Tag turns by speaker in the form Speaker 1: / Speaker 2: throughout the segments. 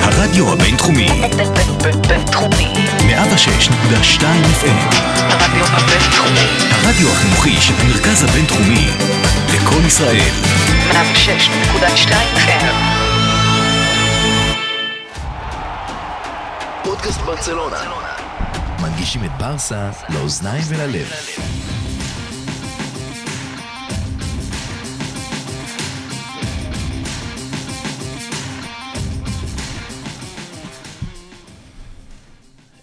Speaker 1: הרדיו הבינתחומי,
Speaker 2: בינתחומי.
Speaker 1: 106.2 FM,
Speaker 2: הרדיו הבינתחומי.
Speaker 1: הרדיו החינוכי של המרכז הבינתחומי, לקום ישראל,
Speaker 2: 106.2 FM.
Speaker 3: פודקאסט ברצלונה. מנגישים את ברסה לאוזניים וללב.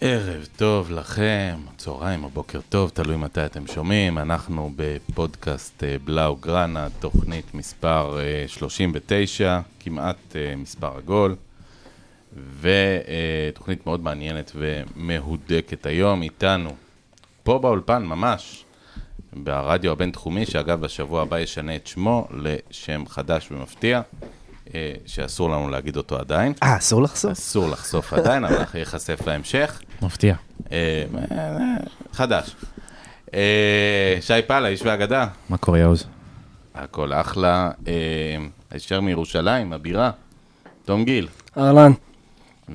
Speaker 4: ערב טוב לכם, צהריים או בוקר טוב, תלוי מתי אתם שומעים. אנחנו בפודקאסט אה, בלאו גראנה, תוכנית מספר אה, 39, כמעט אה, מספר עגול, ותוכנית מאוד מעניינת ומהודקת היום איתנו, פה באולפן ממש, ברדיו הבינתחומי, שאגב, בשבוע הבא ישנה את שמו לשם חדש ומפתיע, אה, שאסור לנו להגיד אותו עדיין.
Speaker 5: אה, אסור לחשוף?
Speaker 4: אסור לחשוף עדיין, אבל אחרי ייחשף להמשך.
Speaker 5: מפתיע.
Speaker 4: אה, אה, חדש. אה, שי פאלה, איש והגדה,
Speaker 5: מה קורה, יאוז?
Speaker 4: הכל אחלה. אה, הישר מירושלים, הבירה, תום גיל.
Speaker 5: אהלן.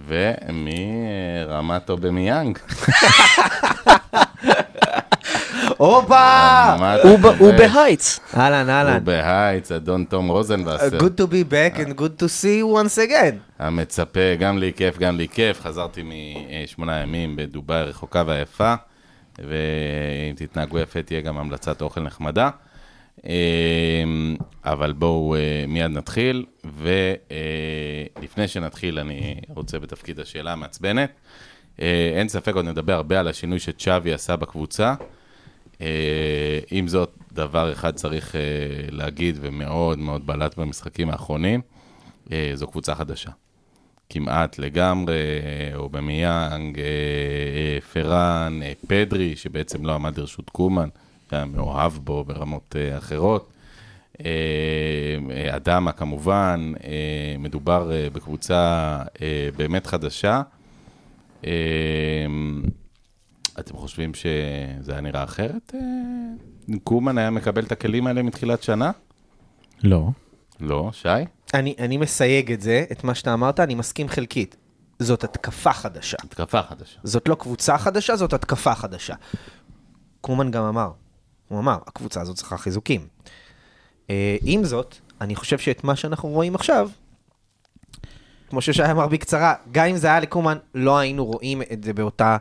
Speaker 4: ומרמתו במיאנג.
Speaker 5: הופה!
Speaker 4: רמת-
Speaker 6: אה, הוא ב- הוא בהייטס.
Speaker 5: אה, אהלן,
Speaker 4: הוא
Speaker 5: אהלן.
Speaker 4: בהייץ, אדון תום
Speaker 6: אה,
Speaker 4: רוזנבסר.
Speaker 5: Uh, Good to be back and good to see you once again.
Speaker 4: המצפה, גם לי כיף, גם לי כיף. חזרתי משמונה ימים בדובאי הרחוקה והיפה, ואם תתנהגו יפה תהיה גם המלצת אוכל נחמדה. אמ, אבל בואו אה, מיד נתחיל, ולפני שנתחיל אני רוצה בתפקיד השאלה המעצבנת. אה, אין ספק, עוד נדבר הרבה על השינוי שצ'אבי עשה בקבוצה. אה, עם זאת, דבר אחד צריך אה, להגיד, ומאוד מאוד בלט במשחקים האחרונים, אה, זו קבוצה חדשה. כמעט לגמרי, אה, אובמיאנג, אה, אה, פרן, אה, פדרי, שבעצם לא עמד לרשות קומן, היה מאוהב בו ברמות אה, אחרות. אה, אה, אדמה כמובן, אה, מדובר אה, בקבוצה אה, באמת חדשה. אה, אתם חושבים שזה היה נראה אחרת? אה, קומן היה מקבל את הכלים האלה מתחילת שנה?
Speaker 7: לא.
Speaker 4: לא, שי?
Speaker 5: אני אני מסייג את זה, את מה שאתה אמרת, אני מסכים חלקית. זאת התקפה חדשה.
Speaker 4: התקפה חדשה.
Speaker 5: זאת לא קבוצה חדשה, זאת התקפה חדשה. קומן גם אמר, הוא אמר, הקבוצה הזאת צריכה חיזוקים. אה, עם זאת, אני חושב שאת מה שאנחנו רואים עכשיו, כמו ששי אמר בקצרה, גם אם זה היה לקומן, לא היינו רואים את זה באותה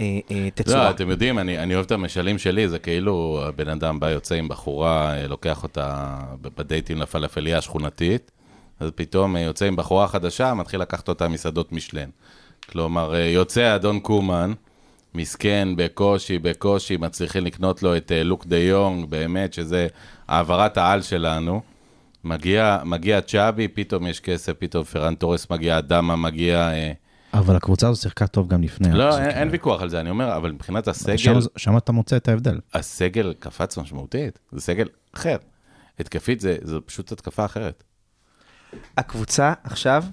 Speaker 5: אה, אה,
Speaker 4: לא,
Speaker 5: תצורה.
Speaker 4: אתם יודעים, אני, אני אוהב את המשלים שלי, זה כאילו הבן אדם בא, יוצא עם בחורה, אה, לוקח אותה ב- בדייטים לפלאפליה השכונתית, אז פתאום אה, יוצא עם בחורה חדשה, מתחיל לקחת אותה מסעדות משלן. כלומר, אה, יוצא אדון קומן, מסכן, בקושי, בקושי, מצליחים לקנות לו את אה, לוק דה יונג, באמת, שזה העברת העל שלנו. מגיע, מגיע צ'אבי, פתאום יש כסף, פתאום פרן תורס מגיע, אדמה מגיע... אה,
Speaker 7: אבל הקבוצה הזו שיחקה טוב גם לפני.
Speaker 4: לא,
Speaker 7: המשחק.
Speaker 4: אין, אין ויכוח על זה, אני אומר, אבל מבחינת
Speaker 7: שם-
Speaker 4: הסגל...
Speaker 7: שם אתה מוצא את ההבדל.
Speaker 4: הסגל קפץ משמעותית, זה סגל אחר. התקפית זה, זה פשוט התקפה אחרת.
Speaker 5: הקבוצה עכשיו,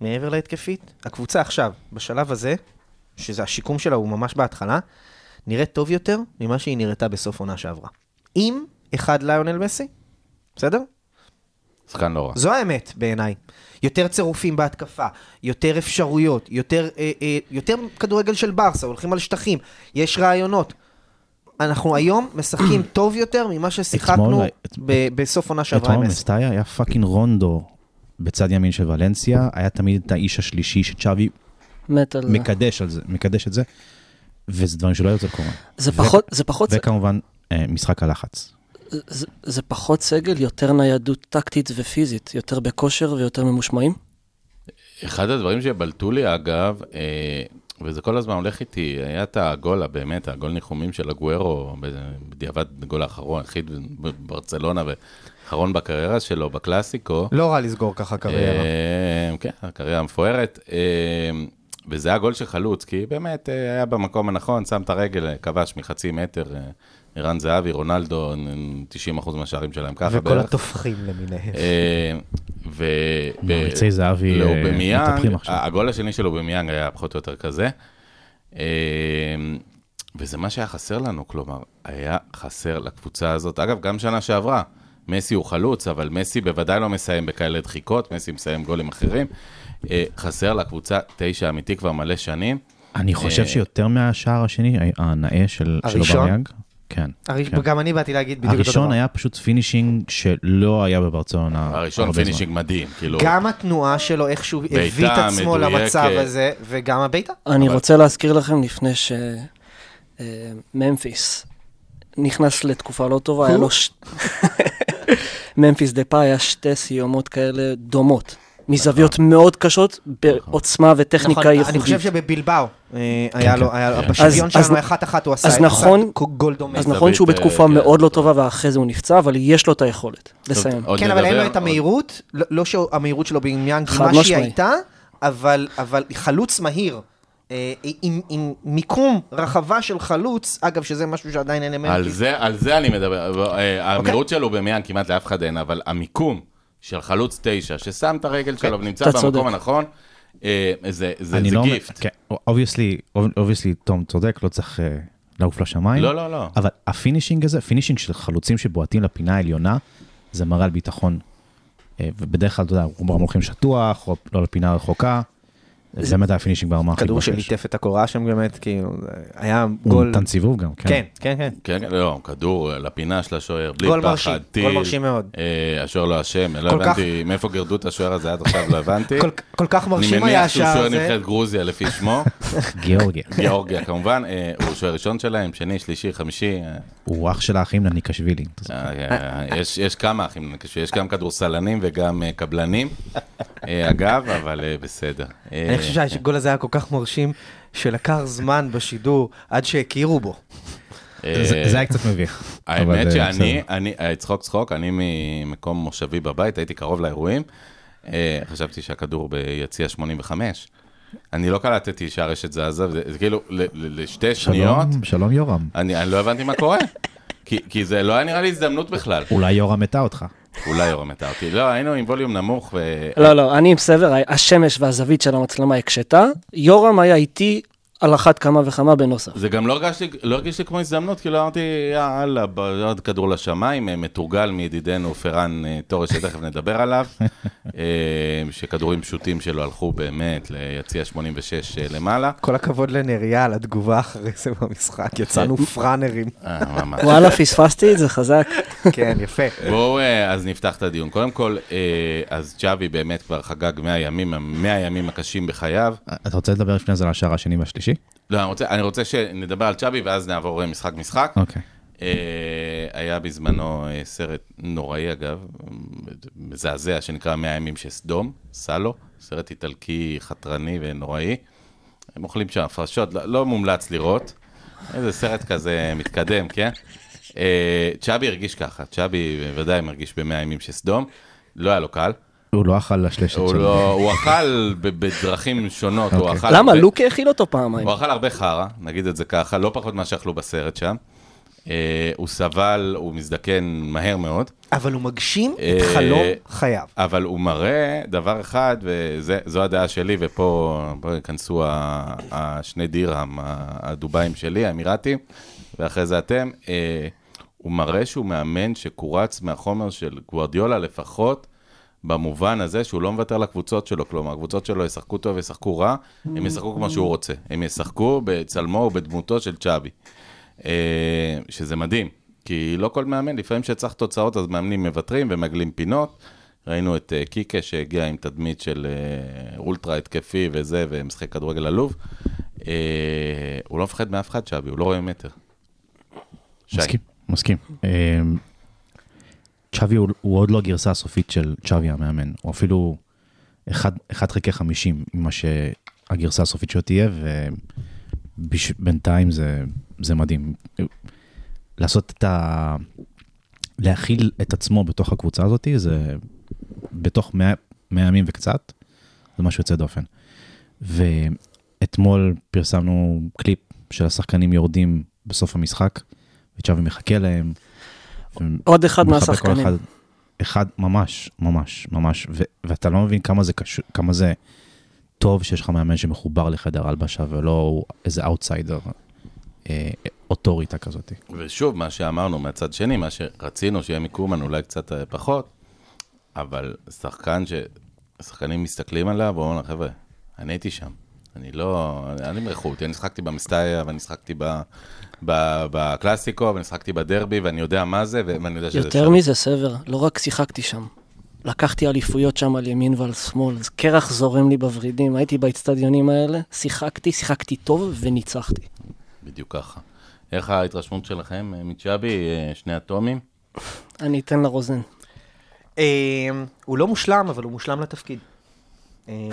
Speaker 5: מעבר להתקפית, הקבוצה עכשיו, בשלב הזה, שזה השיקום שלה הוא ממש בהתחלה, נראית טוב יותר ממה שהיא נראתה בסוף עונה שעברה. עם אחד ליונל מסי, בסדר?
Speaker 4: שחקן לא רע.
Speaker 5: זו האמת בעיניי. יותר צירופים בהתקפה, יותר אפשרויות, יותר, אה, אה, יותר כדורגל של ברסה, הולכים על שטחים, יש רעיונות. אנחנו היום משחקים טוב יותר ממה ששיחקנו
Speaker 7: אתמול- את-
Speaker 5: ב- בסוף עונה שעברה עם
Speaker 7: אתמול
Speaker 5: מסי.
Speaker 7: מסטאיה היה פאקינג רונדו בצד ימין של ולנסיה, היה תמיד את האיש השלישי שצ'אבי
Speaker 5: אה.
Speaker 6: מת על זה.
Speaker 7: מקדש על זה, מקדש את זה, וזה דברים שלא היו אצל קורן.
Speaker 6: זה פחות, זה פחות,
Speaker 7: וכמובן, אה, משחק הלחץ.
Speaker 6: זה- זה פחות סגל, יותר ניידות טקטית ופיזית, יותר בכושר ויותר ממושמעים.
Speaker 4: אחד הדברים שבלטו לי, אגב, אה, וזה כל הזמן הולך איתי, היה את הגול, באמת, הגול ניחומים של הגוארו, ב- בדיעבד הגול האחרון, היחיד בברצלונה, ואחרון בקריירה שלו, בקלאסיקו.
Speaker 5: לא רע לסגור ככה קריירה.
Speaker 4: אה, כן, קריירה מפוארת. אה, וזה היה גול של חלוץ, כי באמת אה, היה במקום הנכון, שם את הרגל, אה, כבש מחצי מטר. אה, ערן זהבי, רונלדו, נ- 90% מהשערים שלהם ככה
Speaker 5: וכל
Speaker 4: בערך.
Speaker 5: התופחים למיניהם.
Speaker 4: אה, ו...
Speaker 7: מעריצי זהבי, אה,
Speaker 4: לאובמיאנג,
Speaker 7: מתהפכים עכשיו.
Speaker 4: הגול השני של אובמיאנג היה פחות או יותר כזה. אה, וזה מה שהיה חסר לנו, כלומר, היה חסר לקבוצה הזאת. אגב, גם שנה שעברה, מסי הוא חלוץ, אבל מסי בוודאי לא מסיים בכאלה דחיקות, מסי מסיים גולים אחרים. אה, חסר לקבוצה תשע אמיתי כבר מלא שנים.
Speaker 7: אני חושב שיותר מהשער השני, ה- הנאה של של
Speaker 5: הראשון?
Speaker 7: אובמיאנג. כן.
Speaker 5: הרי
Speaker 7: כן.
Speaker 5: גם אני באתי להגיד בדיוק אותו דבר.
Speaker 7: הראשון היה פשוט פינישינג שלא היה בברצלונה.
Speaker 4: הראשון
Speaker 7: הרבה זמן.
Speaker 4: פינישינג מדהים, כאילו...
Speaker 5: גם התנועה שלו, איך שהוא
Speaker 4: בעיטה
Speaker 5: הביא את עצמו
Speaker 4: מדויקת.
Speaker 5: למצב הזה, וגם הבעיטה.
Speaker 6: אני רוצה להזכיר לכם לפני ש... אה, ממפיס נכנס לתקופה לא טובה, היה לו... ש- ממפיס דה פאי היה שתי סיומות כאלה דומות, מזוויות
Speaker 4: נכון.
Speaker 6: מאוד קשות, בעוצמה
Speaker 5: נכון,
Speaker 6: וטכניקה
Speaker 5: אני חושב
Speaker 6: ייחודית.
Speaker 5: שבבלבאו אה, היה לו, היה- בשוויון
Speaker 6: אז-
Speaker 5: שלנו
Speaker 6: אז-
Speaker 5: אחת-אחת הוא עשה
Speaker 6: אז
Speaker 5: הוא עשה
Speaker 6: נכון-
Speaker 5: גול דומה.
Speaker 6: אז
Speaker 4: זווית,
Speaker 6: נכון שהוא
Speaker 4: אה,
Speaker 6: בתקופה
Speaker 4: כן,
Speaker 6: מאוד לא
Speaker 4: טוב.
Speaker 6: טובה ואחרי זה הוא נפצע, אבל יש לו את היכולת לסיים.
Speaker 4: עוד
Speaker 5: כן, אבל אין
Speaker 4: נדבר,
Speaker 5: לו את
Speaker 4: עוד-
Speaker 5: המהירות, לא לא שהמהירות שלו בעניין
Speaker 6: חד
Speaker 5: מה שהיא
Speaker 6: משמעי.
Speaker 5: הייתה, אבל אבל חלוץ מהיר. אה, עם, עם מיקום רחבה של חלוץ, אגב, שזה משהו שעדיין אין
Speaker 4: על
Speaker 5: למנטיס.
Speaker 4: זה, על זה אני מדבר.
Speaker 5: אוקיי.
Speaker 4: אה, המהירות שלו במיאן כמעט לאף אחד אין, אבל המיקום של חלוץ תשע, ששם את הרגל
Speaker 5: אוקיי,
Speaker 4: שלו ונמצא
Speaker 6: אתה צודק.
Speaker 4: במקום הנכון, אה, זה זה-
Speaker 7: אני
Speaker 4: זה
Speaker 7: לא אומר-
Speaker 4: גיפט.
Speaker 7: כן, אובייסלי, אובייסלי, תום צודק, לא צריך אה, לעוף לשמיים.
Speaker 4: לא, לא, לא.
Speaker 7: אבל הפינישינג הזה, פינישינג של חלוצים שבועטים לפינה העליונה, זה מראה על ביטחון. אה, ובדרך כלל, אתה יודע, רובם הולכים שטוח, או לא לפינה הרחוקה. זה באמת היה פינישינג ברמה הכי
Speaker 5: כדור
Speaker 7: גבוהה שיש.
Speaker 5: שליטף את הקורה שם באמת, כאילו, זה היה
Speaker 7: הוא
Speaker 5: גול...
Speaker 7: נתן סיבוב גם, כן.
Speaker 5: כן, כן, כן.
Speaker 4: כן, כן, לא, כדור לפינה של השוער, בלי
Speaker 5: גול
Speaker 4: פחד,
Speaker 5: מרשים,
Speaker 4: טיל.
Speaker 5: גול מרשים מאוד.
Speaker 4: אה, השוער לא אשם, לא
Speaker 5: כל כך-
Speaker 4: הבנתי מאיפה גרדו את השוער הזה עד עכשיו, לא הבנתי.
Speaker 5: כל- כל כך מרשים
Speaker 4: אני
Speaker 5: היה
Speaker 4: מניח שהוא
Speaker 5: השער
Speaker 4: שוער
Speaker 5: הזה.
Speaker 4: נבחרת גרוזיה לפי שמו,
Speaker 7: גיאורגיה.
Speaker 4: גיאורגיה כמובן, אה, הוא שוער ראשון שלהם, שני, שלישי, חמישי, אה,
Speaker 7: הוא אח של האחים לניקשווילי. אתה זוכר.
Speaker 4: אה, יש, יש כמה אחים, יש גם כדורסלנים וגם אה, קבלנים, אה, אגב, אבל אה, בסדר. אה,
Speaker 5: אני חושב שהגול הזה היה כל כך מרשים, שלקח זמן בשידור עד שהכירו בו.
Speaker 4: אה,
Speaker 7: זה זה היה קצת מביך. אבל,
Speaker 4: האמת
Speaker 7: אה,
Speaker 4: שאני,
Speaker 7: בסדר.
Speaker 4: אני, אה, צחוק צחוק, אני ממקום מושבי בבית, הייתי קרוב לאירועים, אה, חשבתי שהכדור ביציע 85. אני לא קלטתי שהרשת זזה, זה זה כאילו ל- ל- לשתי שניות,
Speaker 7: שלום- שלום יורם.
Speaker 4: אני אני לא הבנתי מה קורה. כי, כי זה לא היה נראה לי הזדמנות בכלל.
Speaker 7: אולי יורם מתה אותך.
Speaker 4: אולי יורם מתה אותי. לא, היינו עם ווליום נמוך, ו...
Speaker 6: לא, לא, אני עם סבר, השמש והזווית של המצלמה הקשתה, יורם היה איתי על אחת כמה וכמה בנוסף.
Speaker 4: זה גם לא הרגיש לי, לא הרגיש לי כמו הזדמנות, כאילו אמרתי, יאללה, ב- עוד כדור לשמיים, אה, מתורגל מידידנו פרן אה, תורש, שתכף נדבר עליו, אה, שכדורים פשוטים שלו הלכו באמת ליציע 86 אה, למעלה.
Speaker 5: כל הכבוד לנריה על התגובה אחרי זה במשחק, יצאנו פראנרים.
Speaker 4: אה, ממש.
Speaker 6: וואלה, פספסתי את זה חזק.
Speaker 4: אה.
Speaker 5: כן, יפה.
Speaker 4: בואו, אה, אז נפתח את הדיון. קודם כל, אה, אז צ'אבי באמת כבר חגג 100 ימים, 100 ימים הקשים בחייו.
Speaker 7: אתה רוצה לדבר לפני זה על השער השני והשלישי?
Speaker 4: לא, אני רוצה, אני רוצה שנדבר על צ'אבי ואז נעבור אה, משחק-משחק.
Speaker 7: אוקיי.
Speaker 4: אה, היה בזמנו אה, סרט נוראי, אגב, מזעזע, שנקרא 100 ימים של סדום, סלו, סרט איטלקי חתרני ונוראי. הם אוכלים שם הפרשות, לא, לא מומלץ לראות. איזה סרט כזה מתקדם, כן? אה, צ'אבי הרגיש ככה, צ'אבי בוודאי מרגיש ב-100 ימים של סדום, לא היה לו קל.
Speaker 7: הוא לא אכל לשלשת
Speaker 4: הוא,
Speaker 7: שלו.
Speaker 4: לא, הוא אכל ב- בדרכים שונות, הוא
Speaker 7: אוקיי.
Speaker 4: אכל...
Speaker 6: למה? לא
Speaker 4: הרבה-
Speaker 6: לוקה הכיל אותו פעמיים.
Speaker 4: הוא אכל הרבה חרא, נגיד את זה ככה, לא פחות ממה שאכלו בסרט שם. אה, הוא סבל, הוא מזדקן מהר מאוד,
Speaker 5: אבל הוא מגשים את
Speaker 4: אה,
Speaker 5: חלום חייו.
Speaker 4: אבל הוא מראה דבר אחד, וזו הדעה שלי, ופה פה ייכנסו ה- השני דירהם, ה- הדובאים שלי, האמירתים, ואחרי זה אתם. אה, הוא מראה שהוא מאמן שקורץ מהחומר של גוורדיולה לפחות. במובן הזה שהוא לא מוותר לקבוצות שלו, כלומר, הקבוצות שלו ישחקו טוב, ישחקו רע, הם ישחקו כמו שהוא רוצה. הם ישחקו בצלמו ובדמותו של צ'אבי. אה, שזה מדהים, כי לא כל מאמן, לפעמים כשצריך תוצאות אז מאמנים מוותרים ומגלים פינות. ראינו את אה, קיקה שהגיע עם תדמית של אה, אולטרה התקפי וזה, ומשחק כדורגל עלוב. אה, הוא לא מפחד מאף אחד, שבי, הוא לא רואה מטר. שי,
Speaker 7: מסכים, מסכים. אמ, צ'אבי הוא הוא עוד לא הגרסה הסופית של צ'אבי המאמן, הוא אפילו 1 חלקי 50 ממה שהגרסה הסופית שלו תהיה, ובינתיים זה, זה מדהים. לעשות את ה... להכיל את עצמו בתוך הקבוצה הזאת, זה בתוך 100 100 ימים וקצת, זה משהו יוצא דופן. ואתמול פרסמנו קליפ של השחקנים יורדים בסוף המשחק, וצ'אבי מחכה להם.
Speaker 6: עוד אחד
Speaker 7: מחבק כל
Speaker 6: מהשחקנים.
Speaker 7: אחד, אחד ממש, ממש, ממש, ו- ואתה לא מבין כמה זה קשור, כמה זה טוב שיש לך מאמן שמחובר לחדר הלבשה ולא הוא איזה אאוטסיידר אה, אוטוריטה כזאת.
Speaker 4: ושוב, מה שאמרנו מהצד שני, מה שרצינו שיהיה מקומן אולי קצת אה, פחות, אבל שחקן ש... שחקנים מסתכלים עליו ואומרים לו, חבר'ה, אני הייתי שם. אני לא... אל תמרחו אותי, אני שחקתי במסטאיה, ואני שחקתי ב... ב... בקלאסיקו, ואני שחקתי בדרבי, ואני יודע מה זה, ו- ואני יודע שזה
Speaker 6: יותר מזה, סבר, לא רק שיחקתי שם. לקחתי אליפויות שם על ימין ועל שמאל, אז קרח זורם לי בוורידים, הייתי באצטדיונים האלה, שיחקתי, שיחקתי טוב וניצחתי.
Speaker 4: בדיוק ככה. איך ההתרשמות שלכם אה, מצ'אבי, אה, שני אטומים?
Speaker 6: אני אתן לרוזן.
Speaker 5: אה, הוא לא מושלם, אבל הוא מושלם לתפקיד. אה,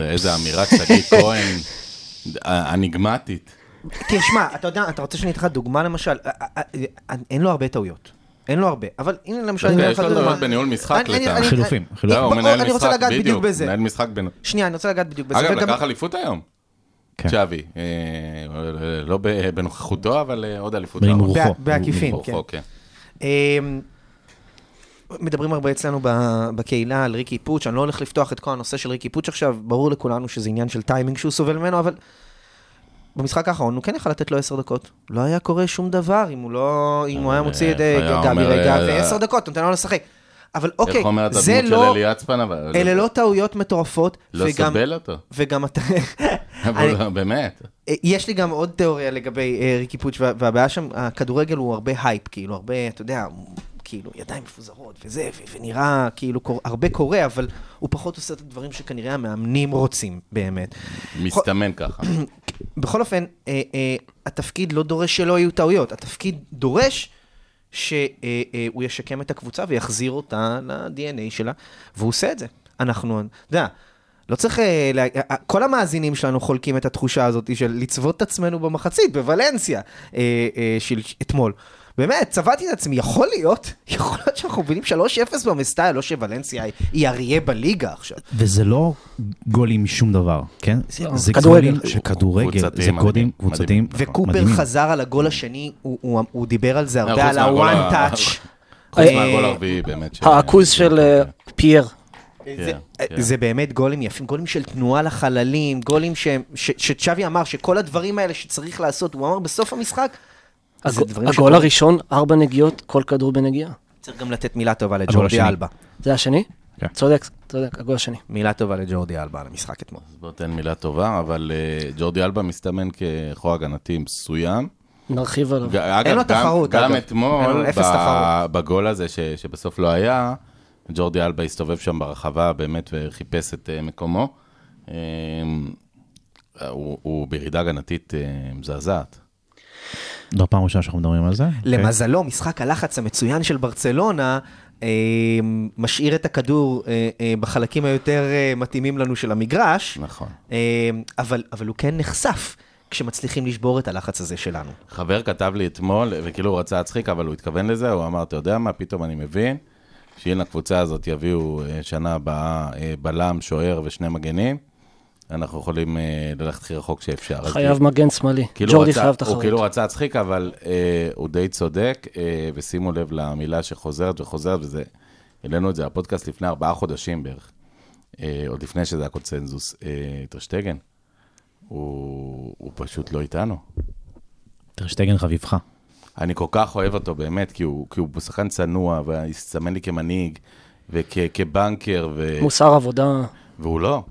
Speaker 4: איזה אמירה, שגיא כהן, אה, ה- הנגמטית.
Speaker 5: תשמע, אתה יודע, אתה רוצה שאני אתן לך דוגמה למשל? אה, אה, אה, אין לו הרבה טעויות. אין לו הרבה, אבל הנה למשל, אני
Speaker 4: דווקא אוקיי,
Speaker 5: אתן
Speaker 4: יש
Speaker 5: לך
Speaker 4: לו
Speaker 5: דוגמה.
Speaker 4: טעויות בניהול משחק,
Speaker 5: אני- אני-
Speaker 4: לטעם.
Speaker 5: אני-
Speaker 7: חילופים,
Speaker 5: אני-
Speaker 7: חילופים.
Speaker 4: לא, הוא
Speaker 5: בוא,
Speaker 4: מנהל
Speaker 5: אני רוצה
Speaker 4: משחק,
Speaker 5: לגעת בדיוק
Speaker 4: בדיוק,
Speaker 5: בזה.
Speaker 4: מנהל משחק בין...
Speaker 5: שנייה, אני רוצה לגעת בדיוק בזה.
Speaker 4: אגב,
Speaker 5: וגם-
Speaker 4: לקח אליפות היום.
Speaker 7: כן.
Speaker 4: צ'אבי, אה, לא ב- בנוכחותו, אבל אה, עוד אליפות.
Speaker 7: ועם
Speaker 4: לאחרונה.
Speaker 7: רוחו.
Speaker 5: בע- בעקיפין,
Speaker 4: רוחו,
Speaker 5: כן.
Speaker 4: כן.
Speaker 5: אמ, מדברים הרבה אצלנו ב- בקהילה על ריקי פוטש, אני לא הולך לפתוח את כל הנושא של ריקי פוטש עכשיו, ברור לכולנו שזה עניין של טיימינג שהוא סובל ממנו, אבל במשחק האחרון הוא כן יכל לתת לו עשר דקות. לא היה קורה שום דבר אם הוא לא, אם הוא היה מוציא את אה,
Speaker 4: היה
Speaker 5: גבי
Speaker 4: אומר,
Speaker 5: רגע,
Speaker 4: אה,
Speaker 5: ועשר
Speaker 4: אה,
Speaker 5: דקות, נותן לו לשחק. אבל אוקיי,
Speaker 4: איך אומר
Speaker 5: זה
Speaker 4: הדמות של
Speaker 5: לא,
Speaker 4: אלי עצפן, אבל...
Speaker 5: אלה לא טעויות מטורפות,
Speaker 4: לא
Speaker 5: וגם-
Speaker 4: סבל אותו.
Speaker 5: וגם אתה... אני-
Speaker 4: אבל באמת.
Speaker 5: אה, יש לי גם עוד תיאוריה לגבי אה, ריקי פוטש, וה- והבעיה שם, הכדורגל הוא הרבה הייפ, כאילו, הרבה, אתה יודע, הוא- כאילו, ידיים מפוזרות וזה, ו- ונראה כאילו קור- הרבה קורה, אבל הוא פחות עושה את הדברים שכנראה המאמנים רוצים, באמת.
Speaker 4: מסתמן ככה.
Speaker 5: אה, בכל אופן, אה, אה, התפקיד לא דורש שלא יהיו טעויות, התפקיד דורש שהוא אה, אה, הוא ישקם את הקבוצה ויחזיר אותה ל-DNA שלה, והוא עושה את זה. אנחנו, אתה יודע, לא צריך... אה, לה, אה, כל המאזינים שלנו חולקים את התחושה הזאת של לצבות את עצמנו במחצית בוולנסיה אה, אה, של אתמול. באמת, צבעתי את עצמי, יכול להיות, יכול להיות שאנחנו מבינים 3-0 במסטייל, לא שוולנסיה היא- היא אריה בליגה עכשיו.
Speaker 7: וזה לא גולים משום דבר, כן? זה
Speaker 6: לא,
Speaker 7: זה
Speaker 6: כדורגל.
Speaker 7: גולים של כדורגל,
Speaker 4: קבוצתיים
Speaker 7: זה גולים
Speaker 4: מדהימים,
Speaker 7: קבוצתיים
Speaker 5: וקופר
Speaker 7: מדהימים.
Speaker 5: חזר על הגול השני, הוא- הוא הוא דיבר על זה הרבה,
Speaker 4: חוץ
Speaker 5: על
Speaker 4: מהגול
Speaker 5: הוואן
Speaker 4: ה-
Speaker 5: טאץ'.
Speaker 4: חוץ
Speaker 6: אה,
Speaker 4: מהגול הרביעי, באמת. ש-
Speaker 6: העכוז של אה, פייר,
Speaker 5: זה- אה,
Speaker 4: כן, כן.
Speaker 5: זה באמת גולים יפים, גולים של תנועה לחללים, גולים שהם- ש- שצ'אבי אמר שכל הדברים האלה שצריך לעשות, הוא אמר בסוף המשחק, זה
Speaker 6: הג-
Speaker 5: דברים
Speaker 6: הגול
Speaker 5: שקורים.
Speaker 6: הראשון, ארבע נגיעות, כל כדור בנגיעה.
Speaker 5: צריך גם לתת מילה טובה
Speaker 7: הגול
Speaker 5: לג'ורדי
Speaker 7: השני.
Speaker 5: אלבה.
Speaker 6: זה השני?
Speaker 7: כן.
Speaker 6: צודק, צודק, הגול השני.
Speaker 5: מילה טובה לג'ורדי אלבה על המשחק אתמול.
Speaker 7: אוקיי.
Speaker 4: אז בוא תן מילה טובה, אבל אה, ג'ורדי אלבה מסתמן ככוח הגנתי מסוים.
Speaker 6: נרחיב עליו.
Speaker 4: ג- אגב,
Speaker 5: אין לו
Speaker 4: גם-
Speaker 5: תחרות,
Speaker 4: גם
Speaker 5: אגב. אין לו
Speaker 4: אתמול,
Speaker 5: אפס
Speaker 4: ב-
Speaker 5: תחרות.
Speaker 4: בגול הזה ש- שבסוף לא היה, ג'ורדי אלבה הסתובב שם ברחבה באמת וחיפש את אה, מקומו. אה, הוא הוא בירידה הגנתית אה, מזעזעת.
Speaker 7: לא פעם ראשונה שאנחנו מדברים על זה. אוקיי.
Speaker 5: למזלו, משחק הלחץ המצוין של ברצלונה אה, משאיר את הכדור אה, אה, בחלקים היותר אה, מתאימים לנו של המגרש,
Speaker 4: נכון.
Speaker 5: אה, אבל אבל הוא כן נחשף כשמצליחים לשבור את הלחץ הזה שלנו.
Speaker 4: חבר כתב לי אתמול, וכאילו הוא רצה להצחיק, אבל הוא התכוון לזה, הוא אמר, אתה יודע מה, פתאום אני מבין שאם לקבוצה הזאת יביאו אה, שנה הבאה אה, בלם, שוער ושני מגנים, אנחנו יכולים אה, ללכת הכי רחוק שאפשר. אז
Speaker 6: חייב מגן שמאלי.
Speaker 4: כאילו
Speaker 6: ג'ורדי
Speaker 4: רצה-
Speaker 6: חייב תחרות.
Speaker 4: הוא כאילו רצה להצחיק, אבל אה, הוא די צודק, אה, ושימו לב למילה שחוזרת וחוזרת, וזה, העלינו את זה לפודקאסט לפני ארבעה חודשים בערך, אה, עוד לפני שזה היה קונצנזוס, אה, טרשטגן, הוא, הוא פשוט לא איתנו.
Speaker 7: טרשטגן חביבך.
Speaker 4: אני כל כך אוהב אותו, באמת, כי הוא, כי הוא שחקן צנוע, והסתמן לי כמנהיג, וכבנקר, ו...
Speaker 6: מוסר עבודה.
Speaker 4: והוא לא.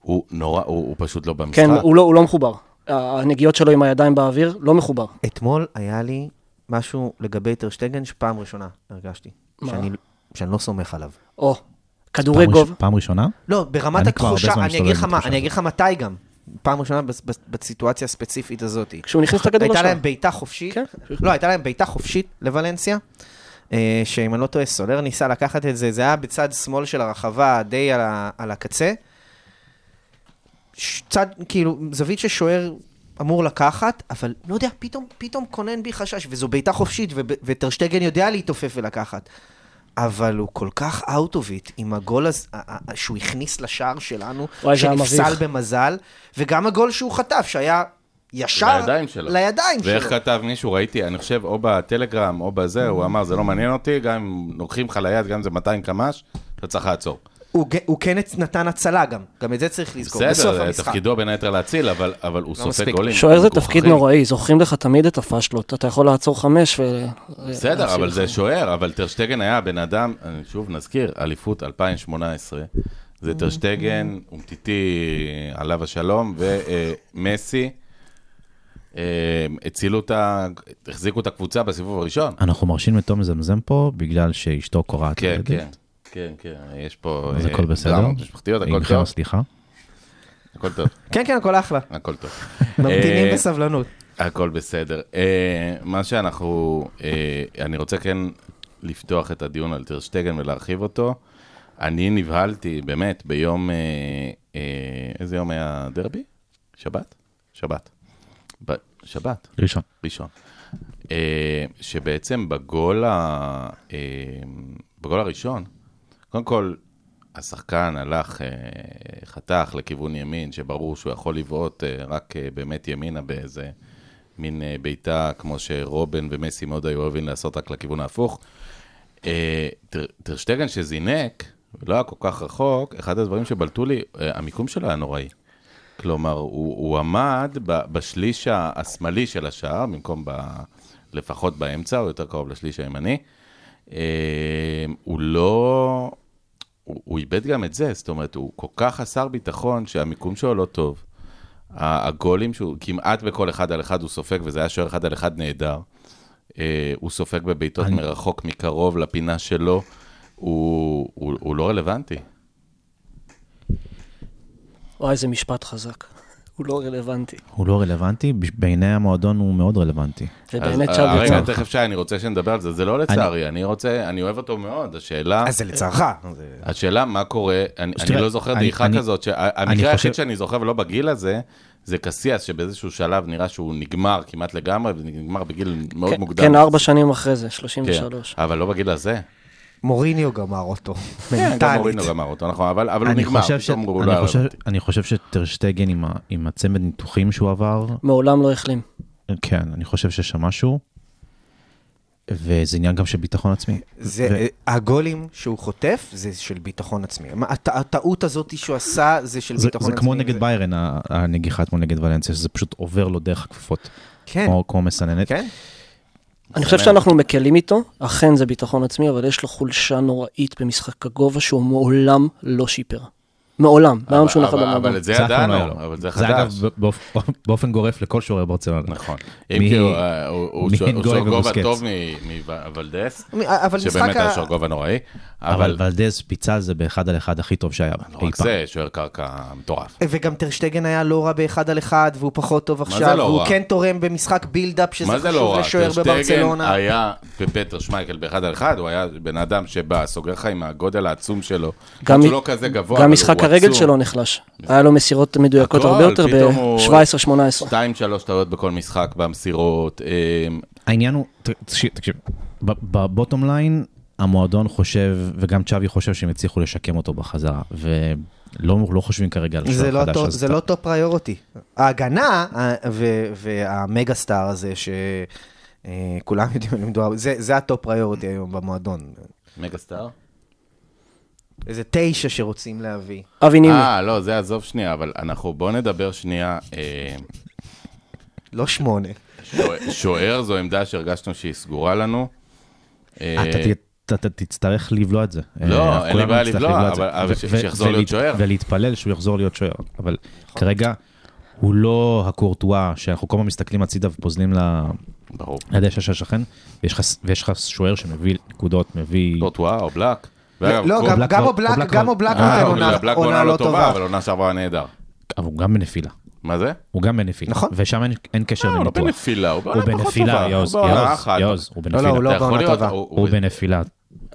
Speaker 4: הוא נורא, הוא, הוא פשוט לא במשחק.
Speaker 6: כן, הוא לא- הוא לא מחובר. הנגיעות שלו עם הידיים באוויר, לא מחובר.
Speaker 5: אתמול היה לי משהו לגבי טרשטגן שפעם ראשונה הרגשתי.
Speaker 6: מה?
Speaker 5: שאני, שאני לא סומך עליו.
Speaker 6: או,
Speaker 7: פעם
Speaker 6: כדורי
Speaker 7: ראש-
Speaker 6: גוב.
Speaker 7: פעם ראשונה?
Speaker 5: לא, ברמת
Speaker 7: אני כבר הרבה
Speaker 5: התחושה,
Speaker 7: זמן
Speaker 5: אני אגיד
Speaker 7: מסתובב
Speaker 5: לך
Speaker 7: עם
Speaker 5: מה,
Speaker 7: התחושה
Speaker 5: אני אגיד לך מתי גם. פעם ראשונה בס- בס- בסיטואציה הספציפית הזאת.
Speaker 6: כשהוא נכנס לכדור
Speaker 5: הייתה
Speaker 6: לשער.
Speaker 5: להם בעיטה חופשית,
Speaker 6: כן.
Speaker 5: לא, הייתה להם בעיטה חופשית לוולנסיה, אה, שאם אני לא טועה, סולר ניסה לקחת את זה, זה היה בצד שמאל של הרחבה, די על ה- על הקצה. ש- צד, כאילו, זווית ששוער אמור לקחת, אבל לא יודע, פתאום, פתאום קונן בי חשש, וזו בעיטה חופשית, וב- וטרשטגן יודע להתעופף ולקחת. אבל הוא כל כך out of it עם הגול הזה, ה- ה- ה- שהוא הכניס לשער שלנו,
Speaker 6: וואי, זה היה
Speaker 5: שנפסל
Speaker 6: מביך.
Speaker 5: במזל, וגם הגול שהוא חטף, שהיה ישר
Speaker 4: לידיים שלו.
Speaker 5: לידיים
Speaker 4: ואיך
Speaker 5: שלו.
Speaker 4: כתב מישהו, ראיתי, אני חושב, או בטלגרם, או בזה, הוא אמר, זה לא מעניין אותי, גם אם לוקחים לך ליד, גם אם זה 200 קמ"ש, אתה צריך לעצור.
Speaker 5: הוא ג- הוא כן הצ- נתן הצלה גם, גם את זה צריך לזכור, בסוף
Speaker 4: בסדר,
Speaker 5: המשחק. לא
Speaker 4: תפקידו בין היתר להציל, אבל אבל הוא סופג
Speaker 5: מספיק.
Speaker 4: גולים.
Speaker 6: שוער זה
Speaker 4: הוא
Speaker 6: תפקיד
Speaker 4: כוכבי.
Speaker 6: נוראי, זוכרים לך תמיד את הפשלות, אתה יכול לעצור חמש ו... אה,
Speaker 4: בסדר, אבל זה
Speaker 6: להפסיד.
Speaker 4: שוער, אבל טרשטגן היה בן אדם, אני שוב נזכיר, אליפות 2018, זה
Speaker 5: Mm-hmm.
Speaker 4: טרשטגן, אומטיטי, עליו השלום, אה, ומסי, אה, הצילו את ה... החזיקו את הקבוצה בסיבוב הראשון.
Speaker 7: אנחנו מרשים לתום לזמזם פה בגלל שאשתו קורעת
Speaker 4: כן,
Speaker 7: לילד.
Speaker 4: כן, כן, כן, יש פה...
Speaker 7: אז
Speaker 4: אה,
Speaker 7: הכל בסדר. אה,
Speaker 4: דרמות משפחתיות, הכל
Speaker 7: עמכם
Speaker 4: טוב,
Speaker 7: הסליחה.
Speaker 4: הכל טוב,
Speaker 5: כן, כן, הכל אחלה.
Speaker 4: הכל טוב.
Speaker 5: ממתינים
Speaker 4: אה,
Speaker 5: בסבלנות.
Speaker 4: הכל בסדר. אה, מה שאנחנו, אה, אני רוצה כן לפתוח את הדיון על טרשטגן ולהרחיב אותו. אני נבהלתי, באמת, ביום, אה, אה, איזה יום היה דרבי? שבת? שבת. ב- שבת,
Speaker 7: ראשון.
Speaker 4: ראשון. אה, שבעצם בגול, ה, אה, בגול הראשון, קודם כל, השחקן הלך, אה, חתך לכיוון ימין, שברור שהוא יכול לבעוט אה, רק אה, באמת ימינה באיזה מין אה, בעיטה, כמו שרובן ומסי מאוד היו אוהבים לעשות, רק לכיוון ההפוך. אה, טר- טרשטגן שזינק, לא היה כל כך רחוק, אחד הדברים שבלטו לי, אה, המיקום שלו היה נוראי. כלומר, הוא, הוא עמד ב, בשליש ה- השמאלי של השער, במקום ב, לפחות באמצע, או יותר קרוב לשליש הימני. אה, הוא לא... הוא, הוא איבד גם את זה, זאת אומרת, הוא כל כך חסר ביטחון שהמיקום שלו לא טוב. ה- הגולים שהוא כמעט בכל אחד על אחד הוא סופג, וזה היה שוער אחד על אחד נהדר. אה, הוא סופג בבעיטות
Speaker 7: אני-
Speaker 4: מרחוק, מקרוב, לפינה שלו. הוא, הוא, הוא לא רלוונטי.
Speaker 6: וואי, זה משפט חזק. הוא לא רלוונטי.
Speaker 7: הוא לא רלוונטי, בש- בעיני המועדון הוא מאוד רלוונטי.
Speaker 6: ובאמת
Speaker 4: אז-
Speaker 6: שם
Speaker 4: אה,
Speaker 6: יצא.
Speaker 4: רגע, תכף שי, אני רוצה שנדבר על זה, זה לא לצערי, אני רוצה, אני אוהב אותו מאוד, השאלה,
Speaker 7: אה,
Speaker 5: אז זה לצערך. זה-
Speaker 4: השאלה מה קורה, אני
Speaker 7: אז
Speaker 4: אני
Speaker 7: תראה,
Speaker 4: לא זוכר
Speaker 7: אני-
Speaker 4: דעיכה
Speaker 7: אני-
Speaker 4: כזאת, שה- המקרה
Speaker 7: חושב-
Speaker 4: היחיד שאני זוכר ולא בגיל הזה, זה קסיאס, שבאיזשהו שלב נראה שהוא נגמר כמעט לגמרי, ונגמר בגיל מאוד
Speaker 6: כן-
Speaker 4: מוקדם.
Speaker 6: כן, ארבע שנים אחרי זה,
Speaker 4: כן,
Speaker 6: 33.
Speaker 4: אבל לא בגיל הזה.
Speaker 5: מוריניו גמר אותו,
Speaker 4: כן, גם
Speaker 5: מנטלית.
Speaker 4: מורינו גמר אותו, נכון, אבל אבל הוא
Speaker 7: אני
Speaker 4: נגמר,
Speaker 7: חושב ש-
Speaker 4: פתאום הוא
Speaker 7: אני
Speaker 4: לא
Speaker 7: חושב-
Speaker 4: עליו.
Speaker 7: אני חושב שטרשטגן עם ה- עם הצמד ניתוחים שהוא עבר,
Speaker 6: מעולם לא החלים.
Speaker 7: כן, אני חושב שיש שם משהו, וזה עניין גם של ביטחון עצמי.
Speaker 5: זה, הגולים שהוא חוטף זה של ביטחון עצמי. מה, הט- הטעות הזאת שהוא עשה זה של
Speaker 7: זה,
Speaker 5: ביטחון
Speaker 7: זה
Speaker 5: עצמי.
Speaker 7: כמו נגד ביירן, ה- הנגיחה אתמול נגד ולנסיה, שזה פשוט עובר לו דרך הכפפות,
Speaker 5: כן,
Speaker 7: כמו, כמו מסננת.
Speaker 5: כן.
Speaker 6: אני חושב שאנחנו מקלים איתו, אכן זה ביטחון עצמי, אבל יש לו חולשה נוראית במשחק הגובה שהוא מעולם לא שיפר. מעולם,
Speaker 4: אבל-
Speaker 6: מהיום שהוא נחת
Speaker 4: אבל-
Speaker 6: במועדון.
Speaker 4: אבל את זה
Speaker 7: אף פעם לא היה
Speaker 4: ידענו,
Speaker 7: לו.
Speaker 4: אבל זה
Speaker 7: זה אגב
Speaker 4: חדש.
Speaker 7: ב- באופ- באופן גורף לכל שוערי ברצלונה.
Speaker 4: נכון.
Speaker 7: מ-
Speaker 4: אם כי הוא, אה, הוא- הוא
Speaker 7: מ-
Speaker 4: שוער- הוא שוער
Speaker 7: גוי
Speaker 4: גובה
Speaker 7: ובוסקץ.
Speaker 4: טוב מוולדס,
Speaker 5: אבל משחק
Speaker 4: שבאמת היה
Speaker 5: ה...
Speaker 4: שוער גובה נוראי, אבל
Speaker 7: אבל ולדז פיצה זה באחד על אחד הכי טוב שהיה אי
Speaker 4: לא
Speaker 7: פעם.
Speaker 4: רק זה, שוער קרקע מטורף.
Speaker 5: וגם טרשטגן היה לא רע באחד על אחד, והוא פחות טוב
Speaker 4: זה
Speaker 5: עכשיו,
Speaker 4: לא
Speaker 5: והוא
Speaker 4: רע?
Speaker 5: כן תורם במשחק בילדאפ, שזה
Speaker 4: מה זה לא
Speaker 5: חשוב
Speaker 4: רע?
Speaker 5: לשוער
Speaker 4: טרשטגן
Speaker 5: בברצלונה.
Speaker 4: היה בפטר שמייקל באחד על אחד, הוא היה בן אדם שבא, סוגר לך עם הגודל העצום שלו. גם
Speaker 6: גם,
Speaker 4: הוא לא כזה גבוה,
Speaker 6: גם
Speaker 4: אבל
Speaker 6: משחק
Speaker 4: הוא
Speaker 6: הרגל
Speaker 4: עצום.
Speaker 6: שלו נחלש. היה לו מסירות מדויקות
Speaker 4: הכל,
Speaker 6: הרבה יותר
Speaker 4: פתאום הוא-
Speaker 6: ב-17-18.
Speaker 4: שתיים, שלוש טעויות בכל משחק, במסירות. אמ,
Speaker 7: העניין הוא, ת- תקשיב, תקשיב, ב- בבוטום ליין, המועדון חושב, וגם צ'אבי חושב שהם הצליחו לשקם אותו בחזרה, ולא לא חושבים כרגע על
Speaker 5: זה
Speaker 7: שוער
Speaker 5: לא
Speaker 7: חדש.
Speaker 5: טו-
Speaker 7: אז
Speaker 5: זה
Speaker 7: אתה-
Speaker 5: לא טופ פריוריטי. ההגנה ה- ו- והמגה סטאר הזה, שכולם יודעים למדו, זה זה הטופ פריוריטי היום במועדון.
Speaker 4: מגה סטאר?
Speaker 5: איזה תשע שרוצים להביא.
Speaker 6: אבי נימי,
Speaker 4: אה, לא, זה עזוב שנייה, אבל אנחנו, בואו נדבר שנייה. אמ,
Speaker 5: לא שמונה.
Speaker 4: שוער- שוער זו עמדה שהרגשנו שהיא סגורה לנו.
Speaker 7: אתה
Speaker 4: אה,
Speaker 7: ת- אתה תצטרך לבלוע את זה.
Speaker 4: לא,
Speaker 7: אה,
Speaker 4: אין לי
Speaker 7: כולנו
Speaker 4: בעיה
Speaker 7: נצטרך
Speaker 4: לבלוע,
Speaker 7: את זה.
Speaker 4: אבל- אבל
Speaker 7: ו-
Speaker 4: ש-
Speaker 7: ו-
Speaker 4: שיחזור להיות
Speaker 7: ולהת-
Speaker 4: שוער.
Speaker 7: ולהתפלל שהוא יחזור להיות שוער, אבל
Speaker 5: נכון.
Speaker 7: כרגע הוא לא הקורטואה, שאנחנו כל הזמן מסתכלים הצידה ופוזלים ל-
Speaker 4: ברור.
Speaker 7: לדשא של השכן, ויש לך- ויש לך שוער שמביא נקודות, מביא...
Speaker 4: קורטואה, אובלק. ואגב,
Speaker 5: לא,
Speaker 4: קור-
Speaker 5: גם-
Speaker 7: אובלק
Speaker 5: גם
Speaker 7: כבר-
Speaker 5: אובלק,
Speaker 7: אובלק
Speaker 5: גם
Speaker 7: כבר-
Speaker 5: אובלק
Speaker 7: אה,
Speaker 5: נותן
Speaker 4: אה,
Speaker 5: עונה-
Speaker 4: אובלק
Speaker 5: עונה לא טובה.
Speaker 4: אבל עונה שעברה היה נהדר.
Speaker 7: אבל הוא גם בנפילה.
Speaker 4: מה זה?
Speaker 7: הוא גם בנפילה.
Speaker 5: נכון.
Speaker 7: ושם אין, אין קשר
Speaker 4: לא, הוא לא
Speaker 7: לניתוח.
Speaker 4: בנפילה, הוא בעונה
Speaker 7: הוא
Speaker 4: פחות
Speaker 7: בנפילה,
Speaker 4: טובה.
Speaker 7: יוז,
Speaker 4: הוא בעונה
Speaker 7: יוז,
Speaker 4: אחת.
Speaker 7: יוז, הוא
Speaker 5: לא,
Speaker 7: בנפילה.
Speaker 5: לא, הוא לא
Speaker 4: אתה יכול
Speaker 5: בעונה
Speaker 4: להיות-
Speaker 5: טובה.
Speaker 7: הוא בנפילה.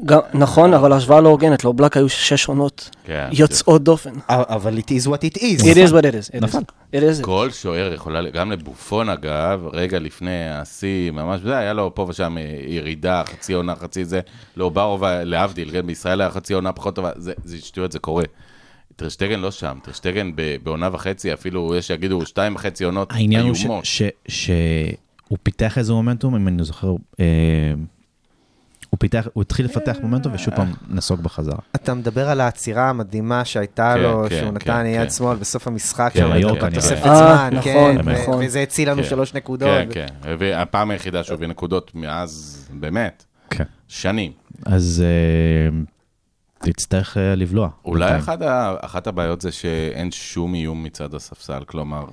Speaker 6: גם- נכון, אבל ההשוואה לא הוגנת, לאובלק היו שש עונות
Speaker 4: כן.
Speaker 6: יוצאות דופן.
Speaker 5: נכון. אבל it is what it is.
Speaker 6: It is what it is. It is.
Speaker 7: נפל.
Speaker 6: It is. it.
Speaker 4: כל שוער יכולה, גם לבופון אגב, רגע לפני השיא, ממש זה, היה לו פה ושם אה, ירידה, חצי עונה, חצי זה. לא, ברוב, להבדיל, כן, בישראל היה חצי עונה פחות טובה, זה זה שטויות, זה קורה. טרשטגן לא שם, טרשטגן ב- בעונה וחצי, אפילו יש שיגידו שתיים וחצי עונות
Speaker 7: העניין הוא
Speaker 4: איומות.
Speaker 7: ש- ש- שהוא פיתח איזה מומנטום, אם אני זוכר, אה, הוא פיתח, הוא התחיל לפתח מומנטום ושוב פעם נסוג בחזרה.
Speaker 5: אתה מדבר על העצירה המדהימה שהייתה
Speaker 4: כן,
Speaker 5: לו,
Speaker 4: כן,
Speaker 5: שהוא
Speaker 4: כן,
Speaker 5: נתן
Speaker 4: כן.
Speaker 5: יד שמאל בסוף המשחק,
Speaker 4: כן,
Speaker 5: שם,
Speaker 4: היורקה,
Speaker 5: את התוספת
Speaker 6: נראה.
Speaker 5: זמן,
Speaker 6: אה,
Speaker 5: כן,
Speaker 6: נכון,
Speaker 5: ו-
Speaker 6: נכון.
Speaker 5: וזה הציל לנו
Speaker 4: כן.
Speaker 5: שלוש נקודות.
Speaker 4: כן, כן. הביא- הפעם היחידה שהוא הביא נקודות מאז, באמת,
Speaker 7: כן.
Speaker 4: שנים.
Speaker 7: אז אה, תצטרך אה, לבלוע.
Speaker 4: אולי
Speaker 7: בינתיים.
Speaker 4: אחת, ה, אחת הבעיות זה שאין שום איום מצד הספסל, כלומר,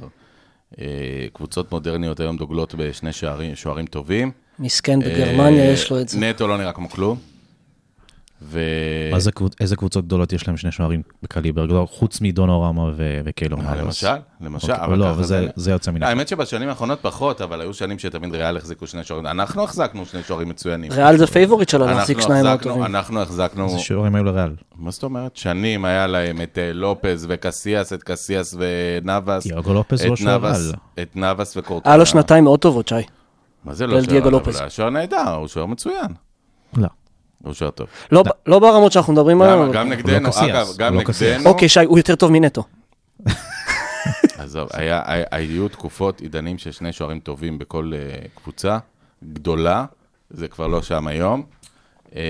Speaker 4: אה, קבוצות מודרניות היום דוגלות בשני שערים, שוערים טובים.
Speaker 6: מסכן בגרמניה,
Speaker 4: אה,
Speaker 6: יש לו את זה.
Speaker 4: נטו לא נראה כמו כלום. ו...
Speaker 7: מה זה קבוצ- איזה קבוצות גדולות יש להם שני שוערים בקליבר, גדול, חוץ מדונו רמה ו- וקיילור
Speaker 4: אה,
Speaker 7: נאברס.
Speaker 4: למשל, למשל,
Speaker 7: אוקיי, אבל לא,
Speaker 4: ככה אה,
Speaker 7: אבל זה- זה יוצא מן הכלל.
Speaker 4: האמת שבשנים האחרונות פחות, אבל היו שנים שתמיד ריאל החזיקו שני שוערים. אנחנו החזקנו שני שוערים מצוינים.
Speaker 6: ריאל זה פייבוריט שלו להחזיק
Speaker 4: אנחנו
Speaker 6: שניים מאוד
Speaker 4: החזקנו-
Speaker 6: טובים.
Speaker 4: אנחנו החזקנו,
Speaker 7: איזה שוערים היו לריאל?
Speaker 4: מה זאת אומרת? שנים היה להם את אה, לופז וקסיאס, את קסיאס ונאבס.
Speaker 7: תיאגו לופז
Speaker 4: את
Speaker 7: לא שוער
Speaker 4: נאבס-
Speaker 7: על.
Speaker 4: את נאבס וקורטונה.
Speaker 6: היה לו שנתיים מאוד טובות, שי.
Speaker 4: מה זה
Speaker 6: של
Speaker 4: לא שוער?
Speaker 6: דייגו
Speaker 4: אבל
Speaker 6: לופז.
Speaker 4: הוא היה שוער נהדר, הוא שוער מצוין.
Speaker 7: לא.
Speaker 4: הוא שוער טוב.
Speaker 6: לא ב- לא ברמות שאנחנו מדברים עליהן.
Speaker 4: גם-
Speaker 6: אבל-
Speaker 4: גם נגדנו,
Speaker 7: לא קסיאס,
Speaker 4: אגב,
Speaker 7: הוא
Speaker 4: גם
Speaker 7: לא קסיאס.
Speaker 4: נגדנו.
Speaker 6: אוקיי, שי, הוא יותר טוב מנטו.
Speaker 4: עזוב, היה- היה- היו תקופות, עידנים של שני שוערים טובים בכל אה, קבוצה גדולה, זה כבר לא שם היום. אה,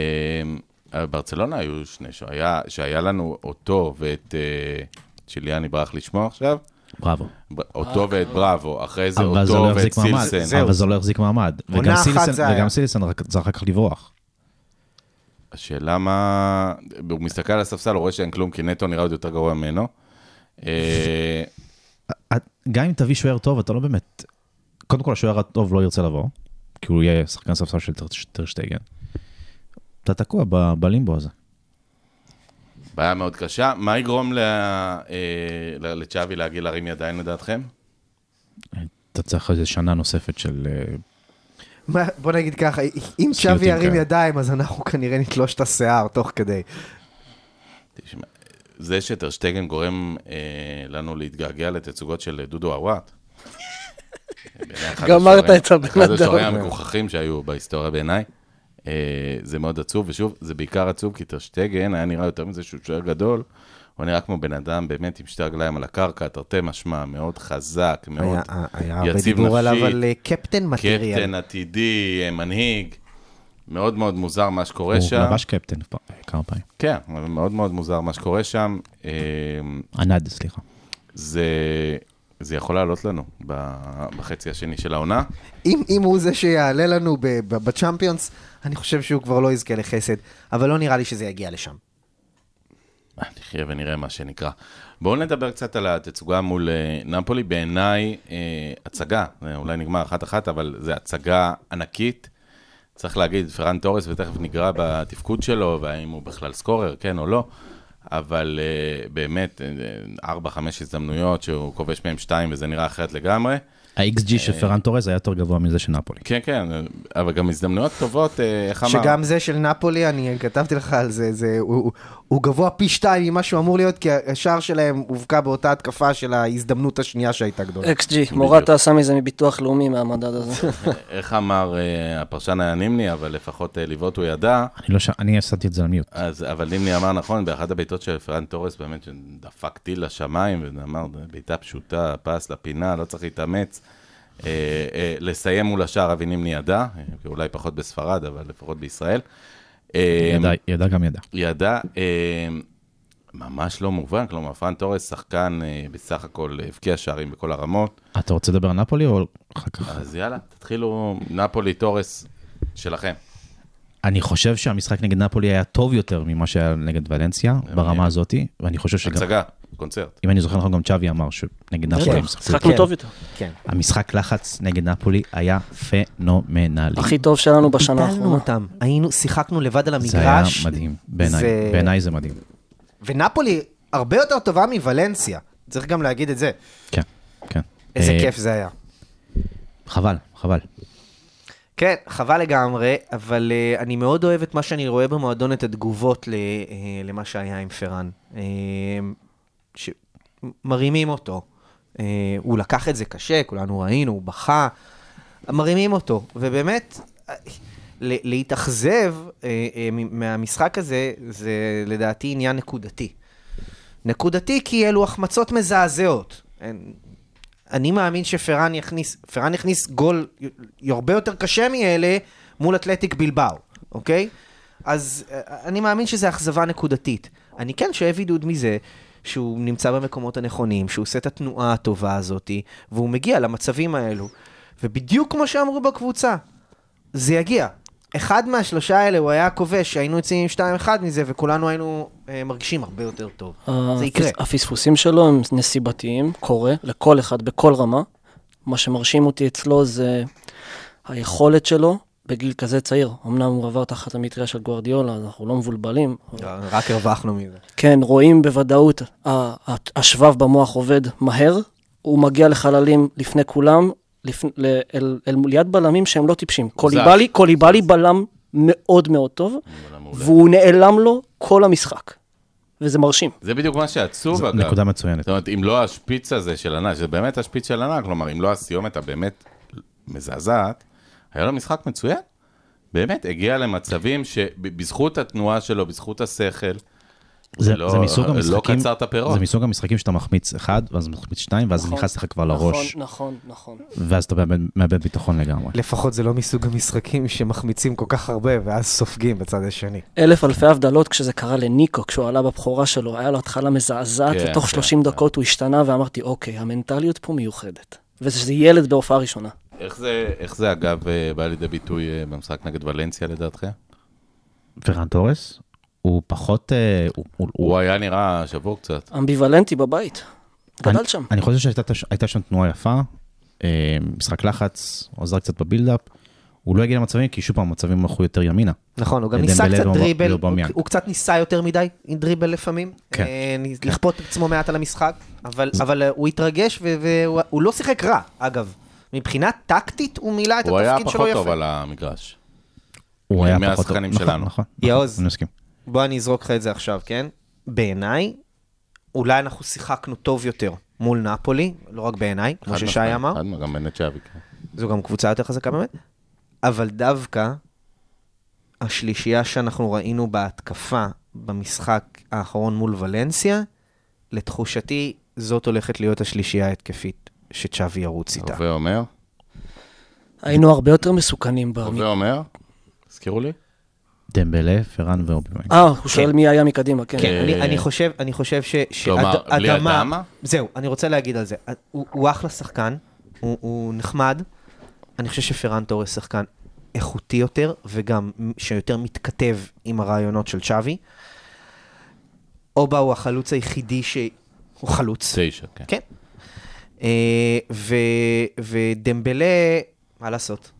Speaker 4: אבל ברצלונה היו שני שוערים, שהיה לנו אותו ואת אה, צ'יליאני ברח לי שמו עכשיו,
Speaker 7: בראבו.
Speaker 4: ב- אותו ואת בראבו, אחרי זה
Speaker 7: אבל זה
Speaker 4: אותו
Speaker 7: לא
Speaker 4: ואת
Speaker 7: יחזיק מעמד.
Speaker 4: סילסן.
Speaker 5: זהו.
Speaker 7: אבל זה לא יחזיק מעמד.
Speaker 5: עונה
Speaker 7: וגם
Speaker 5: אחת
Speaker 7: סילסן-
Speaker 5: זה היה.
Speaker 7: וגם סילסן רק- זה אחר כך לברוח.
Speaker 4: השאלה מה... הוא מסתכל על הספסל, הוא רואה שאין כלום, כי נטו נראה עוד יותר גרוע ממנו. אה,
Speaker 7: את- גם אם תביא שוער טוב, אתה לא באמת... קודם כל, השוער הטוב לא ירצה לבוא, כי הוא יהיה שחקן ספסל של טר- טרשטייגן. אתה תקוע ב- בלימבו הזה.
Speaker 4: בעיה מאוד קשה. מה יגרום ל- אה, ל- לצ'אבי להגיד להרים ידיים לדעתכם?
Speaker 7: אתה צריך איזה שנה נוספת של... אה,
Speaker 5: מה- בוא נגיד ככה, אם שווי
Speaker 7: סיוטים
Speaker 5: ירים
Speaker 7: כאלה.
Speaker 5: ידיים, אז אנחנו כנראה נתלוש את השיער תוך כדי.
Speaker 4: תשמע, זה שטרשטייגן גורם אה, לנו להתגעגע לתצוגות של דודו עוואט. בעיניי אחד
Speaker 6: גמרת
Speaker 4: השוערים-
Speaker 6: את הבן
Speaker 4: אחד
Speaker 6: אדם.
Speaker 4: השוערים המגוחכים שהיו בהיסטוריה בעיניי. אה, זה מאוד עצוב, ושוב, זה בעיקר עצוב כי טרשטייגן היה נראה יותר מזה שהוא שוער גדול. הוא נראה כמו בן אדם באמת עם שתי רגליים על הקרקע, תרתי משמע, מאוד חזק, מאוד
Speaker 5: היה אה, היה הרבה
Speaker 4: יציב
Speaker 5: דיבור עליו
Speaker 4: נפשית.
Speaker 5: על אה, קפטן מטריאל.
Speaker 4: קפטן עתידי, אה, מנהיג. מאוד מאוד מוזר מה שקורה
Speaker 7: הוא
Speaker 4: שם.
Speaker 7: לבש קפטן פעם- כמה פעמים.
Speaker 4: כן, אבל מאוד מאוד מוזר מה שקורה שם. אה,
Speaker 7: ענד, סליחה.
Speaker 4: זה, זה יכול לעלות לנו ב- בחצי השני של העונה.
Speaker 5: אם, אם הוא זה שיעלה לנו ב- ב- בצ'אמפיונס, אני חושב שהוא כבר לא יזכה לחסד, אבל לא נראה לי שזה יגיע לשם.
Speaker 4: אה, נחיה ונראה מה שנקרא. בואו נדבר קצת על התצוגה מול אה, נפולי. בעיניי, אה, הצגה, אה, אולי נגמר אחת-אחת, אבל זו הצגה ענקית. צריך להגיד, פרן תורס, ותכף ניגרע בתפקוד שלו, והאם הוא בכלל סקורר, כן או לא. אבל אה, באמת, אה, ארבע, חמש הזדמנויות שהוא כובש מהם שתיים, וזה נראה אחרת לגמרי.
Speaker 7: ה-XG של אה, פרן טורז היה יותר גבוה מזה של נפולי.
Speaker 4: כן, כן, אה, אבל גם הזדמנויות טובות, אה, איך אמר?
Speaker 5: שגם זה של נפולי, אני כתבתי לך על זה, זה הוא, הוא, הוא גבוה פי שתיים ממה שהוא אמור להיות, כי השער שלהם הובקע באותה התקפה של ההזדמנות השנייה שהייתה גדולה.
Speaker 6: XG, מורטה עשה מזה מביטוח לאומי מהמדד הזה.
Speaker 4: איך אמר אה, הפרשן היה נימני, אבל לפחות אה, לבעוט הוא ידע,
Speaker 7: אני לא ש... אני שמתי את זה על מיוט.
Speaker 4: אז, אבל נימני אמר נכון, באחת הבעיטות של פרן תורס, באמת שדפק טיל לשמיים, ואמר, בעיטה פשוטה, פס לפינה, לא צריך להתאמץ. אה, אה, לסיים מול השער אבי נימני ידע, אה, אולי פחות בספרד, אבל לפחות בישראל. אה,
Speaker 7: ידע, ידע גם ידע.
Speaker 4: ידע, אה, ממש לא מובן, כלומר, פרן תורס שחקן אה, בסך הכל אה, הבקיע שערים בכל הרמות,
Speaker 7: אתה רוצה לדבר על נפולי או אחר כך?
Speaker 4: אז יאללה, תתחילו, נפולי תורס שלכם.
Speaker 7: אני חושב שהמשחק נגד נפולי היה טוב יותר ממה שהיה נגד ולנסיה, ברמה הזאתי, ואני חושב שגם...
Speaker 4: אה, הצגה, קונצרט.
Speaker 7: אם אני זוכר נכון, גם צ'אבי אמר שנגד נפולי הם שיחקו
Speaker 6: משחקנו
Speaker 5: כן.
Speaker 6: טוב יותר.
Speaker 5: כן.
Speaker 7: המשחק לחץ נגד נפולי היה פנומנלי.
Speaker 6: הכי טוב שלנו בשנה
Speaker 5: ביטלנו
Speaker 6: האחרונה.
Speaker 5: אותם, היינו, שיחקנו לבד על המגרש.
Speaker 7: זה היה מדהים, בעיניי,
Speaker 5: זה-
Speaker 7: בעיניי זה מדהים.
Speaker 5: ונפולי הרבה יותר טובה מוולנסיה, צריך גם להגיד את זה.
Speaker 7: כן, כן.
Speaker 5: איזה
Speaker 7: אה,
Speaker 5: כיף זה היה.
Speaker 7: חבל, חבל.
Speaker 5: כן, חבל לגמרי, אבל uh, אני מאוד אוהב את מה שאני רואה במועדון, את התגובות ל, uh, למה שהיה עם פרן. Uh, שמרימים אותו. Uh, הוא לקח את זה קשה, כולנו ראינו, הוא בכה. מרימים אותו, ובאמת, אה, ל- להתאכזב uh, uh, מהמשחק הזה, זה לדעתי עניין נקודתי. נקודתי כי אלו החמצות מזעזעות. אין- אני מאמין שפרן יכניס, פרן יכניס גול י- הרבה יותר קשה מאלה מול אתלטיק בלבאו. אוקיי? אז אה, אני מאמין שזו אכזבה נקודתית. אני כן שואב עידוד מזה שהוא נמצא במקומות הנכונים, שהוא עושה את התנועה הטובה הזאת, והוא מגיע למצבים האלו. ובדיוק כמו שאמרו בקבוצה, זה יגיע. אחד מהשלושה האלה הוא היה כובש, היינו יוצאים עם 2-1 מזה, וכולנו היינו אה, מרגישים הרבה יותר טוב.
Speaker 6: אה,
Speaker 5: זה יקרה.
Speaker 6: הפס- הפספוסים שלו הם נסיבתיים, קורה לכל אחד בכל רמה. מה שמרשים אותי אצלו זה היכולת שלו בגיל כזה צעיר. אמנם הוא עבר תחת המטריה של גוארדיולה, אז אנחנו לא מבולבלים. אבל-
Speaker 5: רק הרווחנו מזה.
Speaker 6: כן, רואים בוודאות, ה- ה- השבב במוח עובד מהר, הוא מגיע לחללים לפני כולם, לפני, ל- אל, אל, ליד בלמים שהם לא טיפשים. קוליבאלי, קוליבאלי בלם מאוד מאוד טוב, והוא נעלם לו כל המשחק, וזה מרשים.
Speaker 4: זה בדיוק מה שעצוב,
Speaker 7: זו
Speaker 4: אגב.
Speaker 7: נקודה מצוינת.
Speaker 4: זאת אומרת, אם לא השפיץ הזה של ענק, שזה באמת השפיץ של ענק, כלומר, אם לא הסיומת הבאמת מזעזעת, היה לו משחק מצוין. באמת, הגיע למצבים שבזכות התנועה שלו, בזכות השכל,
Speaker 7: זה,
Speaker 4: לא-
Speaker 7: זה מסוג
Speaker 4: לא
Speaker 7: המשחקים,
Speaker 4: קצר את הפירות.
Speaker 7: זה מסוג המשחקים שאתה מחמיץ אחד, ואז מחמיץ שתיים, ואז
Speaker 5: נכון.
Speaker 7: זה נכנס לך כבר לראש,
Speaker 6: נכון, נכון, נכון.
Speaker 7: ואז אתה מאבד- מאבד ביטחון לגמרי.
Speaker 5: לפחות זה לא מסוג המשחקים שמחמיצים כל כך הרבה, ואז סופגים בצד השני.
Speaker 6: אלף אלפי הבדלות כשזה קרה לניקו, כשהוא עלה בבכורה שלו, היה לו התחלה מזעזעת,
Speaker 4: כן,
Speaker 6: ותוך
Speaker 4: כן,
Speaker 6: 30 דקות הוא השתנה, ואמרתי, אוקיי, המנטליות פה מיוחדת. וזה ילד בהופעה ראשונה.
Speaker 4: איך זה, איך זה אגב אה, בא לידי ביטוי אה, במשחק נגד ולנסיה לדעתכם?
Speaker 7: פרן תורס, הוא פחות, אה, הוא- הוא-
Speaker 4: הוא היה נראה שבור קצת.
Speaker 6: אמביוולנטי בבית. גדל
Speaker 7: אני-
Speaker 6: שם.
Speaker 7: אני חושב שהייתה תש- הייתה שם תנועה יפה, אה, משחק לחץ, עוזר קצת בבילדאפ. הוא לא הגיע למצבים, כי שוב פעם, המצבים הלכו יותר ימינה.
Speaker 5: נכון, הוא גם
Speaker 7: לדמבלה
Speaker 5: ניסה קצת
Speaker 7: ואובמה-
Speaker 5: דריבל, הוא-
Speaker 7: ואובמיאנג.
Speaker 5: הוא קצת ניסה יותר מדי עם דריבל לפעמים.
Speaker 7: כן.
Speaker 5: אה, נ- לכפות את עצמו מעט על המשחק, אבל- אבל אה, הוא התרגש ו- והוא הוא לא שיחק רע, אגב. מבחינה טקטית הוא מילא את
Speaker 4: הוא היה
Speaker 5: התפקיד שלו
Speaker 4: פחות טוב
Speaker 5: יפה.
Speaker 4: על המגרש.
Speaker 7: הוא היה פחות...
Speaker 4: מהשחקנים
Speaker 7: נכון,
Speaker 4: שלנו.
Speaker 7: נכון,
Speaker 5: יעוז.
Speaker 7: אני מסכים.
Speaker 5: בוא אני אזרוק לך את זה עכשיו, כן? בעיניי, אולי אנחנו שיחקנו טוב יותר מול נפולי, לא רק בעיניי, כמו
Speaker 4: חד
Speaker 5: ששי
Speaker 4: משמעית,
Speaker 5: אמר.
Speaker 4: חד משמעית, גם בנט כן. שווי.
Speaker 5: זו גם קבוצה יותר חזקה באמת, אבל דווקא השלישייה שאנחנו ראינו בהתקפה במשחק האחרון מול ולנסיה, לתחושתי זאת הולכת להיות השלישייה ההתקפית שצ'אבי ירוץ איתה.
Speaker 4: הווה אומר,
Speaker 6: היינו הרבה יותר מסוכנים במ...
Speaker 4: הווה אומר, תזכירו לי.
Speaker 7: דמבלה, פרן ואובימיין.
Speaker 6: אה, הוא שואל מי היה מקדימה, כן.
Speaker 5: כן, אני, אני חושב, אני חושב ש...
Speaker 4: אה, כלומר,
Speaker 5: שאד-
Speaker 4: בלי
Speaker 5: אדמה-
Speaker 4: אדמה?
Speaker 5: זהו, אני רוצה להגיד על זה. הוא, הוא אחלה שחקן, הוא, הוא נחמד. אני חושב שפרן תורס שחקן איכותי יותר, וגם שיותר מתכתב עם הרעיונות של צ'אבי. אובה הוא החלוץ היחידי ש... הוא חלוץ.
Speaker 4: תשע, כן.
Speaker 5: כן. אה, ו... ודמבלה, מה לעשות?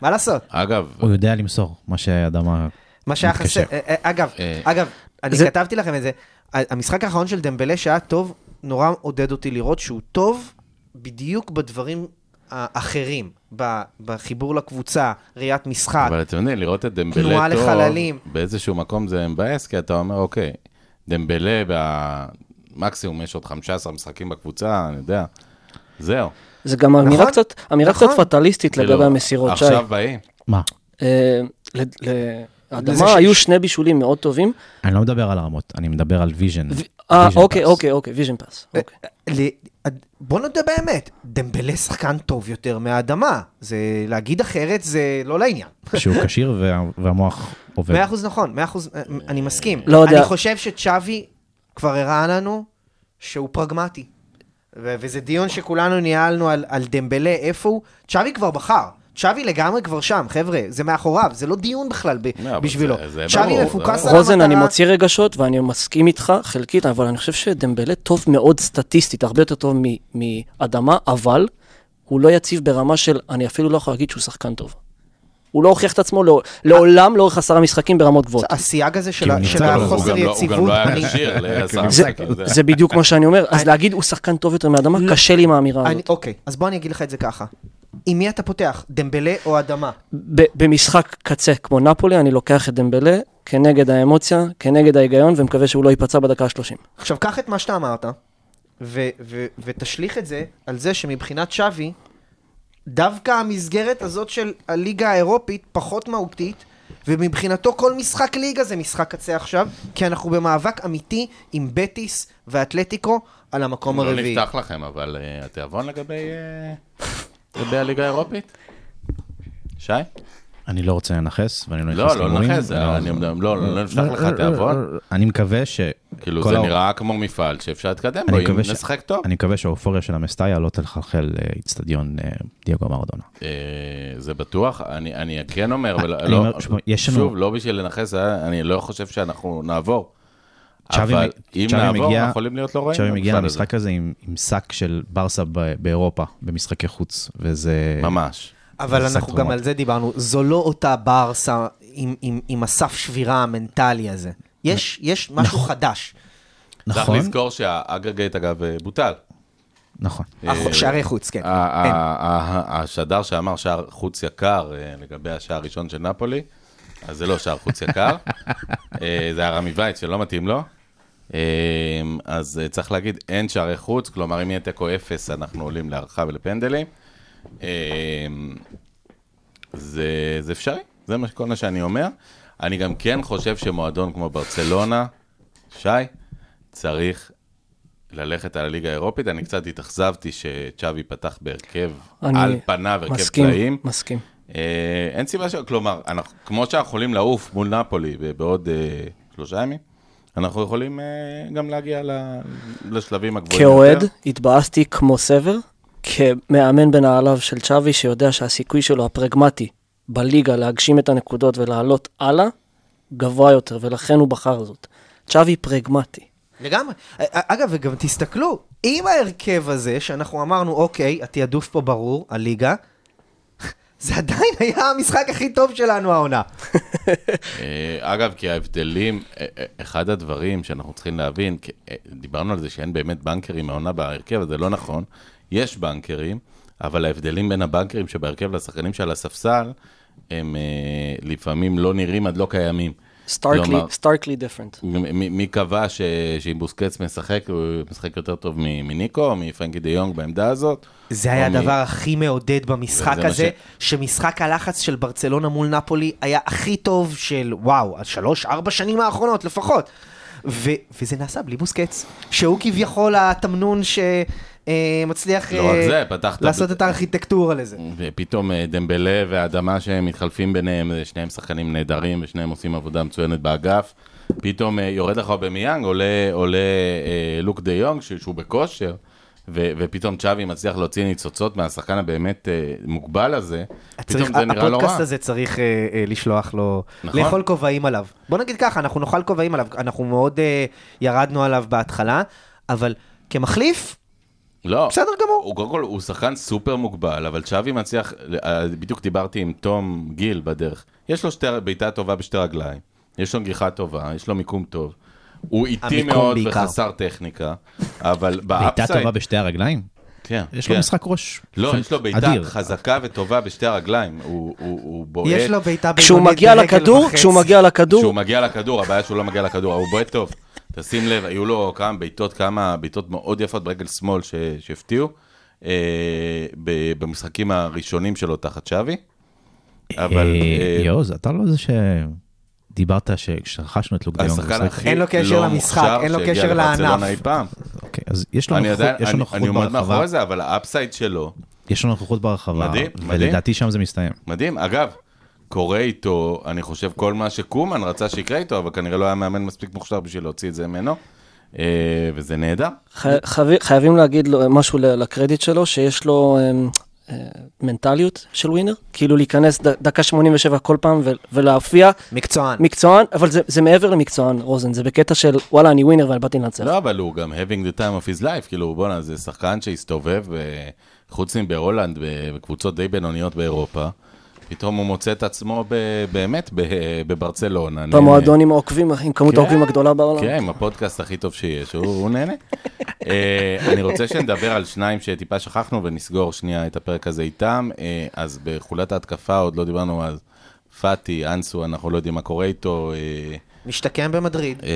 Speaker 5: מה לעשות?
Speaker 4: אגב,
Speaker 7: הוא יודע למסור, מה שאדמה...
Speaker 5: מה שהיה
Speaker 7: מתקשר.
Speaker 5: חסר, אה, אה, אגב,
Speaker 4: אה,
Speaker 5: אגב, אני
Speaker 6: זה-
Speaker 5: כתבתי לכם את זה, ה- המשחק האחרון של דמבלה שהיה טוב, נורא עודד אותי לראות שהוא טוב בדיוק בדברים האחרים, ב- בחיבור לקבוצה, ראיית משחק,
Speaker 4: אבל אתם יודעים, לראות את
Speaker 5: אה. תנועה
Speaker 4: דמבלה טוב,
Speaker 5: לחללים.
Speaker 4: באיזשהו מקום זה מבאס, כי אתה אומר, אוקיי, דמבלה, במקסימום יש עוד 15 משחקים בקבוצה, אני יודע. זהו.
Speaker 6: זה גם אמירה
Speaker 5: נכון,
Speaker 6: קצת, אמירה
Speaker 5: נכון.
Speaker 6: קצת פטליסטית לגבי
Speaker 4: כאילו,
Speaker 6: המסירות, שי.
Speaker 4: עכשיו באים.
Speaker 7: מה?
Speaker 6: אה, ל- ל-
Speaker 5: לזה ש-
Speaker 6: לאדמה היו שני בישולים מאוד טובים.
Speaker 7: אני לא מדבר על הרמות, אני מדבר על ויז'ן.
Speaker 6: ו- אה, אוקיי, אוקיי, אוקיי, ויז'ן פאס.
Speaker 5: אה,
Speaker 6: אוקיי.
Speaker 5: ל... בוא נודה באמת, דמבלה שחקן טוב יותר מהאדמה, זה להגיד אחרת זה לא לעניין.
Speaker 7: שהוא כשיר וה- והמוח עובד.
Speaker 5: מאה אחוז נכון, מאה אחוז, אה, אני מסכים.
Speaker 6: לא יודע.
Speaker 5: אני חושב שצ'אבי כבר הראה לנו שהוא פרגמטי. ו- וזה דיון שכולנו ניהלנו על, על דמבלה, איפה הוא. צ'אבי כבר בחר. צ'אבי לגמרי כבר שם, חבר'ה, זה מאחוריו, זה לא דיון בכלל ב-
Speaker 4: לא, אבל
Speaker 5: בשבילו.
Speaker 4: זה- זה ברור,
Speaker 5: צ'אבי
Speaker 4: זה
Speaker 5: מפוקס
Speaker 4: ברור.
Speaker 5: על
Speaker 6: אה. רוזן,
Speaker 5: המטרה.
Speaker 6: אני מוציא רגשות ואני מסכים איתך חלקית, אבל אני חושב שדמבלה טוב מאוד סטטיסטית, הרבה יותר טוב מ- מאדמה, אבל הוא לא יציב ברמה של, אני אפילו לא יכול להגיד שהוא שחקן טוב. הוא לא הוכיח את עצמו לעול- לעולם לאורך עשרה משחקים ברמות גבוהות.
Speaker 5: הסייג הזה של
Speaker 7: כי הוא
Speaker 5: ה-
Speaker 7: נרצה
Speaker 5: של
Speaker 7: כל הזמן.
Speaker 4: הוא
Speaker 5: החוסר
Speaker 4: גם לא- הוא גם
Speaker 5: יציבות,
Speaker 4: לא היה
Speaker 5: אני-
Speaker 4: כשיר לעשרה
Speaker 6: זה-
Speaker 4: משחקים. זה-
Speaker 6: זה בדיוק מה שאני אומר, אז להגיד הוא שחקן טוב יותר מאדמה, קשה לי עם האמירה
Speaker 5: אני-
Speaker 6: הזאת.
Speaker 5: אוקיי, אז בוא אני אגיד לך את זה ככה. עם מי אתה פותח, דמבלה או אדמה?
Speaker 6: ב- במשחק קצה כמו נפולי, אני לוקח את דמבלה כנגד האמוציה, כנגד ההיגיון, ומקווה שהוא לא ייפצע בדקה ה-30.
Speaker 5: עכשיו, קח את מה שאתה אמרת, ו- ו- ותשליך את זה על זה שמבחינת שווי, דווקא המסגרת הזאת של הליגה האירופית פחות מהותית, ומבחינתו כל משחק ליגה זה משחק קצה עכשיו, כי אנחנו במאבק אמיתי עם בטיס ואתלטיקו על המקום
Speaker 4: לא
Speaker 5: הרביעי.
Speaker 4: נפתח לכם, אבל אה, התיאבון לגבי אה, לגבי הליגה האירופית? שי?
Speaker 7: אני לא רוצה לנכס, ואני לא נכנס
Speaker 4: לא, לא
Speaker 7: להימורים.
Speaker 4: נכה,
Speaker 7: לא,
Speaker 4: אני
Speaker 7: לא,
Speaker 4: לא, לא, לא נפתח
Speaker 7: לא,
Speaker 4: לך
Speaker 7: לא,
Speaker 4: תיאבון.
Speaker 7: לא, לא. אני מקווה ש...
Speaker 4: כאילו,
Speaker 7: כל
Speaker 4: זה
Speaker 7: האור-
Speaker 4: נראה כמו מפעל שאפשר להתקדם בו,
Speaker 7: אני
Speaker 4: אם
Speaker 7: מקווה ש-
Speaker 4: נשחק טוב.
Speaker 7: אני מקווה שהאופוריה של המסטאיה לא תלחלחל אה, אצטדיון אה, דייגו מרדונה.
Speaker 4: אה, זה בטוח, אני, אני כן אומר,
Speaker 7: אני-
Speaker 4: ולא-
Speaker 7: אני
Speaker 4: לא-
Speaker 7: אומר, תשמע, יש לנו-
Speaker 4: שוב, לא בשביל לנכס, אה, אני לא חושב שאנחנו נעבור.
Speaker 7: צ'אבי
Speaker 4: אבל
Speaker 7: מ-
Speaker 4: אם
Speaker 7: צ'אבי
Speaker 4: נעבור,
Speaker 7: מגיע-
Speaker 4: אנחנו יכולים להיות לא רעים.
Speaker 7: עכשיו היא מגיעה
Speaker 4: במפעל הזה.
Speaker 7: למשחק הזה עם עם שק של ברסה ב- באירופה, במשחקי חוץ, וזה...
Speaker 4: ממש.
Speaker 5: אבל
Speaker 7: משחק
Speaker 5: אנחנו גם
Speaker 7: דרמטי.
Speaker 5: על זה דיברנו, זו לא אותה ברסה עם- עם- עם הסף שבירה המנטלי הזה. יש יש משהו
Speaker 4: נכון.
Speaker 5: חדש.
Speaker 4: צריך
Speaker 7: נכון,
Speaker 4: לזכור שהאגרגייט, אגב, אה, בוטל.
Speaker 7: נכון.
Speaker 4: אה,
Speaker 5: החו- שערי חוץ, כן.
Speaker 4: ה- ה- ה- השדר שאמר שער חוץ יקר אה, לגבי השער הראשון של נפולי, אז זה לא שער חוץ יקר, אה, זה היה רמי וייץ שלא מתאים לו. אה, אז אה, צריך להגיד, אין שערי חוץ, כלומר, אם יהיה תיקו אפס, אנחנו עולים להערכה ולפנדלים. אה, זה זה אפשרי, זה מה- כל מה שאני אומר. אני גם כן חושב שמועדון כמו ברצלונה, שי, צריך ללכת על הליגה האירופית. אני קצת התאכזבתי שצ'אבי פתח בהרכב,
Speaker 6: אני
Speaker 4: על פניו הרכב
Speaker 6: מסכים,
Speaker 4: פלאים.
Speaker 6: מסכים.
Speaker 4: אה, אין סיבה ש... כלומר, אנחנו, כמו שאנחנו יכולים לעוף מול נפולי ב- בעוד אה, שלושה ימים, אנחנו יכולים אה, גם להגיע ל- לשלבים הגבוהים
Speaker 6: כאוהד
Speaker 4: יותר.
Speaker 6: התבאסתי כמו סבר, כמאמן בנעליו של צ'אבי, שיודע שהסיכוי שלו הפרגמטי בליגה להגשים את הנקודות ולעלות הלאה, גבוה יותר, ולכן הוא בחר זאת. צ'אבי פרגמטי.
Speaker 5: לגמרי. א- א- אגב, וגם תסתכלו, אם ההרכב הזה, שאנחנו אמרנו, אוקיי, התעדוף פה ברור, הליגה, זה עדיין היה המשחק הכי טוב שלנו העונה.
Speaker 4: אה, אגב, כי ההבדלים, אה, אה, אחד הדברים שאנחנו צריכים להבין, כי, אה, דיברנו על זה שאין באמת בנקרים מהעונה בהרכב, אז זה לא נכון. יש בנקרים, אבל ההבדלים בין הבנקרים שבהרכב לשחקנים שעל הספסל, הם אה, לפעמים לא נראים עד לא קיימים. כלומר-
Speaker 6: סטארקלי דיפרנט.
Speaker 4: מ- מ- מי קבע ש- שאם בוסקץ משחק, הוא משחק יותר טוב מ- מניקו, או מפרנקי דה יונג בעמדה הזאת?
Speaker 5: זה היה
Speaker 4: או מ-
Speaker 5: הדבר הכי מעודד במשחק
Speaker 4: זה מה
Speaker 5: הזה, שמשחק הלחץ של ברצלונה מול נפולי היה הכי טוב של וואו, השלוש, ארבע שנים האחרונות לפחות. ו- וזה נעשה בלי בוסקץ, שהוא כביכול התמנון שמצליח
Speaker 4: לא רק זה, פתחת-
Speaker 5: אה, לעשות את הארכיטקטורה לזה.
Speaker 4: ופתאום אה, דמבלה והאדמה שהם מתחלפים ביניהם, אה, שניהם שחקנים נהדרים ושניהם עושים עבודה מצוינת באגף. פתאום אה, יורד לך במיאנג, עולה, עולה אה, לוק דה יונג ש- שהוא בכושר, ו- ופתאום צ'אבי מצליח להוציא ניצוצות מהשחקן הבאמת אה, מוגבל הזה, פתאום
Speaker 5: צריך,
Speaker 4: זה נראה לא רע.
Speaker 5: הפודקאסט הזה צריך אה, אה, לשלוח לו,
Speaker 4: נכון.
Speaker 5: לאכול כובעים עליו. בוא נגיד ככה, אנחנו נאכל כובעים עליו, אנחנו מאוד אה, ירדנו עליו בהתחלה, אבל כמחליף,
Speaker 4: לא.
Speaker 5: בסדר גמור.
Speaker 4: הוא קודם כל, הוא שחקן סופר מוגבל, אבל צ'אבי מצליח, אה, בדיוק דיברתי עם תום גיל בדרך. יש לו שתי, בעיטה טובה בשתי רגליים, יש לו נגיחה טובה, יש לו מיקום טוב. הוא איטי
Speaker 5: המיקום
Speaker 4: מאוד
Speaker 5: בעיקר.
Speaker 4: וחסר טכניקה, אבל
Speaker 7: בעיטה
Speaker 4: באפסייד...
Speaker 7: טובה בשתי הרגליים?
Speaker 4: כן,
Speaker 7: יש
Speaker 4: כן.
Speaker 7: לו משחק ראש.
Speaker 4: לא,
Speaker 7: פנ-
Speaker 4: יש לו בעיטה
Speaker 7: אדיר.
Speaker 4: חזקה וטובה בשתי הרגליים. הוא- הוא הוא בועט...
Speaker 5: יש לו בעיטה
Speaker 6: כשהוא
Speaker 5: בינונית
Speaker 6: מגיע
Speaker 5: ברגל
Speaker 6: לכדור,
Speaker 5: וחצי.
Speaker 6: כשהוא מגיע
Speaker 4: כשהוא
Speaker 6: לכדור,
Speaker 4: מגיע לכדור, הבעיה שהוא לא מגיע לכדור, הוא בועט טוב. תשים לב, היו לו כמה בעיטות, כמה בעיטות מאוד יפות ברגל שמאל ש- שהפתיעו, אה, ב- במשחקים הראשונים שלו תחת שווי. אבל
Speaker 7: אה,
Speaker 4: אה,
Speaker 7: יואו, זה אתה לא זה שדיברת שכשרכשנו את לוק דיון.
Speaker 4: השחקן הכי
Speaker 5: אין לו קשר
Speaker 4: לא
Speaker 5: למשחק,
Speaker 4: מוכשר
Speaker 5: אין לו
Speaker 4: שהגיע
Speaker 5: קשר לענף.
Speaker 4: לברצלונה אי פעם.
Speaker 7: אוקיי, אז יש לו
Speaker 4: אני עדיין,
Speaker 7: נוכחות- יש לו
Speaker 4: אני-
Speaker 7: נוכחות
Speaker 4: אני עומד
Speaker 7: ברחבה.
Speaker 4: מאחורי זה, אבל האפסייד שלו,
Speaker 7: יש לו נוכחות ברחבה.
Speaker 4: מדהים, מדהים.
Speaker 7: ולדעתי שם זה מסתיים.
Speaker 4: מדהים. אגב, קורה איתו, אני חושב, כל מה שקומן רצה שיקרה איתו, אבל כנראה לא היה מאמן מספיק מוכשר בשביל להוציא את זה ממנו, אה, וזה נהדר.
Speaker 6: חי- חייב- חייבים להגיד לו משהו ל- לקרדיט שלו, שיש לו אמ, אה, מנטליות של ווינר, כאילו להיכנס ד- דקה 87 כל פעם ו- ולהופיע
Speaker 5: מקצוען.
Speaker 6: מקצוען, אבל זה- זה מעבר למקצוען, רוזן, זה בקטע של וואלה, אני ווינר ואני באתי לנצח.
Speaker 4: לא, אבל הוא גם having the time of his life, כאילו, בואנה, זה שחקן שהסתובב, אה, חוץ מבהולנד, ב- בקבוצות די בינוניות באירופה, פתאום הוא מוצא את עצמו ב- באמת ב- בברצלונה.
Speaker 6: במועדון עם העוקבים, עם כמות העוקבים הגדולה בעולם.
Speaker 4: כן, עם הפודקאסט הכי טוב שיש, הוא הוא נהנה. אה, אני רוצה שנדבר על שניים שטיפה שכחנו ונסגור שנייה את הפרק הזה איתם. אה, אז בחולת ההתקפה עוד לא דיברנו על פאטי, אנסו, אנחנו לא יודעים מה קורה איתו. אה,
Speaker 5: משתקם במדריד.
Speaker 4: אה,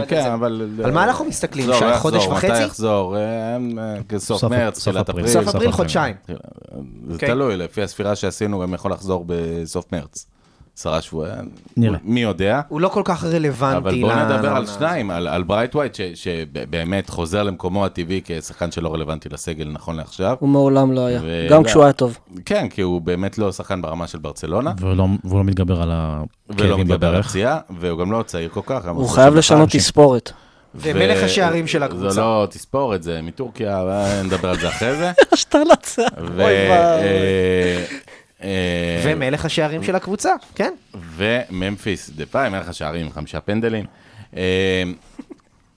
Speaker 5: בדצמבר.
Speaker 4: כן, אבל...
Speaker 5: על מה אנחנו מסתכלים?
Speaker 4: לא,
Speaker 5: שי,
Speaker 4: לא
Speaker 5: חודש
Speaker 4: יחזור,
Speaker 5: וחצי?
Speaker 4: מתי יחזור? אה, אה, סוף
Speaker 7: סוף-
Speaker 4: מרץ,
Speaker 7: סוף
Speaker 4: תחילת
Speaker 7: אפריל.
Speaker 4: אפריל.
Speaker 5: סוף אפריל
Speaker 7: אפריל.
Speaker 5: חודשיים.
Speaker 4: זה
Speaker 5: אוקיי.
Speaker 4: תלוי, לפי הספירה שעשינו, גם יכול לחזור בסוף מרץ. עשרה שבועים,
Speaker 7: נראה.
Speaker 4: מי יודע.
Speaker 5: הוא לא כל כך רלוונטי.
Speaker 4: אבל בואו
Speaker 5: ל-
Speaker 4: נדבר על
Speaker 5: לעונה
Speaker 4: שניים, על, על ברייט ווייט, ש, שבאמת חוזר למקומו הטבעי כשחקן שלא רלוונטי לסגל נכון לעכשיו.
Speaker 6: הוא מעולם לא היה,
Speaker 4: ו-
Speaker 6: גם
Speaker 4: לא.
Speaker 6: כשהוא היה טוב.
Speaker 4: כן, כי הוא באמת לא שחקן ברמה של ברצלונה,
Speaker 7: והוא לא- והוא לא מתגבר על
Speaker 4: ולא
Speaker 7: הכאבים
Speaker 4: מדבר על
Speaker 7: בברך.
Speaker 4: פציעה, והוא גם לא צעיר כל כך.
Speaker 6: הוא חייב לשנות תספורת.
Speaker 5: ומלך השערים של הקבוצה.
Speaker 4: זה לא תספורת, זה מטורקיה, אבל נדבר על זה אחרי זה.
Speaker 6: השתלצה.
Speaker 4: ו-
Speaker 6: אוי ואבוי.
Speaker 4: אה, אה,
Speaker 5: ומלך השערים של הקבוצה, כן.
Speaker 4: וממפיס דה פאי, מלך השערים, עם חמישה פנדלים. אה,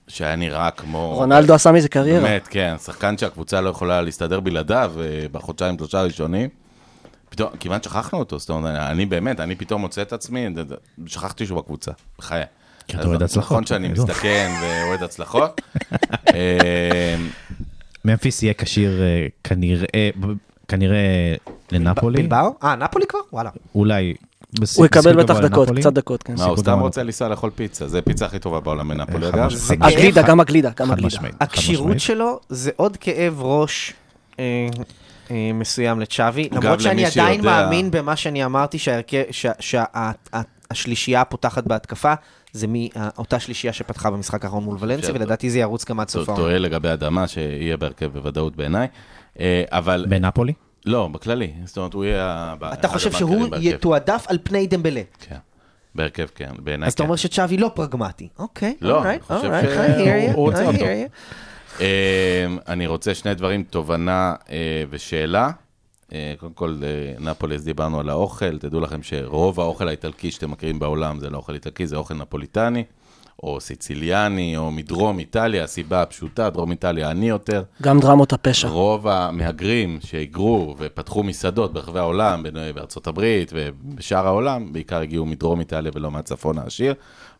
Speaker 4: שהיה נראה כמו...
Speaker 6: רונלדו עשה מזה קריירה.
Speaker 4: באמת, כן, שחקן שהקבוצה לא יכולה להסתדר בלעדיו אה, בחודשיים, שלושה הראשונים. פתאום, כמעט שכחנו אותו, זאת אומרת, אני באמת, אני פתאום מוצא את עצמי, ד- ד- שכחתי שהוא בקבוצה, בחיי.
Speaker 7: כי אתה
Speaker 4: אז
Speaker 7: אוהד הצלחות,
Speaker 4: נכון שאני
Speaker 7: אני לא.
Speaker 4: מזדקן ואוהד הצלחות. אה,
Speaker 7: ממפיס יהיה כשיר אה, כנראה, כנראה לנפולי,
Speaker 5: בלבאו? אה, נפולי כבר? וואלה.
Speaker 7: אולי. בס-
Speaker 6: הוא יקבל
Speaker 7: בסיכוי
Speaker 6: בטח
Speaker 7: גבוה
Speaker 6: דקות,
Speaker 7: לנפולי.
Speaker 6: קצת דקות, כן.
Speaker 4: מה, הוא
Speaker 7: סיכוי
Speaker 4: סתם
Speaker 7: גבוה
Speaker 4: רוצה לנסוע לאכול פיצה, זה הפיצה הכי טובה בעולם בנפולי,
Speaker 7: אה,
Speaker 4: אגב.
Speaker 7: חד
Speaker 5: זה
Speaker 7: משמעית.
Speaker 5: כאב.
Speaker 6: הגלידה, גם הגלידה, גם
Speaker 7: חד
Speaker 6: הגלידה.
Speaker 7: משמעית, חד
Speaker 5: הכשירות
Speaker 7: משמעית.
Speaker 5: שלו זה עוד כאב ראש אה, אה, מסוים לצ'אבי,
Speaker 4: אגב,
Speaker 5: למרות שאני
Speaker 4: למי
Speaker 5: עדיין
Speaker 4: שיודע-
Speaker 5: מאמין במה שאני אמרתי, שההרכב- שה- שה- ה- ה- השלישייה הפותחת בהתקפה, זה מאותה שלישייה שפתחה במשחק האחרון מול ולנסיה,
Speaker 4: שאתה-
Speaker 5: ולדעתי זה ירוץ גם עד סוף העונה.
Speaker 4: טועה לגבי אדמה, שיהיה בהרכב בוודאות בעיניי. אה, אבל,
Speaker 7: בנפולי?
Speaker 4: לא, בכללי, זאת אומרת, הוא יהיה... ה-
Speaker 5: אתה
Speaker 4: אחד
Speaker 5: חושב
Speaker 4: הבנקרים
Speaker 5: שהוא
Speaker 4: בהרכב.
Speaker 5: יתועדף על פני דמבלה.
Speaker 4: כן, בהרכב כן, בעיניי
Speaker 5: אז אתה
Speaker 4: כן.
Speaker 5: אומר שצ'אבי לא פרגמטי. אוקיי,
Speaker 4: לא,
Speaker 5: alright,
Speaker 4: אני חושב
Speaker 5: alright,
Speaker 4: ש-
Speaker 5: I hear you,
Speaker 4: הוא רוצה
Speaker 5: I
Speaker 4: אותו.
Speaker 5: hear you.
Speaker 4: אמ, אני רוצה שני דברים, תובנה אה, ושאלה. אה, קודם כל, אה, נפוליס, דיברנו על האוכל, תדעו לכם שרוב האוכל האיטלקי שאתם מכירים בעולם זה לא אוכל איטלקי, זה אוכל נפוליטני, או סיציליאני, או מדרום איטליה, הסיבה הפשוטה, דרום איטליה עני יותר.
Speaker 6: גם דרמות הפשע.
Speaker 4: רוב המהגרים שהיגרו ופתחו מסעדות ברחבי העולם, בנ- בארצות הברית ובשאר העולם, בעיקר הגיעו מדרום איטליה ולא מהצפון העשיר.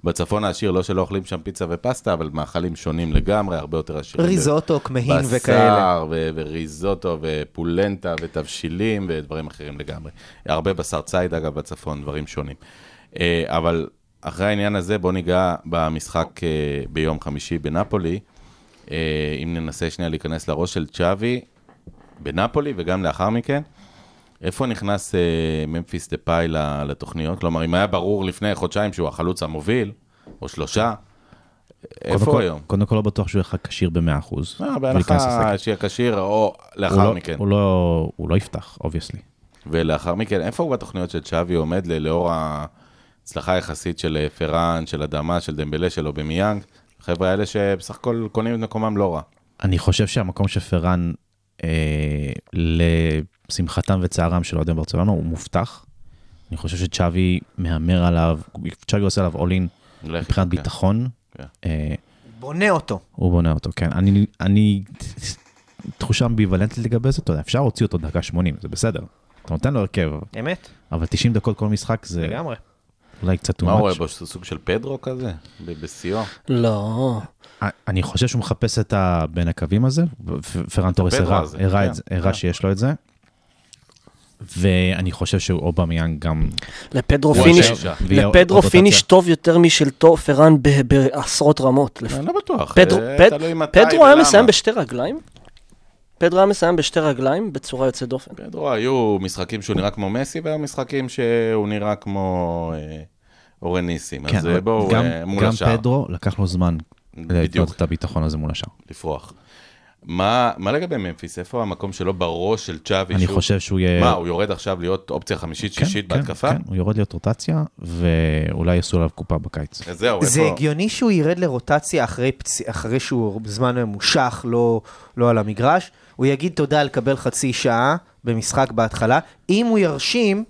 Speaker 4: בצפון העשיר, לא שלא אוכלים שם פיצה ופסטה, אבל מאכלים שונים לגמרי, הרבה יותר עשירים. ב-
Speaker 5: ריזוטו, כמהין
Speaker 4: בשר
Speaker 5: וכאלה.
Speaker 4: ו- וריזוטו ופולנטה ותבשילים ודברים אחרים לגמרי. הרבה בשר ציד, אגב, בצפון, דברים שונים. אה, אבל אחרי העניין הזה, בואו ניגע במשחק אה, ביום חמישי בנפולי. אה, אם ננסה שנייה להיכנס לראש של צ'אבי, בנפולי וגם לאחר מכן. איפה נכנס אה, ממפיס דה פאי ל- לתוכניות? כלומר, אם היה ברור לפני חודשיים שהוא החלוץ המוביל, או שלושה, איפה
Speaker 7: קודם
Speaker 4: הוא
Speaker 7: כל-
Speaker 4: היום?
Speaker 7: קודם כל לא בטוח שהוא יהיה לך כשיר ב-100%.
Speaker 4: אה,
Speaker 7: וייכנס
Speaker 4: בהנחה
Speaker 7: לסגל.
Speaker 4: שיהיה כשיר, או
Speaker 7: הוא
Speaker 4: לאחר
Speaker 7: לא-
Speaker 4: מכן.
Speaker 7: הוא לא- הוא לא יפתח, אובייסלי.
Speaker 4: לא- ולאחר מכן, איפה הוא בתוכניות של צ'אבי עומד ל- לאור ההצלחה היחסית של אה, פראן, של אדמה, של דמבלה, של אובמיאנג? החבר'ה האלה שבסך הכל קונים את מקומם לא רע.
Speaker 7: אני חושב שהמקום שפרן, אה, לשמחתם וצערם של אוהדי ברצלונה, הוא מובטח. אני חושב שצ'אבי מהמר עליו, צ'אבי עושה עליו אולין
Speaker 4: לך,
Speaker 7: מבחינת
Speaker 4: כן.
Speaker 7: ביטחון.
Speaker 4: כן.
Speaker 7: אה,
Speaker 5: בונה אותו.
Speaker 7: הוא בונה אותו, כן. אני, אני, תחושה אמביוולנטית לגבי זה, אתה יודע, אפשר להוציא אותו דקה 80, זה בסדר. אתה נותן לו הרכב,
Speaker 5: אמת,
Speaker 7: אבל 90 דקות כל משחק
Speaker 4: כן.
Speaker 7: זה
Speaker 5: לגמרי.
Speaker 7: אולי קצת too
Speaker 4: מה הוא רואה
Speaker 7: much.
Speaker 4: בו? סוג של פדרו כזה? ב- בשיאו?
Speaker 6: לא.
Speaker 7: אני חושב שהוא מחפש את ה... בין הקווים הזה, ו- פרן תורס
Speaker 4: הפדרו
Speaker 7: הראה,
Speaker 4: הזה,
Speaker 7: הראה
Speaker 4: כן,
Speaker 7: את זה, הראה
Speaker 4: כן.
Speaker 7: שיש לו את זה. ואני חושב שהוא אובמיאנג גם...
Speaker 6: לפדרו
Speaker 4: הוא
Speaker 6: פיניש,
Speaker 4: השש.
Speaker 7: ויהיה
Speaker 6: לפדרו
Speaker 7: עוד
Speaker 6: פיניש
Speaker 7: רוטציה.
Speaker 6: טוב יותר משל טוב פרן ב- בעשרות רמות. לפ-
Speaker 4: אני לא בטוח.
Speaker 6: פדרו-
Speaker 4: אה,
Speaker 6: פד-
Speaker 4: תלוי מתי
Speaker 6: פדרו היה
Speaker 4: ולמה.
Speaker 6: מסיים בשתי רגליים? פדרו היה מסיים בשתי רגליים בצורה יוצאת דופן.
Speaker 4: פדרו, היו משחקים שהוא נראה כמו מסי, והיו משחקים שהוא נראה כמו אה, אורן ניסים.
Speaker 7: כן,
Speaker 4: אז
Speaker 7: אבל
Speaker 4: אה, בואו,
Speaker 7: גם-
Speaker 4: אה, מול
Speaker 7: גם
Speaker 4: השאר,
Speaker 7: פדרו לקח לו זמן לבנות את הביטחון הזה מול השאר.
Speaker 4: לפרוח. מה מה לגבי ממפיס? איפה המקום שלו בראש של צ'אבי?
Speaker 7: אני
Speaker 4: שהוא-
Speaker 7: חושב שהוא יהיה...
Speaker 4: מה, הוא יורד עכשיו להיות אופציה חמישית, שישית
Speaker 7: כן,
Speaker 4: בהתקפה?
Speaker 7: כן, הוא יורד להיות רוטציה, ואולי יעשו עליו קופה בקיץ.
Speaker 4: אז זהו,
Speaker 5: זה
Speaker 4: איפה...
Speaker 5: הגיוני שהוא ירד לרוטציה אחרי, פצ... אחרי שהוא בזמן ממושך, לא, לא על המגרש. הוא יגיד תודה על לקבל חצי שעה במשחק בהתחלה. אם הוא ירשים,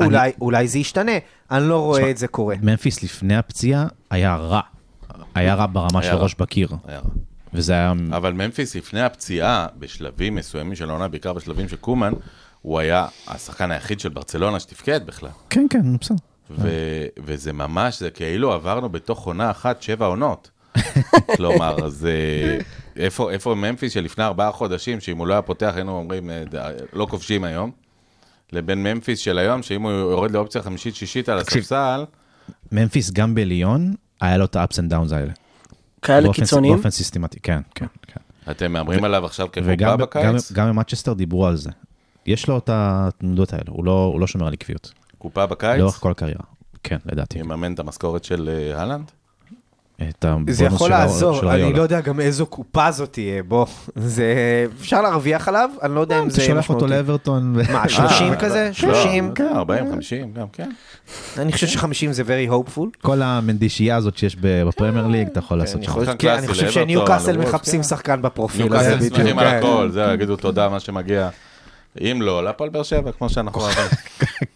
Speaker 7: אני-
Speaker 5: אולי, אולי זה ישתנה. אני לא רואה את זה קורה.
Speaker 7: ממפיס לפני הפציעה היה רע. היה רע ברמה
Speaker 4: היה
Speaker 7: של
Speaker 4: רע. אה.
Speaker 7: ראש בקיר,
Speaker 4: היה.
Speaker 7: וזה היה...
Speaker 4: אבל ממפיס לפני הפציעה, בשלבים מסוימים של העונה, בעיקר בשלבים של קומן, הוא היה השחקן היחיד של ברצלונה שתפקד בכלל.
Speaker 7: כן, כן, נו, בסדר.
Speaker 4: ו- וזה ממש, זה כאילו עברנו בתוך עונה אחת שבע עונות. כלומר, אז אה, איפה, איפה ממפיס שלפני ארבעה חודשים, שאם הוא לא היה פותח, היינו אומרים, אה, ד- לא כובשים היום, לבין ממפיס של היום, שאם הוא יורד לאופציה חמישית-שישית על
Speaker 7: תקשיב.
Speaker 4: הספסל,
Speaker 7: ממפיס גם בליון, היה לו את ה-ups and downs האלה.
Speaker 6: כאלה
Speaker 7: באופן-
Speaker 6: קיצוניים.
Speaker 7: באופן סיסטמטי, כן, כן, כן.
Speaker 4: אתם מהמרים עליו עכשיו כקופה
Speaker 7: וגם גם-
Speaker 4: בקיץ?
Speaker 7: גם במאצ'סטר דיברו על זה. יש לו את התנודות האלה, הוא לא, הוא לא שומר על עקביות.
Speaker 4: קופה בקיץ?
Speaker 7: לאורך כל הקריירה. כן, לדעתי.
Speaker 4: יממן את המשכורת של אה, אהלנד?
Speaker 7: את הבונוס
Speaker 5: זה יכול
Speaker 7: של ה- של
Speaker 5: לעזור, אני
Speaker 7: היולה.
Speaker 5: לא יודע גם איזו קופה זאת תהיה, בוא. זה... אפשר להרוויח עליו, אני לא יודע אם זה
Speaker 8: אתה שולח אותו
Speaker 5: משמעותי.
Speaker 8: לאברטון. ו-
Speaker 5: מה, 30 כזה? 30?
Speaker 4: לא, כן, 40, 50, גם כן.
Speaker 5: אני חושב ש-50 זה very hopeful.
Speaker 8: כל המנדישייה הזאת שיש ב- בפרמייר ליג, אתה יכול לעשות
Speaker 5: אני
Speaker 8: שם.
Speaker 5: חושב-
Speaker 4: שחקן
Speaker 5: כן, אני
Speaker 4: קלאסי
Speaker 5: חושב
Speaker 4: לאברטון,
Speaker 5: שניו קאסל
Speaker 4: לוולפס,
Speaker 5: מחפשים
Speaker 4: כן.
Speaker 5: שחקן בפרופיל הזה,
Speaker 4: ניוקאסל
Speaker 5: בדיוק.
Speaker 4: שמחים על
Speaker 5: כן.
Speaker 4: הכל, זהו, יגידו תודה, מה שמגיע. אם לא, להפועל באר שבע, כמו שאנחנו אוהבים.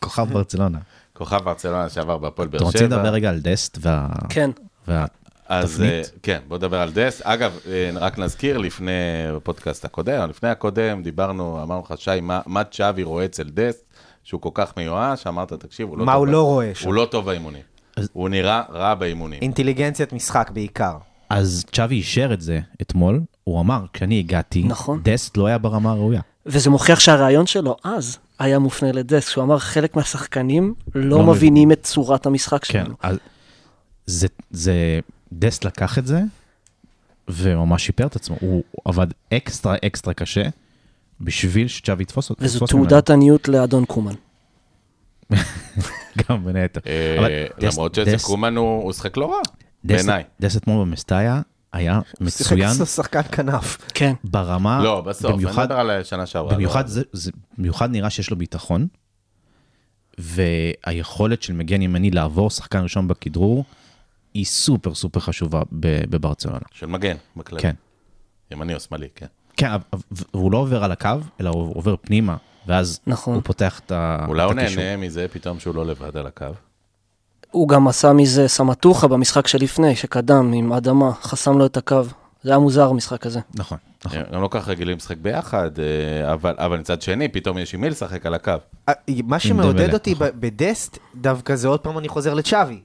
Speaker 7: כוכב ברצלונה.
Speaker 4: כוכב ברצלונה שעבר בהפועל באר
Speaker 7: אתם
Speaker 4: שבע.
Speaker 7: רוצים לדבר רגע על דסט וה...
Speaker 6: כן.
Speaker 7: וה...
Speaker 4: אז
Speaker 7: תפנית?
Speaker 4: אה, כן, בוא נדבר על דס. אגב, אה, רק נזכיר, לפני הפודקאסט הקודם, לפני הקודם, דיברנו, אמרנו לך, שי, מה- מה צ'אבי רואה אצל דס, שהוא כל כך מיואש, אמרת, תקשיב, הוא לא
Speaker 5: מה
Speaker 4: טוב
Speaker 5: הוא
Speaker 4: ב-
Speaker 5: לא רואה שם?
Speaker 4: הוא לא טוב באימונים. הוא נראה רע באימונים.
Speaker 5: אינטליגנציית משחק בעיקר.
Speaker 7: אז צ'אבי אישר את זה אתמול, הוא אמר, כשאני הגעתי,
Speaker 6: נכון.
Speaker 7: דסט לא היה ברמה הראויה.
Speaker 6: וזה מוכיח שהרעיון שלו אז היה מופנה לדסק, שהוא אמר חלק מהשחקנים לא,
Speaker 7: לא
Speaker 6: מבינים את צורת המשחק
Speaker 7: כן,
Speaker 6: שלנו.
Speaker 7: אז זה, זה, דסט לקח את זה, וממש שיפר את עצמו, הוא עבד אקסטרה אקסטרה קשה, בשביל שצ'אבי יתפוס אותו.
Speaker 6: וזו
Speaker 7: יתפוס ממנו.
Speaker 6: תעודת עניות לאדון קומן.
Speaker 7: גם בין היתר.
Speaker 4: אה,
Speaker 7: אבל דסט-
Speaker 4: למרות שאצל
Speaker 7: דסט-
Speaker 4: קומן הוא הוא שיחק לא רע,
Speaker 7: דסט-
Speaker 4: בעיניי.
Speaker 7: דסט אתמול במסטאיה היה מצוין
Speaker 5: שיחק שחקן כנף.
Speaker 6: כן.
Speaker 7: ברמה,
Speaker 4: לא, בסוף, אני
Speaker 7: אה, במיוחד
Speaker 4: מדבר על השנה שעברה.
Speaker 7: במיוחד,
Speaker 4: לא.
Speaker 7: זה, זה, במיוחד נראה שיש לו ביטחון, והיכולת של מגן ימני לעבור שחקן ראשון בכדרור, היא סופר סופר חשובה ב- בברצלונה.
Speaker 4: של מגן, בכלל.
Speaker 7: כן.
Speaker 4: ימני או שמאלי, כן.
Speaker 7: כן, אבל- אבל- והוא לא עובר על הקו, אלא הוא עובר פנימה, ואז
Speaker 6: נכון.
Speaker 7: הוא פותח את ה-
Speaker 4: אולי
Speaker 7: את
Speaker 4: הוא
Speaker 7: הקישור.
Speaker 4: נהנה מזה פתאום שהוא לא לבד על הקו.
Speaker 6: הוא גם עשה מזה סמטוחה במשחק שלפני, שקדם עם אדמה, חסם לו את הקו. זה היה מוזר המשחק הזה.
Speaker 7: נכון, נכון.
Speaker 4: הם לא כל כך רגילים לשחק ביחד, אה, אבל אבל מצד שני, פתאום יש עם מי לשחק על הקו.
Speaker 5: אה, מה שמעודד
Speaker 7: דמבלה,
Speaker 5: אותי
Speaker 7: נכון.
Speaker 5: ב- בדסט, דווקא זה עוד פעם אני חוזר לצ'אבי.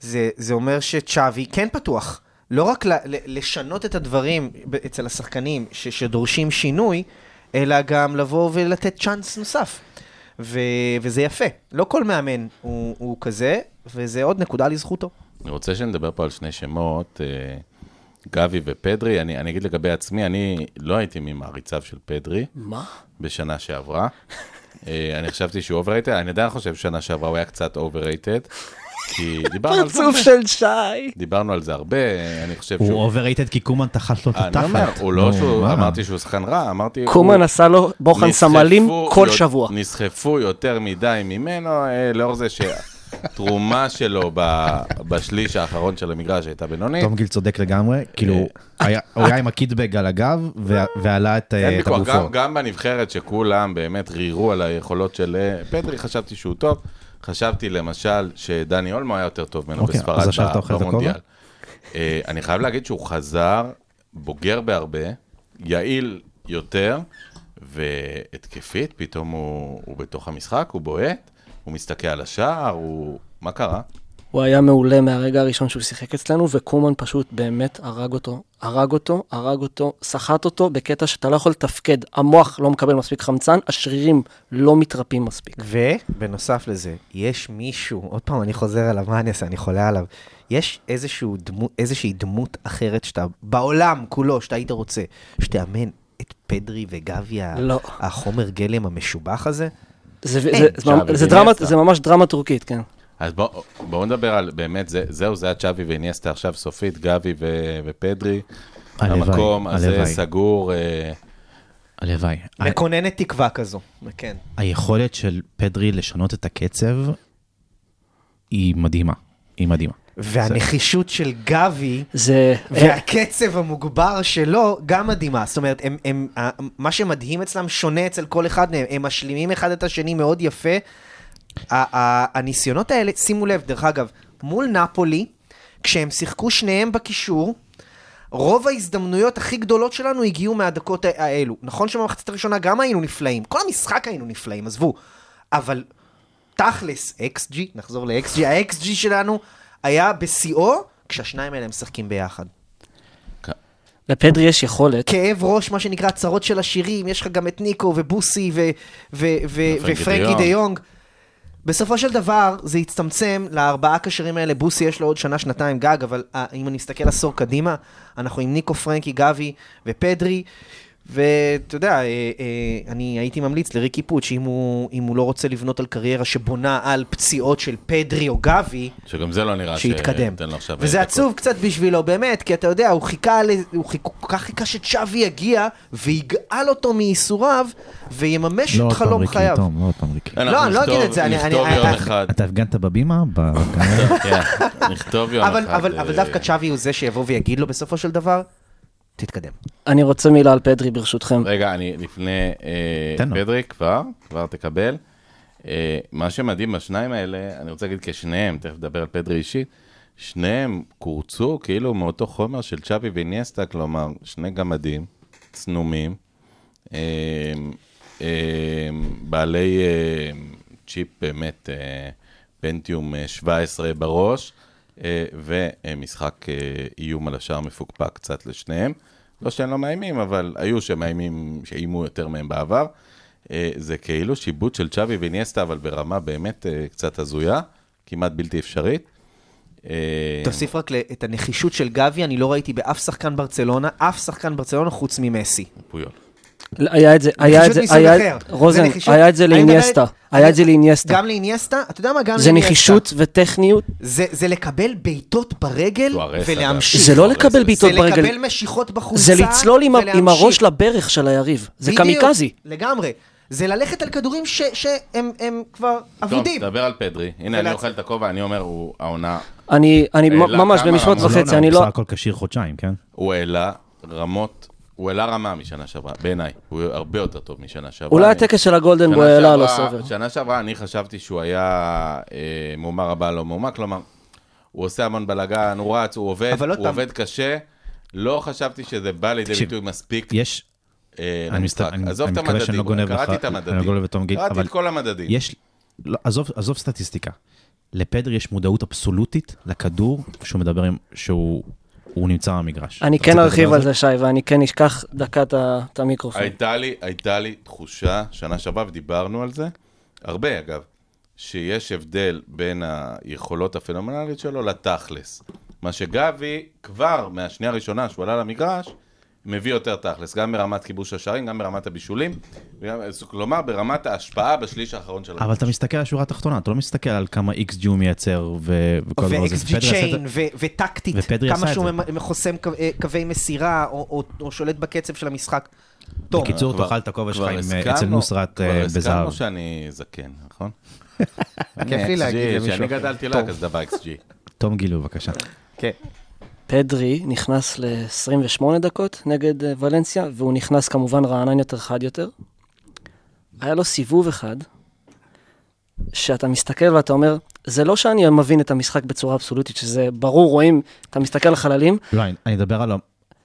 Speaker 5: זה, זה אומר שצ'אבי כן פתוח. לא רק ל, ל, לשנות את הדברים ב- אצל השחקנים ש, שדורשים שינוי, אלא גם לבוא ולתת צ'אנס נוסף. ו, וזה יפה. לא כל מאמן הוא, הוא כזה, וזה עוד נקודה לזכותו.
Speaker 4: אני רוצה שנדבר פה על שני שמות, אה, גבי ופדרי. אני, אני אגיד לגבי עצמי, אני לא הייתי ממעריציו של פדרי
Speaker 6: מה?
Speaker 4: בשנה שעברה. אה, אני חשבתי שהוא אוברייטד, אני עדיין חושב ששנה שעברה הוא היה קצת אוברייטד, כי דיברנו על זה
Speaker 6: פרצוף
Speaker 4: הרבה.
Speaker 6: של שי!
Speaker 4: דיברנו על זה הרבה, אה, אני חושב
Speaker 7: הוא
Speaker 4: שהוא...
Speaker 7: אוברייטד כי קומן תחת לו את התחת.
Speaker 4: אני אומר, הוא לא
Speaker 7: נו,
Speaker 4: שהוא,
Speaker 7: מה?
Speaker 4: אמרתי שהוא שחקן רע, אמרתי...
Speaker 6: קומן
Speaker 4: הוא-
Speaker 6: עשה לו בוחן
Speaker 4: נסחפו
Speaker 6: סמלים כל
Speaker 4: יו-
Speaker 6: שבוע.
Speaker 4: נסחפו יותר מדי ממנו, אה, לאור זה שהתרומה שלו ב- בשליש האחרון של המגרש הייתה בינונית.
Speaker 7: תום גיל צודק לגמרי, כאילו, היה- הוא היה עם הקיטבג על הגב, וה- ועלה את
Speaker 4: אה, אין
Speaker 7: אה, את
Speaker 4: ויכוח, גם,
Speaker 7: הגופו.
Speaker 4: גם בנבחרת שכולם באמת רירו על היכולות של אה, פדרי, חשבתי שהוא טוב. חשבתי למשל שדני אולמו היה יותר טוב ממנו
Speaker 7: אוקיי,
Speaker 4: בספרד
Speaker 7: אז עכשיו אתה
Speaker 4: ב-
Speaker 7: אוכל את הכובע?
Speaker 4: במונדיאל. אה, אני חייב להגיד שהוא חזר, בוגר בהרבה, יעיל יותר, והתקפית, פתאום הוא, הוא בתוך המשחק, הוא בועט, הוא מסתכל על השער, הוא... מה קרה?
Speaker 6: הוא היה מעולה מהרגע הראשון שהוא שיחק אצלנו, וקומן פשוט באמת הרג אותו, הרג אותו, הרג אותו, סחט אותו בקטע שאתה לא יכול לתפקד. המוח לא מקבל מספיק חמצן, השרירים לא מתרפים מספיק.
Speaker 5: ובנוסף לזה, יש מישהו, עוד פעם אני חוזר עליו, מה אני אעשה, אני חולה עליו, יש איזשהו דמו, איזושהי דמות אחרת שאתה, בעולם כולו, שאתה היית רוצה, שתאמן את פדרי וגבי, ה-
Speaker 6: לא.
Speaker 5: החומר גלם המשובח הזה?
Speaker 6: זה, זה,
Speaker 5: אין,
Speaker 6: זה, זה,
Speaker 4: צ'אבי
Speaker 6: זה, דרמה,
Speaker 4: ואינסטה.
Speaker 6: זה ממש דרמה טורקית, כן.
Speaker 4: אז בואו בוא נדבר על, באמת, זה, זהו, זה הצ'אבי ואיניאסטה עכשיו סופית, גבי ו, ופדרי.
Speaker 7: הלוואי,
Speaker 4: המקום הזה
Speaker 7: הלוואי.
Speaker 4: סגור. אה,
Speaker 7: הלוואי.
Speaker 5: מקוננת תקווה כזו, כן.
Speaker 7: היכולת של פדרי לשנות את הקצב היא מדהימה, היא מדהימה.
Speaker 5: והנחישות של גבי,
Speaker 6: זה...
Speaker 5: והקצב המוגבר שלו גם מדהימה. זאת אומרת, הם, הם, ה- מה שמדהים אצלם שונה אצל כל אחד מהם. הם משלימים אחד את השני מאוד יפה. ה- ה- הניסיונות האלה, שימו לב, דרך אגב, מול נפולי, כשהם שיחקו שניהם בקישור, רוב ההזדמנויות הכי גדולות שלנו הגיעו מהדקות ה- האלו. נכון שבמחצית הראשונה גם היינו נפלאים, כל המשחק היינו נפלאים, עזבו. אבל תכלס, XG, נחזור ל-XG, ה-XG שלנו היה בשיאו כשהשניים האלה משחקים ביחד.
Speaker 6: לפדרי יש יכולת,
Speaker 5: כאב ראש, מה שנקרא, צרות של עשירים, יש לך גם את ניקו ובוסי ו- ו- ו-
Speaker 4: ופרנקי
Speaker 5: ופרנקי
Speaker 4: דה
Speaker 5: דה
Speaker 4: יונג.
Speaker 5: יונג. בסופו של דבר, זה הצטמצם לארבעה קשרים האלה. בוסי יש לו עוד שנה, שנתיים גג, אבל אה, אם אני מסתכל עשור קדימה, אנחנו עם ניקו, פרנקי, גבי ופדרי, ואתה יודע, אה, אה, אני הייתי ממליץ לריקי פוץ', אם הוא, אם הוא לא רוצה לבנות על קריירה שבונה על פציעות של פדרי או גבי,
Speaker 4: שגם זה לא נראה
Speaker 5: שיתקדם.
Speaker 4: שתיתן לו עכשיו... אה,
Speaker 5: וזה
Speaker 4: דקות.
Speaker 5: עצוב קצת בשבילו, באמת, כי אתה יודע, הוא חיכה, ל... הוא חיכ... כל כך חיכה שצ'אבי יגיע, ויגאל אותו מייסוריו, ויממש
Speaker 7: לא
Speaker 5: את
Speaker 7: עוד פעם
Speaker 5: חלום
Speaker 7: ריקי,
Speaker 5: חייו.
Speaker 7: תום, לא עוד פעם ריקי.
Speaker 4: אנחנו
Speaker 5: לא, אני לא אגיד
Speaker 4: נכתוב-
Speaker 5: את זה, אני-
Speaker 4: נכתוב
Speaker 5: אני-
Speaker 4: יום
Speaker 5: אני-
Speaker 4: אחד.
Speaker 7: אתה הפגנת בבימה? בקהל?
Speaker 4: כן, נכתוב יום
Speaker 5: אבל,
Speaker 4: אחד.
Speaker 5: אבל, אבל
Speaker 4: אה,
Speaker 5: דווקא צ'אבי הוא זה שיבוא ויגיד לו בסופו של דבר, תתקדם.
Speaker 4: אה,
Speaker 6: אני רוצה מילה על פדרי, ברשותכם.
Speaker 4: רגע, אני לפני... אה,
Speaker 7: תן לו.
Speaker 4: פדרי, כבר, כבר תקבל. אה, מה שמדהים בשניים האלה, אני רוצה להגיד כשניהם, תכף נדבר על פדרי אישית, שניהם קורצו כאילו מאותו חומר של צ'אבי ואיניאסטה, כלומר, שני גמדים, צנומים, אה, אה, בעלי אה, צ'יפ באמת, אה, פנטיום אה, 17 בראש, אה, ומשחק אה, איום על השער מפוקפק קצת לשניהם. לא שהם לא מאיימים, אבל היו שמאיימים, שאיימו יותר מהם בעבר. אה, זה כאילו שיבוט של צ'אבי ואיניאסטה, אבל ברמה באמת אה, קצת הזויה, כמעט בלתי אפשרית. אה,
Speaker 5: תוסיף רק ל- את הנחישות של גבי, אני לא ראיתי באף שחקן ברצלונה, אף שחקן ברצלונה חוץ ממסי.
Speaker 4: פויול.
Speaker 6: היה את זה, היה את
Speaker 5: נחישות
Speaker 6: זה,
Speaker 5: מסוג
Speaker 6: היה,
Speaker 5: אחר. זה
Speaker 6: רוזן,
Speaker 5: נחישות-
Speaker 6: היה את זה
Speaker 5: אני מדבר-
Speaker 6: לאיניאסטה. היה את זה לאיניאסטה.
Speaker 5: גם לאיניאסטה, אתה יודע מה? גם
Speaker 6: זה
Speaker 5: לאיניאסטה.
Speaker 6: נחישות וטכניות.
Speaker 5: זה, זה לקבל בעיטות ברגל
Speaker 4: סוארס,
Speaker 5: ולהמשיך.
Speaker 6: זה לא
Speaker 4: זה- זה
Speaker 6: לקבל בעיטות
Speaker 5: זה
Speaker 6: ברגל.
Speaker 5: לקבל משיכות בחולצה
Speaker 6: זה לצלול עם ה- עם
Speaker 5: ולהמשיך.
Speaker 6: הראש לברך של היריב. זה
Speaker 5: בדיוק,
Speaker 6: קמיקזי.
Speaker 5: לגמרי. זה ללכת על כדורים ש- שהם הם כבר
Speaker 4: טוב,
Speaker 5: אבודים.
Speaker 4: דבר על פדרי. הנה, אני
Speaker 5: ולהצ-
Speaker 4: אוכל את הכובע, אני אומר, הוא העונה,
Speaker 6: אני אני
Speaker 4: אה, לא,
Speaker 6: ממש
Speaker 4: כמה-
Speaker 6: במשפט
Speaker 4: לא,
Speaker 7: הוא
Speaker 6: וחצי,
Speaker 7: נע,
Speaker 6: אני
Speaker 7: הוא
Speaker 6: לא...
Speaker 7: בסך הכל כשיר חודשיים, כן?
Speaker 4: הוא העלה רמות, הוא העלה רמה משנה שעברה, בעיניי. הוא הרבה יותר טוב משנה שעברה.
Speaker 6: אולי
Speaker 4: אני-
Speaker 6: הטקס של הגולדן
Speaker 4: שנה
Speaker 6: בוי העלה
Speaker 4: שעברה-
Speaker 6: לו סובר.
Speaker 4: שנה שעברה אני חשבתי שהוא היה אה, מומה רבה לא מומה, כלומר, הוא עושה המון בלאגן, הוא רץ, הוא עובד,
Speaker 5: אבל עוד
Speaker 4: הוא
Speaker 5: פעם-
Speaker 4: עובד קשה. לא חשבתי שזה בא לידי
Speaker 7: תקשיב,
Speaker 4: ביטוי מספיק
Speaker 7: יש,
Speaker 4: אה,
Speaker 7: אני מסת-
Speaker 4: למשחק.
Speaker 7: אני-
Speaker 4: עזוב
Speaker 7: אני
Speaker 4: את
Speaker 7: מקווה שאני לא
Speaker 4: המדדים,
Speaker 7: גונב לך-
Speaker 4: קראתי את
Speaker 7: אני לא
Speaker 4: המדדים.
Speaker 7: גונב את המגיד,
Speaker 4: קראתי
Speaker 7: אבל-
Speaker 4: את כל המדדים.
Speaker 7: יש, לא, עזוב, עזוב סטטיסטיקה. לפדרי יש מודעות אבסולוטית לכדור שהוא מדבר עם, שהוא הוא נמצא במגרש.
Speaker 6: אני
Speaker 7: אתה רוצה
Speaker 6: כן
Speaker 7: לדבר
Speaker 6: ארחיב על זה, שי, ואני כן אשכח דקה את ה- את המיקרופון.
Speaker 4: הייתה לי, הייתה לי תחושה, שנה שעברה, ודיברנו על זה, הרבה אגב, שיש הבדל בין היכולות הפנומנליות שלו לתכלס. מה שגבי, כבר מהשנייה הראשונה שהוא עלה למגרש, מביא יותר תכלס, גם ברמת כיבוש השערים, גם ברמת הבישולים, וגם, כלומר ברמת ההשפעה בשליש האחרון של
Speaker 7: אבל אתה מסתגר על השורה התחתונה, אתה לא מסתכל על כמה XG הוא מייצר ו- וכל הדבר הזה.
Speaker 5: ו-XG
Speaker 7: פדרי עשה את זה-
Speaker 5: צ'יין, וטקטית,
Speaker 7: ופדרי
Speaker 5: כמה
Speaker 7: עשה את
Speaker 5: שהוא
Speaker 7: זה.
Speaker 5: ממ- חוסם קו- אה, קווי מסירה, או- או- או שולט בקצב של המשחק. טוב,
Speaker 7: בקיצור,
Speaker 4: כבר-
Speaker 7: תאכל את הכובע שלך
Speaker 4: כבר
Speaker 7: עם,
Speaker 4: הסכמנו-
Speaker 7: אצל נוסרת אה,
Speaker 4: כבר
Speaker 7: בזהב.
Speaker 4: הסכמנו שאני זקן, נכון?
Speaker 5: כיף לי להגיד
Speaker 4: XG,
Speaker 5: למישהו
Speaker 4: שאני
Speaker 5: אחר.
Speaker 4: גדלתי
Speaker 5: טוב.
Speaker 4: לה כזה דבר XG.
Speaker 7: תום גילו, בבקשה.
Speaker 6: פדרי נכנס ל-28 דקות נגד אה, ולנסיה, והוא נכנס כמובן רענן יותר, חד יותר. היה לו סיבוב אחד, שאתה מסתכל ואתה אומר, זה לא שאני מבין את המשחק בצורה אבסולוטית, שזה ברור, רואים, אתה מסתכל על חללים,
Speaker 7: לא, אני- אני אדבר על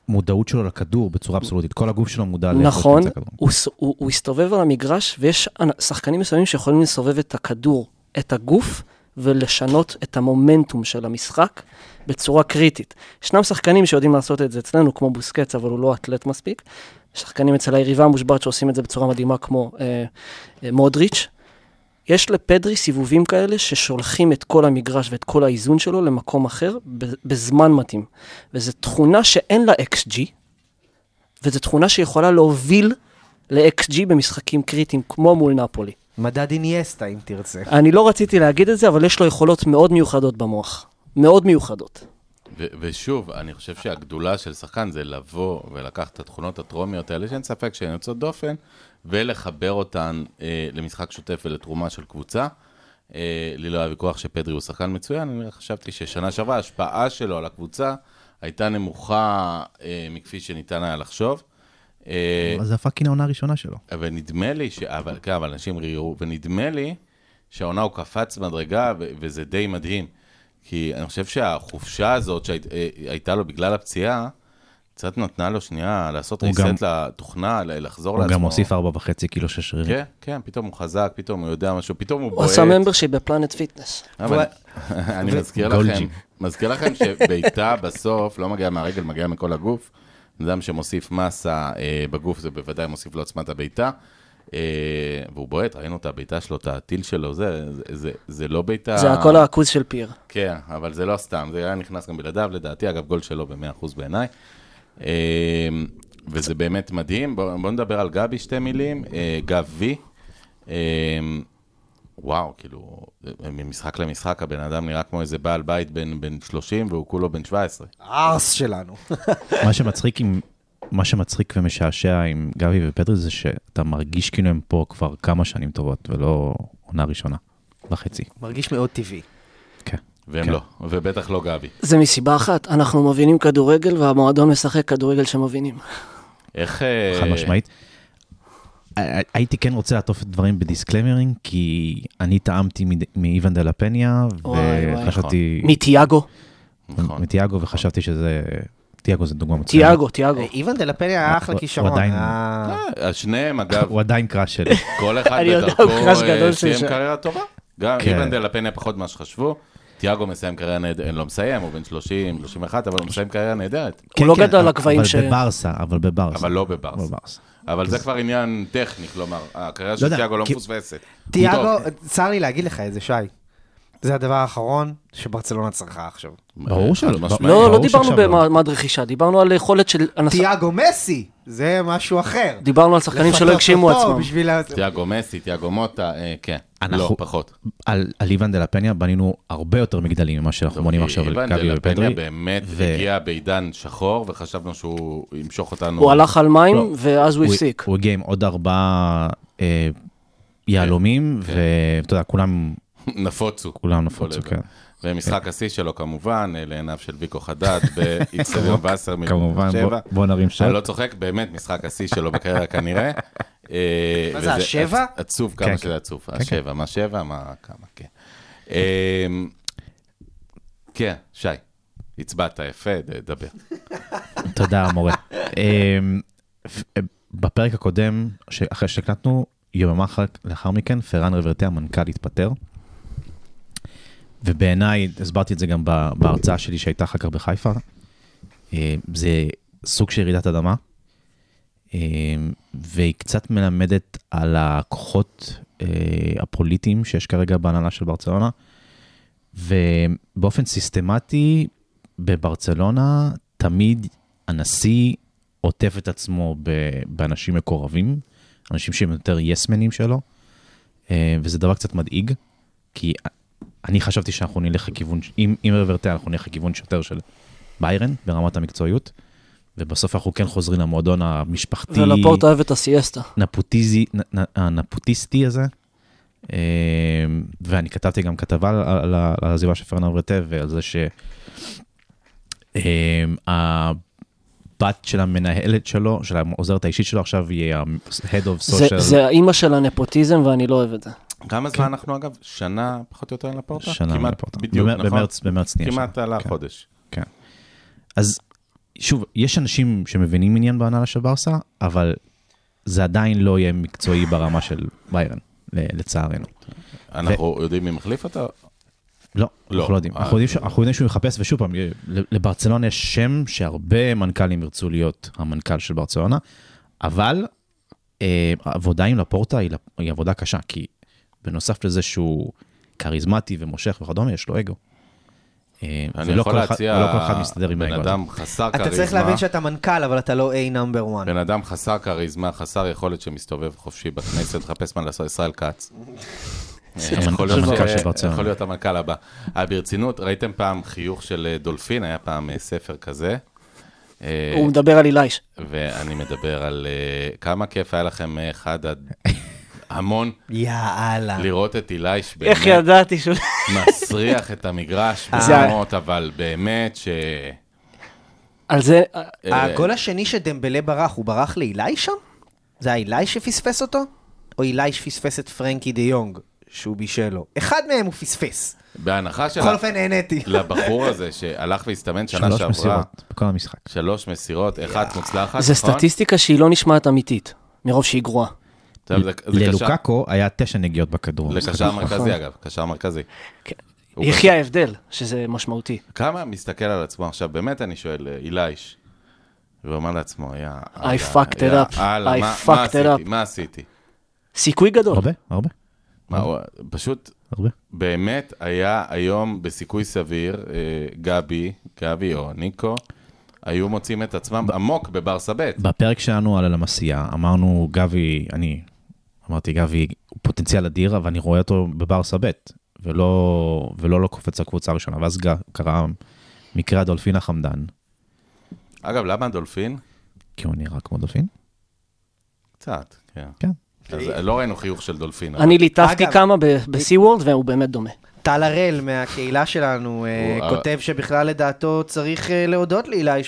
Speaker 7: המודעות שלו לכדור בצורה אבסולוטית. כל הגוף שלו מודע לאיפה שהוא
Speaker 6: נכון,
Speaker 7: נמצא כדור.
Speaker 6: הוא, ס- הוא, הוא הסתובב על המגרש, ויש אנ- שחקנים מסוימים שיכולים לסובב את הכדור, את הגוף, ולשנות את המומנטום של המשחק בצורה קריטית. ישנם שחקנים שיודעים לעשות את זה אצלנו, כמו בוסקץ, אבל הוא לא אתלט מספיק. שחקנים אצל היריבה המושבעת שעושים את זה בצורה מדהימה, כמו אה, אה, מודריץ'. יש לפדרי סיבובים כאלה ששולחים את כל המגרש ואת כל האיזון שלו למקום אחר ב- בזמן מתאים. וזו תכונה שאין לה XG, וזו תכונה שיכולה להוביל ל-XG במשחקים קריטיים, כמו מול נפולי.
Speaker 5: מדד איניאסטה, אם תרצה.
Speaker 6: אני לא רציתי להגיד את זה, אבל יש לו יכולות מאוד מיוחדות במוח. מאוד מיוחדות.
Speaker 4: ו- ושוב, אני חושב שהגדולה של שחקן זה לבוא ולקחת את התכונות הטרומיות האלה, שאין ספק שהן יוצאות דופן, ולחבר אותן אה, למשחק שוטף ולתרומה של קבוצה. אה, לי לא היה ויכוח שפדרי הוא שחקן מצוין, אני רק חשבתי ששנה שעברה ההשפעה שלו על הקבוצה הייתה נמוכה אה, מכפי שניתן היה לחשוב. אה,
Speaker 7: אז זה הפאקינג העונה הראשונה שלו.
Speaker 4: ונדמה לי, ש... אבל כן, אבל אנשים ראיירו, ונדמה לי שהעונה הוא קפץ מדרגה, ו- וזה די מדהים. כי אני חושב שהחופשה הזאת שהייתה לו בגלל הפציעה, קצת נתנה לו שנייה לעשות
Speaker 7: הוא
Speaker 4: ריסט
Speaker 7: גם-
Speaker 4: לתוכנה, ל- לחזור
Speaker 7: הוא
Speaker 4: לעצמו.
Speaker 7: גם הוסיף ארבע וחצי קילו של שרירים.
Speaker 4: כן, כן, פתאום הוא חזק, פתאום הוא יודע משהו, פתאום הוא
Speaker 6: הוא
Speaker 4: בועט.
Speaker 6: עשה ממברשיפ בפלנט פיטנס.
Speaker 4: אבל אני מזכיר לכם,
Speaker 7: גולג'ים.
Speaker 4: מזכיר לכם שבעיטה בסוף לא מגיעה מהרגל, מגיעה מכל הגוף. בן אדם שמוסיף מסה אה, בגוף, זה בוודאי מוסיף לו עוצמת הבעיטה. אה, והוא בועט, ראינו את הבעיטה שלו, את הטיל שלו, זה, זה, זה, זה לא
Speaker 7: אה.
Speaker 4: בעיטה...
Speaker 6: זה הכל העכוז של פיר.
Speaker 4: כן, אבל זה לא סתם, זה היה נכנס גם בלעדיו, לדעתי, אגב, גול שלו ב-100% בעיניי. אה, אמ, וזה באמת מדהים. בואו בוא נדבר על גבי שתי מילים. אה, גבי, אה, וואו, כאילו, ממשחק למשחק הבן אדם נראה כמו איזה בעל בית בן, בן 30 והוא כולו בן 17.
Speaker 5: הארס שלנו.
Speaker 7: מה שמצחיק עם... מה שמצחיק ומשעשע עם גבי ופטרי זה שאתה מרגיש כאילו הם פה כבר כמה שנים טובות, ולא עונה ראשונה וחצי.
Speaker 5: מרגיש מאוד טבעי.
Speaker 7: כן.
Speaker 4: והם
Speaker 7: כן.
Speaker 4: לא, ובטח לא גבי.
Speaker 6: זה מסיבה אחת, אנחנו מבינים כדורגל והמועדון משחק כדורגל שמבינים.
Speaker 4: איך... אה,
Speaker 7: חד משמעית. הי- הייתי כן רוצה לעטוף דברים בדיסקלמרים, כי אני טעמתי מד- מאיוון דה לה פניה,
Speaker 6: וואי, וואי.
Speaker 7: וחשבתי,
Speaker 6: מתיאגו,
Speaker 4: נכון.
Speaker 7: מתיאגו, וחשבתי שזה, תיאגו זה דוגמה מצוינת.
Speaker 6: תיאגו,
Speaker 7: אה,
Speaker 6: תיאגו.
Speaker 5: אה, איוון דה לפניה היה אחלה
Speaker 7: הוא
Speaker 5: כישרון.
Speaker 7: עדיין-
Speaker 5: אה,
Speaker 4: אה, שניהם, אגב,
Speaker 7: הוא עדיין קראש שלי.
Speaker 4: כל אחד
Speaker 6: אני יודע, הוא
Speaker 4: בדרכו
Speaker 6: קראש
Speaker 4: אה,
Speaker 6: גדול של
Speaker 4: סיים
Speaker 6: שם.
Speaker 4: קריירה טובה. גם
Speaker 7: כן.
Speaker 4: איבן דה לפניה פחות ממה שחשבו. תיאגו מסיים קריירה נהדרת, לא מסיים, הוא בן 30, 31, אבל הוא מסיים קריירה נהדרת.
Speaker 6: הוא לא גדל על הגבהים ש-
Speaker 7: כן, אבל בברסה, אבל בברסה. כן.
Speaker 4: אבל לא בברסה. אבל זה כבר עניין טכני, כלומר, הקריירה של
Speaker 7: יודע,
Speaker 4: תיאגו לא
Speaker 7: כי-
Speaker 4: מפוספסת.
Speaker 5: תיאגו,
Speaker 4: טוב,
Speaker 5: צר לי להגיד לך את זה, שי. זה הדבר האחרון שברצלונה צריכה עכשיו.
Speaker 7: ברור שלא.
Speaker 4: אה, משמעית.
Speaker 7: ברור
Speaker 6: לא, לא דיברנו
Speaker 7: שעכשיו לא.
Speaker 6: במעמד רכישה, דיברנו על יכולת של... אנס-
Speaker 5: תיאגו מסי, זה משהו אחר.
Speaker 6: דיברנו על שחקנים שלא
Speaker 5: לפתח
Speaker 6: הגשימו
Speaker 5: אותו
Speaker 6: עצמם.
Speaker 5: בשביל ה-
Speaker 4: תיאגו מסי, תיאגו מוטה, אה, כן.
Speaker 7: אנחנו-
Speaker 4: לא, פחות.
Speaker 7: על על איוון דה לה פניה בנינו הרבה יותר מגדלים ממה שאנחנו בונים עכשיו על
Speaker 4: איבן
Speaker 7: גבי
Speaker 4: אוקיי, דה אה, לפניה
Speaker 7: ופדרי.
Speaker 4: באמת
Speaker 7: ו-
Speaker 4: הגיע בעידן שחור, וחשבנו שהוא ימשוך אותנו.
Speaker 6: הוא הלך על מים,
Speaker 7: לא.
Speaker 6: ואז הוא
Speaker 7: הוא-
Speaker 6: הפסיק.
Speaker 7: הוא הגיע עם עוד ארבעה אה, יהלומים, ואתה יודע, כולם
Speaker 4: נפוצו.
Speaker 7: כולם נפוצו,
Speaker 4: כל עבר.
Speaker 7: כן.
Speaker 4: ומשחק השיא שלו כמובן, אה, לעיניו של ויקו חדד, באיצטדיון וסרמיל.
Speaker 7: כמובן,
Speaker 4: בבאר
Speaker 7: בוא-
Speaker 4: שבע.
Speaker 7: בוא נרים
Speaker 4: אני לא
Speaker 7: שאלות.
Speaker 4: צוחק, באמת משחק השיא שלו בקריירה כנראה. אה,
Speaker 5: מה זה,
Speaker 4: וזה
Speaker 5: השבע?
Speaker 4: עצ- עצוב כמה
Speaker 7: כן,
Speaker 4: שזה
Speaker 7: כן.
Speaker 4: עצוב. השבע, מה שבע, מה כמה, כן. אה, כן, שי, הצבעת יפה, ד- דבר.
Speaker 7: תודה, המורה. אמ, פ- בפרק הקודם, ש- אחרי שהקלטנו, יממה אחר- לאחר מכן, פרן רברטה, המנכ"ל, התפטר. ובעיניי, הסברתי את זה גם ב- בהרצאה שלי שהייתה אחר כך בחיפה, אה, זה סוג של רעידת אדמה, אה, והיא קצת מלמדת על הכוחות אה, הפוליטיים שיש כרגע בהנהלה של ברצלונה, ובאופן סיסטמטי, בברצלונה תמיד הנשיא עוטף את עצמו ב- באנשים מקורבים, אנשים שהם יותר יסמנים שלו, אה, וזה דבר קצת מדאיג, כי אני חשבתי שאנחנו נלך לכיוון, עם, עם רוורטה אנחנו נלך לכיוון שיותר של ביירן ברמת המקצועיות, ובסוף אנחנו כן חוזרים למועדון המשפחתי,
Speaker 6: ולפורט אוהב את הסיאסטה.
Speaker 7: נפוטיזי, נ- נ- הנפוטיסטי הזה. אה, ואני כתבתי גם כתבה על- על על העזיבה של פרנר וטב ועל זה שהבת של המנהלת שלו, של העוזרת האישית שלו עכשיו, היא ה-head of
Speaker 6: זה-
Speaker 7: social.
Speaker 6: זה האימא של הנפוטיזם ואני לא אוהב את זה.
Speaker 4: כמה זמן אנחנו אגב? שנה פחות או יותר לפורטה?
Speaker 7: כן. שנה
Speaker 4: כמעט,
Speaker 7: לפורטה.
Speaker 4: בדיוק,
Speaker 7: במר-
Speaker 4: נכון?
Speaker 7: במרץ- במרץ נהיה
Speaker 4: כמעט
Speaker 7: שנה,
Speaker 4: עלה
Speaker 7: כן.
Speaker 4: חודש.
Speaker 7: כן. אז שוב, יש אנשים שמבינים עניין בהנהלה של ברסה, אבל זה עדיין לא יהיה מקצועי ברמה של ביירן, ל- לצערנו.
Speaker 4: אנחנו יודעים מי מחליף אותו?
Speaker 7: לא,
Speaker 4: לא.
Speaker 7: אנחנו לא יודעים.
Speaker 4: אה,
Speaker 7: אנחנו יודעים ש- אנחנו יודעים שהוא מחפש, ושוב פעם, לברצלונה יש שם שהרבה מנכ"לים ירצו להיות המנכ"ל של ברצלונה, אבל אה, העבודה עם לפורטה היא לפ- היא עבודה קשה, כי בנוסף לזה שהוא כריזמטי ומושך וכדומה, יש לו אגו. אה,
Speaker 4: אני
Speaker 7: ולא
Speaker 4: יכול
Speaker 7: כל אחד-
Speaker 4: להציע...
Speaker 7: ולא כל אחד מסתדר עם האגו.
Speaker 4: בן
Speaker 7: הזה.
Speaker 4: אדם חסר כריזמה.
Speaker 5: אתה צריך להבין שאתה מנכ"ל, אבל אתה לא A number one.
Speaker 4: בן אדם חסר כריזמה, חסר יכולת שמסתובב חופשי בכנסת, מחפש מה לעשות, ישראל כץ. אה, יכול להיות
Speaker 7: המנכ"ל
Speaker 4: ש-
Speaker 7: של ברצלונה.
Speaker 4: יכול להיות המנכ"ל הבא. אה, ברצינות, ראיתם פעם חיוך של אה, דולפין, היה פעם אה, ספר כזה. אה,
Speaker 6: הוא מדבר על אילייש.
Speaker 4: ואני מדבר על אה, כמה כיף היה לכם אה, אחד עד המון
Speaker 5: יאללה.
Speaker 4: לראות את אילייש באמת
Speaker 6: איך ידעתי שהוא...
Speaker 4: מסריח את המגרש
Speaker 6: זה ה-
Speaker 4: ברמות, אבל באמת ש...
Speaker 6: על זה...
Speaker 4: אה,
Speaker 5: הגול השני שדמבלה ברח, הוא ברח לאילי שם? זה היה אילי שפספס אותו? או אילי שפספס את פרנקי דה יונג, שהוא בישל לו? אחד מהם הוא פספס.
Speaker 4: אה, בהנחה של...
Speaker 5: בכל אופן נהניתי.
Speaker 4: לבחור הזה שהלך והסתמן שנה
Speaker 7: שלוש
Speaker 4: שעברה,
Speaker 7: מסירות בכל המשחק.
Speaker 4: שלוש מסירות, אחת מוצלחת,
Speaker 6: אה, זה
Speaker 4: נכון?
Speaker 6: סטטיסטיקה שהיא לא נשמעת אמיתית, מרוב שהיא גרועה.
Speaker 4: טוב, זה- זה קשר-
Speaker 7: ללוקקו היה תשע נגיעות בכדור.
Speaker 4: לקשר
Speaker 7: נכון.
Speaker 4: מרכזי אגב, קשר מרכזי. הוא
Speaker 6: יחי ההבדל, שזה משמעותי.
Speaker 4: כמה מסתכל על עצמו עכשיו, באמת אני שואל, אה, אילייש, ואומר לעצמו, יא...
Speaker 6: I fucked it up. I fucked it
Speaker 4: up.
Speaker 6: up.
Speaker 4: מה עשיתי?
Speaker 6: סיכוי גדול.
Speaker 7: הרבה, הרבה,
Speaker 4: מה, הוא- פשוט,
Speaker 7: הרבה.
Speaker 4: באמת היה היום בסיכוי סביר, אה, גבי, גבי או ניקו, היו מוצאים את עצמם עמוק בברסה ב'.
Speaker 7: בפרק שלנו על הלמסייה, אמרנו, גבי, אני אמרתי, גבי הוא פוטנציאל אדיר, אבל אני רואה אותו בברסה ב', ולא, ולא לא קופץ לקבוצה הראשונה. ואז ג- קרה מקרה הדולפין החמדן,
Speaker 4: אגב, למה הדולפין?
Speaker 7: כי הוא נראה כמו דולפין.
Speaker 4: קצת, כן.
Speaker 7: כן.
Speaker 4: אז לא ראינו חיוך של דולפין. אבל
Speaker 6: אני ליטפתי
Speaker 5: אגב, לא,
Speaker 6: כמה בסי וורד, והוא באמת דומה.
Speaker 5: טל הראל מהקהילה שלנו אה,
Speaker 4: הוא-
Speaker 5: כותב שבכלל לדעתו צריך אה, להודות לאילי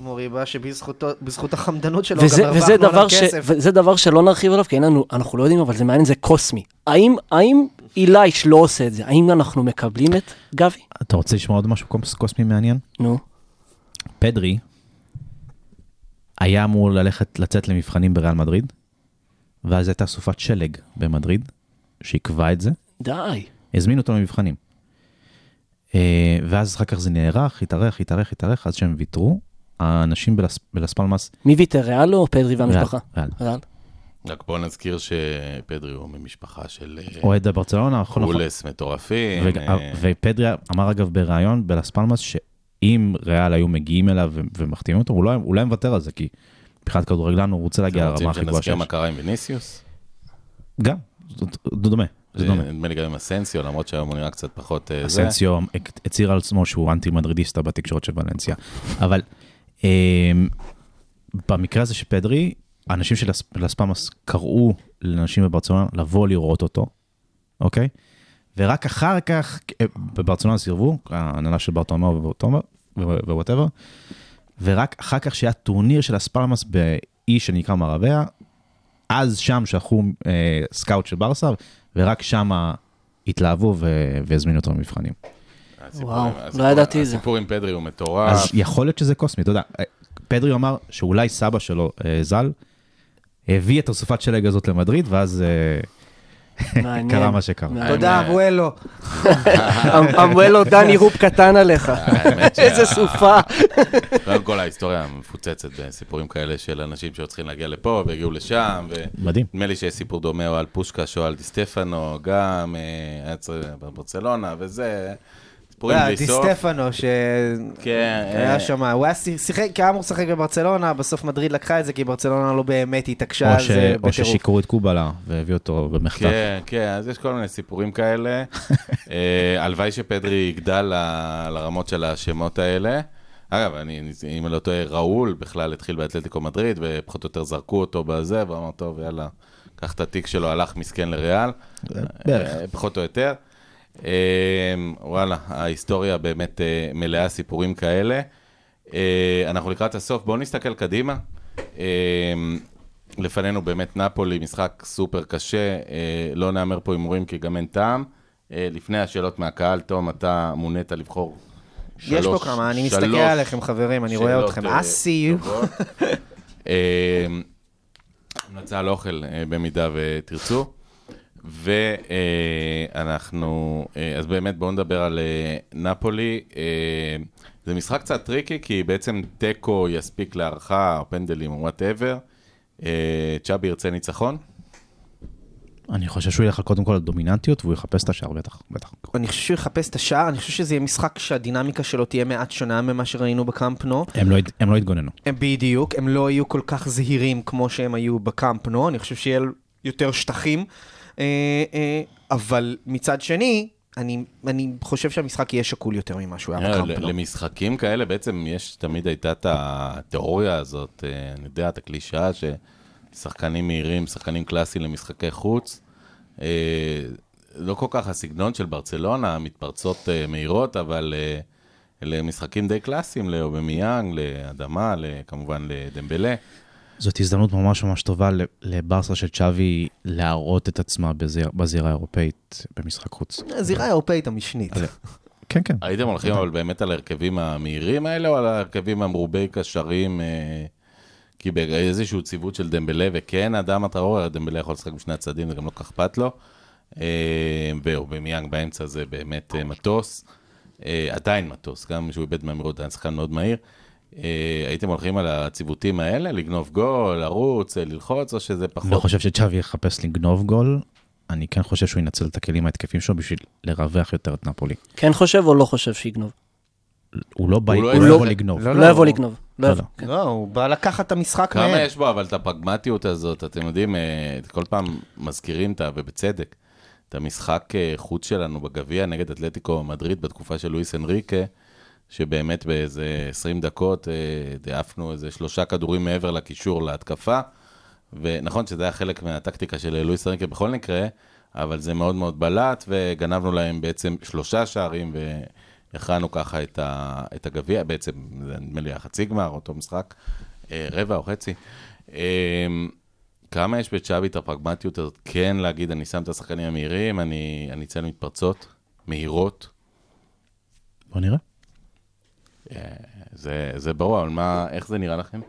Speaker 5: מוריבה, שבזכות החמדנות שלו
Speaker 6: וזה,
Speaker 5: גם הרווחנו
Speaker 6: וזה,
Speaker 5: עליו
Speaker 6: דבר ש,
Speaker 5: כסף.
Speaker 6: וזה דבר שלא נרחיב עליו, כי אין לנו, אנחנו לא יודעים, אבל זה מעניין, זה קוסמי. האם, האם אילייש לא עושה את זה? האם אנחנו מקבלים את גבי?
Speaker 7: אתה רוצה לשמוע עוד משהו קוס- קוסמי מעניין?
Speaker 6: נו.
Speaker 7: פדרי היה אמור ללכת, לצאת למבחנים בריאל מדריד, ואז הייתה סופת שלג במדריד, שעיכבה את זה,
Speaker 6: די.
Speaker 7: הזמינו אותו למבחנים. אה, ואז אחר כך זה נערך, התארך, התארך, התארך, עד שהם ויתרו. האנשים בלס, בלס פלמאס,
Speaker 6: מי ויתר, ריאל או פדרי והמשפחה?
Speaker 7: ריאל,
Speaker 6: ריאל.
Speaker 4: רק בוא נזכיר שפדרי הוא ממשפחה של אה,
Speaker 7: אוהד הברצלונה, נכון, נכון.
Speaker 4: אולס מטורפים.
Speaker 7: וג-
Speaker 4: אה,
Speaker 7: ופדרי אמר אגב בריאיון בלס פלמאס, שאם ריאל היו מגיעים אליו ו- ומחתימים אותו, הוא לא היה- הוא לא היה מוותר על זה, כי מבחינת כדורגלן הוא רוצה
Speaker 4: אתם
Speaker 7: להגיע
Speaker 4: לא רוצים
Speaker 7: לרמה הכי גבוהה
Speaker 4: שנזכיר
Speaker 7: שיש.
Speaker 4: מה קרה עם ויניסיוס? אה,
Speaker 7: גם, זה זה דומה, זה דומה.
Speaker 4: נדמה לי גם עם אסנסיו, למרות שהיום הוא נראה קצת פחות אה, זה.
Speaker 7: אסנסיו הצהיר על עצמו שהוא אנטי מדרידיסטה בתקשורת של ולנסיה. אבל אמ, במקרה הזה של פדרי, האנשים של לס- לס פמאס קראו לאנשים בברצלונה לבוא לראות אותו, אוקיי? ורק אחר כך, אה, בברצלונה סירבו, ההנהלה של ברטומו ווואטאבר, ורק אחר כך שהיה טורניר של הספלמאס באי שנקרא מרבע, אז שם שלחו אה, סקאוט של ברסה, ורק שם התלהבו ו- והזמינו אותו למבחנים.
Speaker 4: הסיפור
Speaker 6: וואו,
Speaker 4: עם-
Speaker 6: לא
Speaker 4: הסיפור-
Speaker 6: ידעתי את זה.
Speaker 4: הסיפור עם פדרי הוא מטורף.
Speaker 7: אז יכול להיות שזה קוסמי, אתה יודע. אה, פדרי אמר שאולי סבא שלו, אה, ז"ל, הביא את הסופת שלג הזאת למדריד, ואז אה,
Speaker 6: מעניין.
Speaker 7: קרה מה שקרה.
Speaker 5: תודה,
Speaker 4: האמת-
Speaker 5: אבואלו.
Speaker 6: אמרלו אמ- דני רופ קטן עליך.
Speaker 4: האמת שה-
Speaker 6: איזה סופה.
Speaker 4: קודם כל ההיסטוריה מפוצצת בסיפורים כאלה של אנשים שהיו צריכים להגיע לפה והגיעו לשם. ו-
Speaker 7: מדהים.
Speaker 4: נדמה לי שיש סיפור דומה או על פושקש או על די סטפנו, גם אה, היה צריך בברצלונה וזה. סיפורים
Speaker 6: אה,
Speaker 4: בלי
Speaker 5: אה, די
Speaker 4: סוף.
Speaker 5: סטפנו, ש...
Speaker 4: כן,
Speaker 5: היה
Speaker 4: אה,
Speaker 5: שם, הוא היה ש- שיחק, כי אמור לשחק בברצלונה, בסוף מדריד לקחה את זה, כי ברצלונה לא באמת התעקשה
Speaker 7: או
Speaker 5: על
Speaker 7: ש-
Speaker 5: זה
Speaker 7: או
Speaker 5: בטירוף.
Speaker 7: ששיקרו את קובלה והביאו אותו במחטף.
Speaker 4: כן, כן, אז יש כל מיני סיפורים כאלה. אה, הלוואי שפדרי יגדל ל- לרמות של השמות האלה. אגב, אני, אם אני לא טועה, ראול בכלל התחיל באתלטיקו מדריד, ופחות או יותר זרקו אותו בזה, והוא אמר, טוב, יאללה, קח את התיק שלו, הלך מסכן לריאל.
Speaker 7: בערך.
Speaker 4: אה, פחות או יותר. אה, וואלה, ההיסטוריה באמת אה, מלאה סיפורים כאלה. אה, אנחנו לקראת הסוף, בואו נסתכל קדימה. אה, לפנינו באמת נפולי, משחק סופר קשה, אה, לא נאמר פה הימורים כי גם אין טעם. אה, לפני השאלות מהקהל, תום, אתה מונית לבחור שלוש.
Speaker 5: יש פה כמה, אני מסתכל
Speaker 4: שלוש
Speaker 5: עליכם, חברים, אני רואה
Speaker 4: שאלות,
Speaker 5: אתכם.
Speaker 4: אה,
Speaker 5: אסי,
Speaker 4: טובות. אה, המלצה על אוכל, אה, במידה ותרצו. ואנחנו, אה, אז באמת בואו נדבר על אה, נפולי. אה, זה משחק קצת טריקי, כי בעצם תיקו יספיק להערכה, או פנדלים או וואטאבר. צ'אבי ירצה ניצחון?
Speaker 7: אני חושב שהוא ילך קודם כל על דומיננטיות, והוא יחפש את השער, בטח, בטח.
Speaker 5: אני חושב שהוא יחפש את השער, אני חושב שזה יהיה משחק שהדינמיקה שלו תהיה מעט שונה ממה שראינו בקאמפ נו.
Speaker 7: הם לא הת- הם לא התגוננו.
Speaker 5: הם בדיוק, הם לא יהיו כל כך זהירים כמו שהם היו בקאמפ נו, אני חושב שיהיה יותר שטחים. אה, אה, אבל מצד שני, אני, אני חושב שהמשחק יהיה שקול יותר ממה שהוא
Speaker 4: אה,
Speaker 5: היה בקאמפ נו.
Speaker 4: למשחקים כאלה בעצם יש, תמיד הייתה את התיאוריה הזאת, אה, אני יודע, את הקלישאה ששחקנים מהירים, שחקנים קלאסיים למשחקי חוץ. אה, לא כל כך הסגנון של ברצלונה, מתפרצות אה, מהירות, אבל אה, אלה משחקים די קלאסיים לאובמיאנג, לאדמה, ל- כמובן לדמבלה.
Speaker 7: זאת הזדמנות ממש ממש טובה ל- לברסה של צ'אבי להראות את עצמה בזיר- בזירה האירופאית במשחק חוץ.
Speaker 5: הזירה האירופאית המשנית.
Speaker 4: אוקיי.
Speaker 7: כן, כן.
Speaker 4: הייתם הולכים אבל באמת על ההרכבים המהירים האלה, או על ההרכבים המרובי קשרים? אה, כי באיזשהו ציוות של דמבלה, וכן, אדם הטהור, דמבלה יכול לשחק משני הצדדים, זה גם לא כל כך אכפת לו. אה, והוא במיאנג באמצע זה באמת אה, מטוס. אה, עדיין מטוס, גם כשהוא איבד מהמירות, היה שחקן מאוד מהיר. אה, הייתם הולכים על הציוותים האלה, לגנוב גול, לרוץ, אה, ללחוץ, או שזה
Speaker 7: לא
Speaker 4: פחות?
Speaker 7: חושב שצ'אבי יחפש לגנוב גול, אני כן חושב שהוא ינצל את הכלים ההתקפיים שלו בשביל לרווח יותר את נפולי.
Speaker 6: כן חושב או לא חושב שיגנוב?
Speaker 7: הוא לא בא,
Speaker 4: הוא לא
Speaker 7: הוא לא
Speaker 4: יבוא-
Speaker 7: יכול לגנוב.
Speaker 6: לא יבוא לגנוב. לא הבנתי.
Speaker 5: לא, הוא בא לקחת את המשחק
Speaker 4: כמה
Speaker 5: מהם.
Speaker 4: יש בו, אבל את הפרגמטיות הזאת, אתם יודעים, אה, כל פעם מזכירים את ה... ובצדק, את המשחק אה, חוץ שלנו בגביע נגד אתלטיקו מדריד בתקופה של לואיס אנריקה, שבאמת באיזה 20 דקות אה, דעפנו איזה שלושה כדורים מעבר לקישור להתקפה, ונכון שזה היה חלק מהטקטיקה של לואיס אנריקה בכל מקרה, אבל זה מאוד מאוד בלט, וגנבנו להם בעצם שלושה שערים, והכרענו ככה את, ה... את הגביע, בעצם זה נדמה לי החצי גמר, אותו משחק, אה, רבע או חצי. אה, כמה יש בצ'אבי את הפרגמטיות הזאת? כן להגיד, אני שם את השחקנים המהירים, אני אני אצא למתפרצות, מהירות.
Speaker 7: בוא נראה.
Speaker 4: זה, זה ברור, אבל מה, איך זה נראה לכם?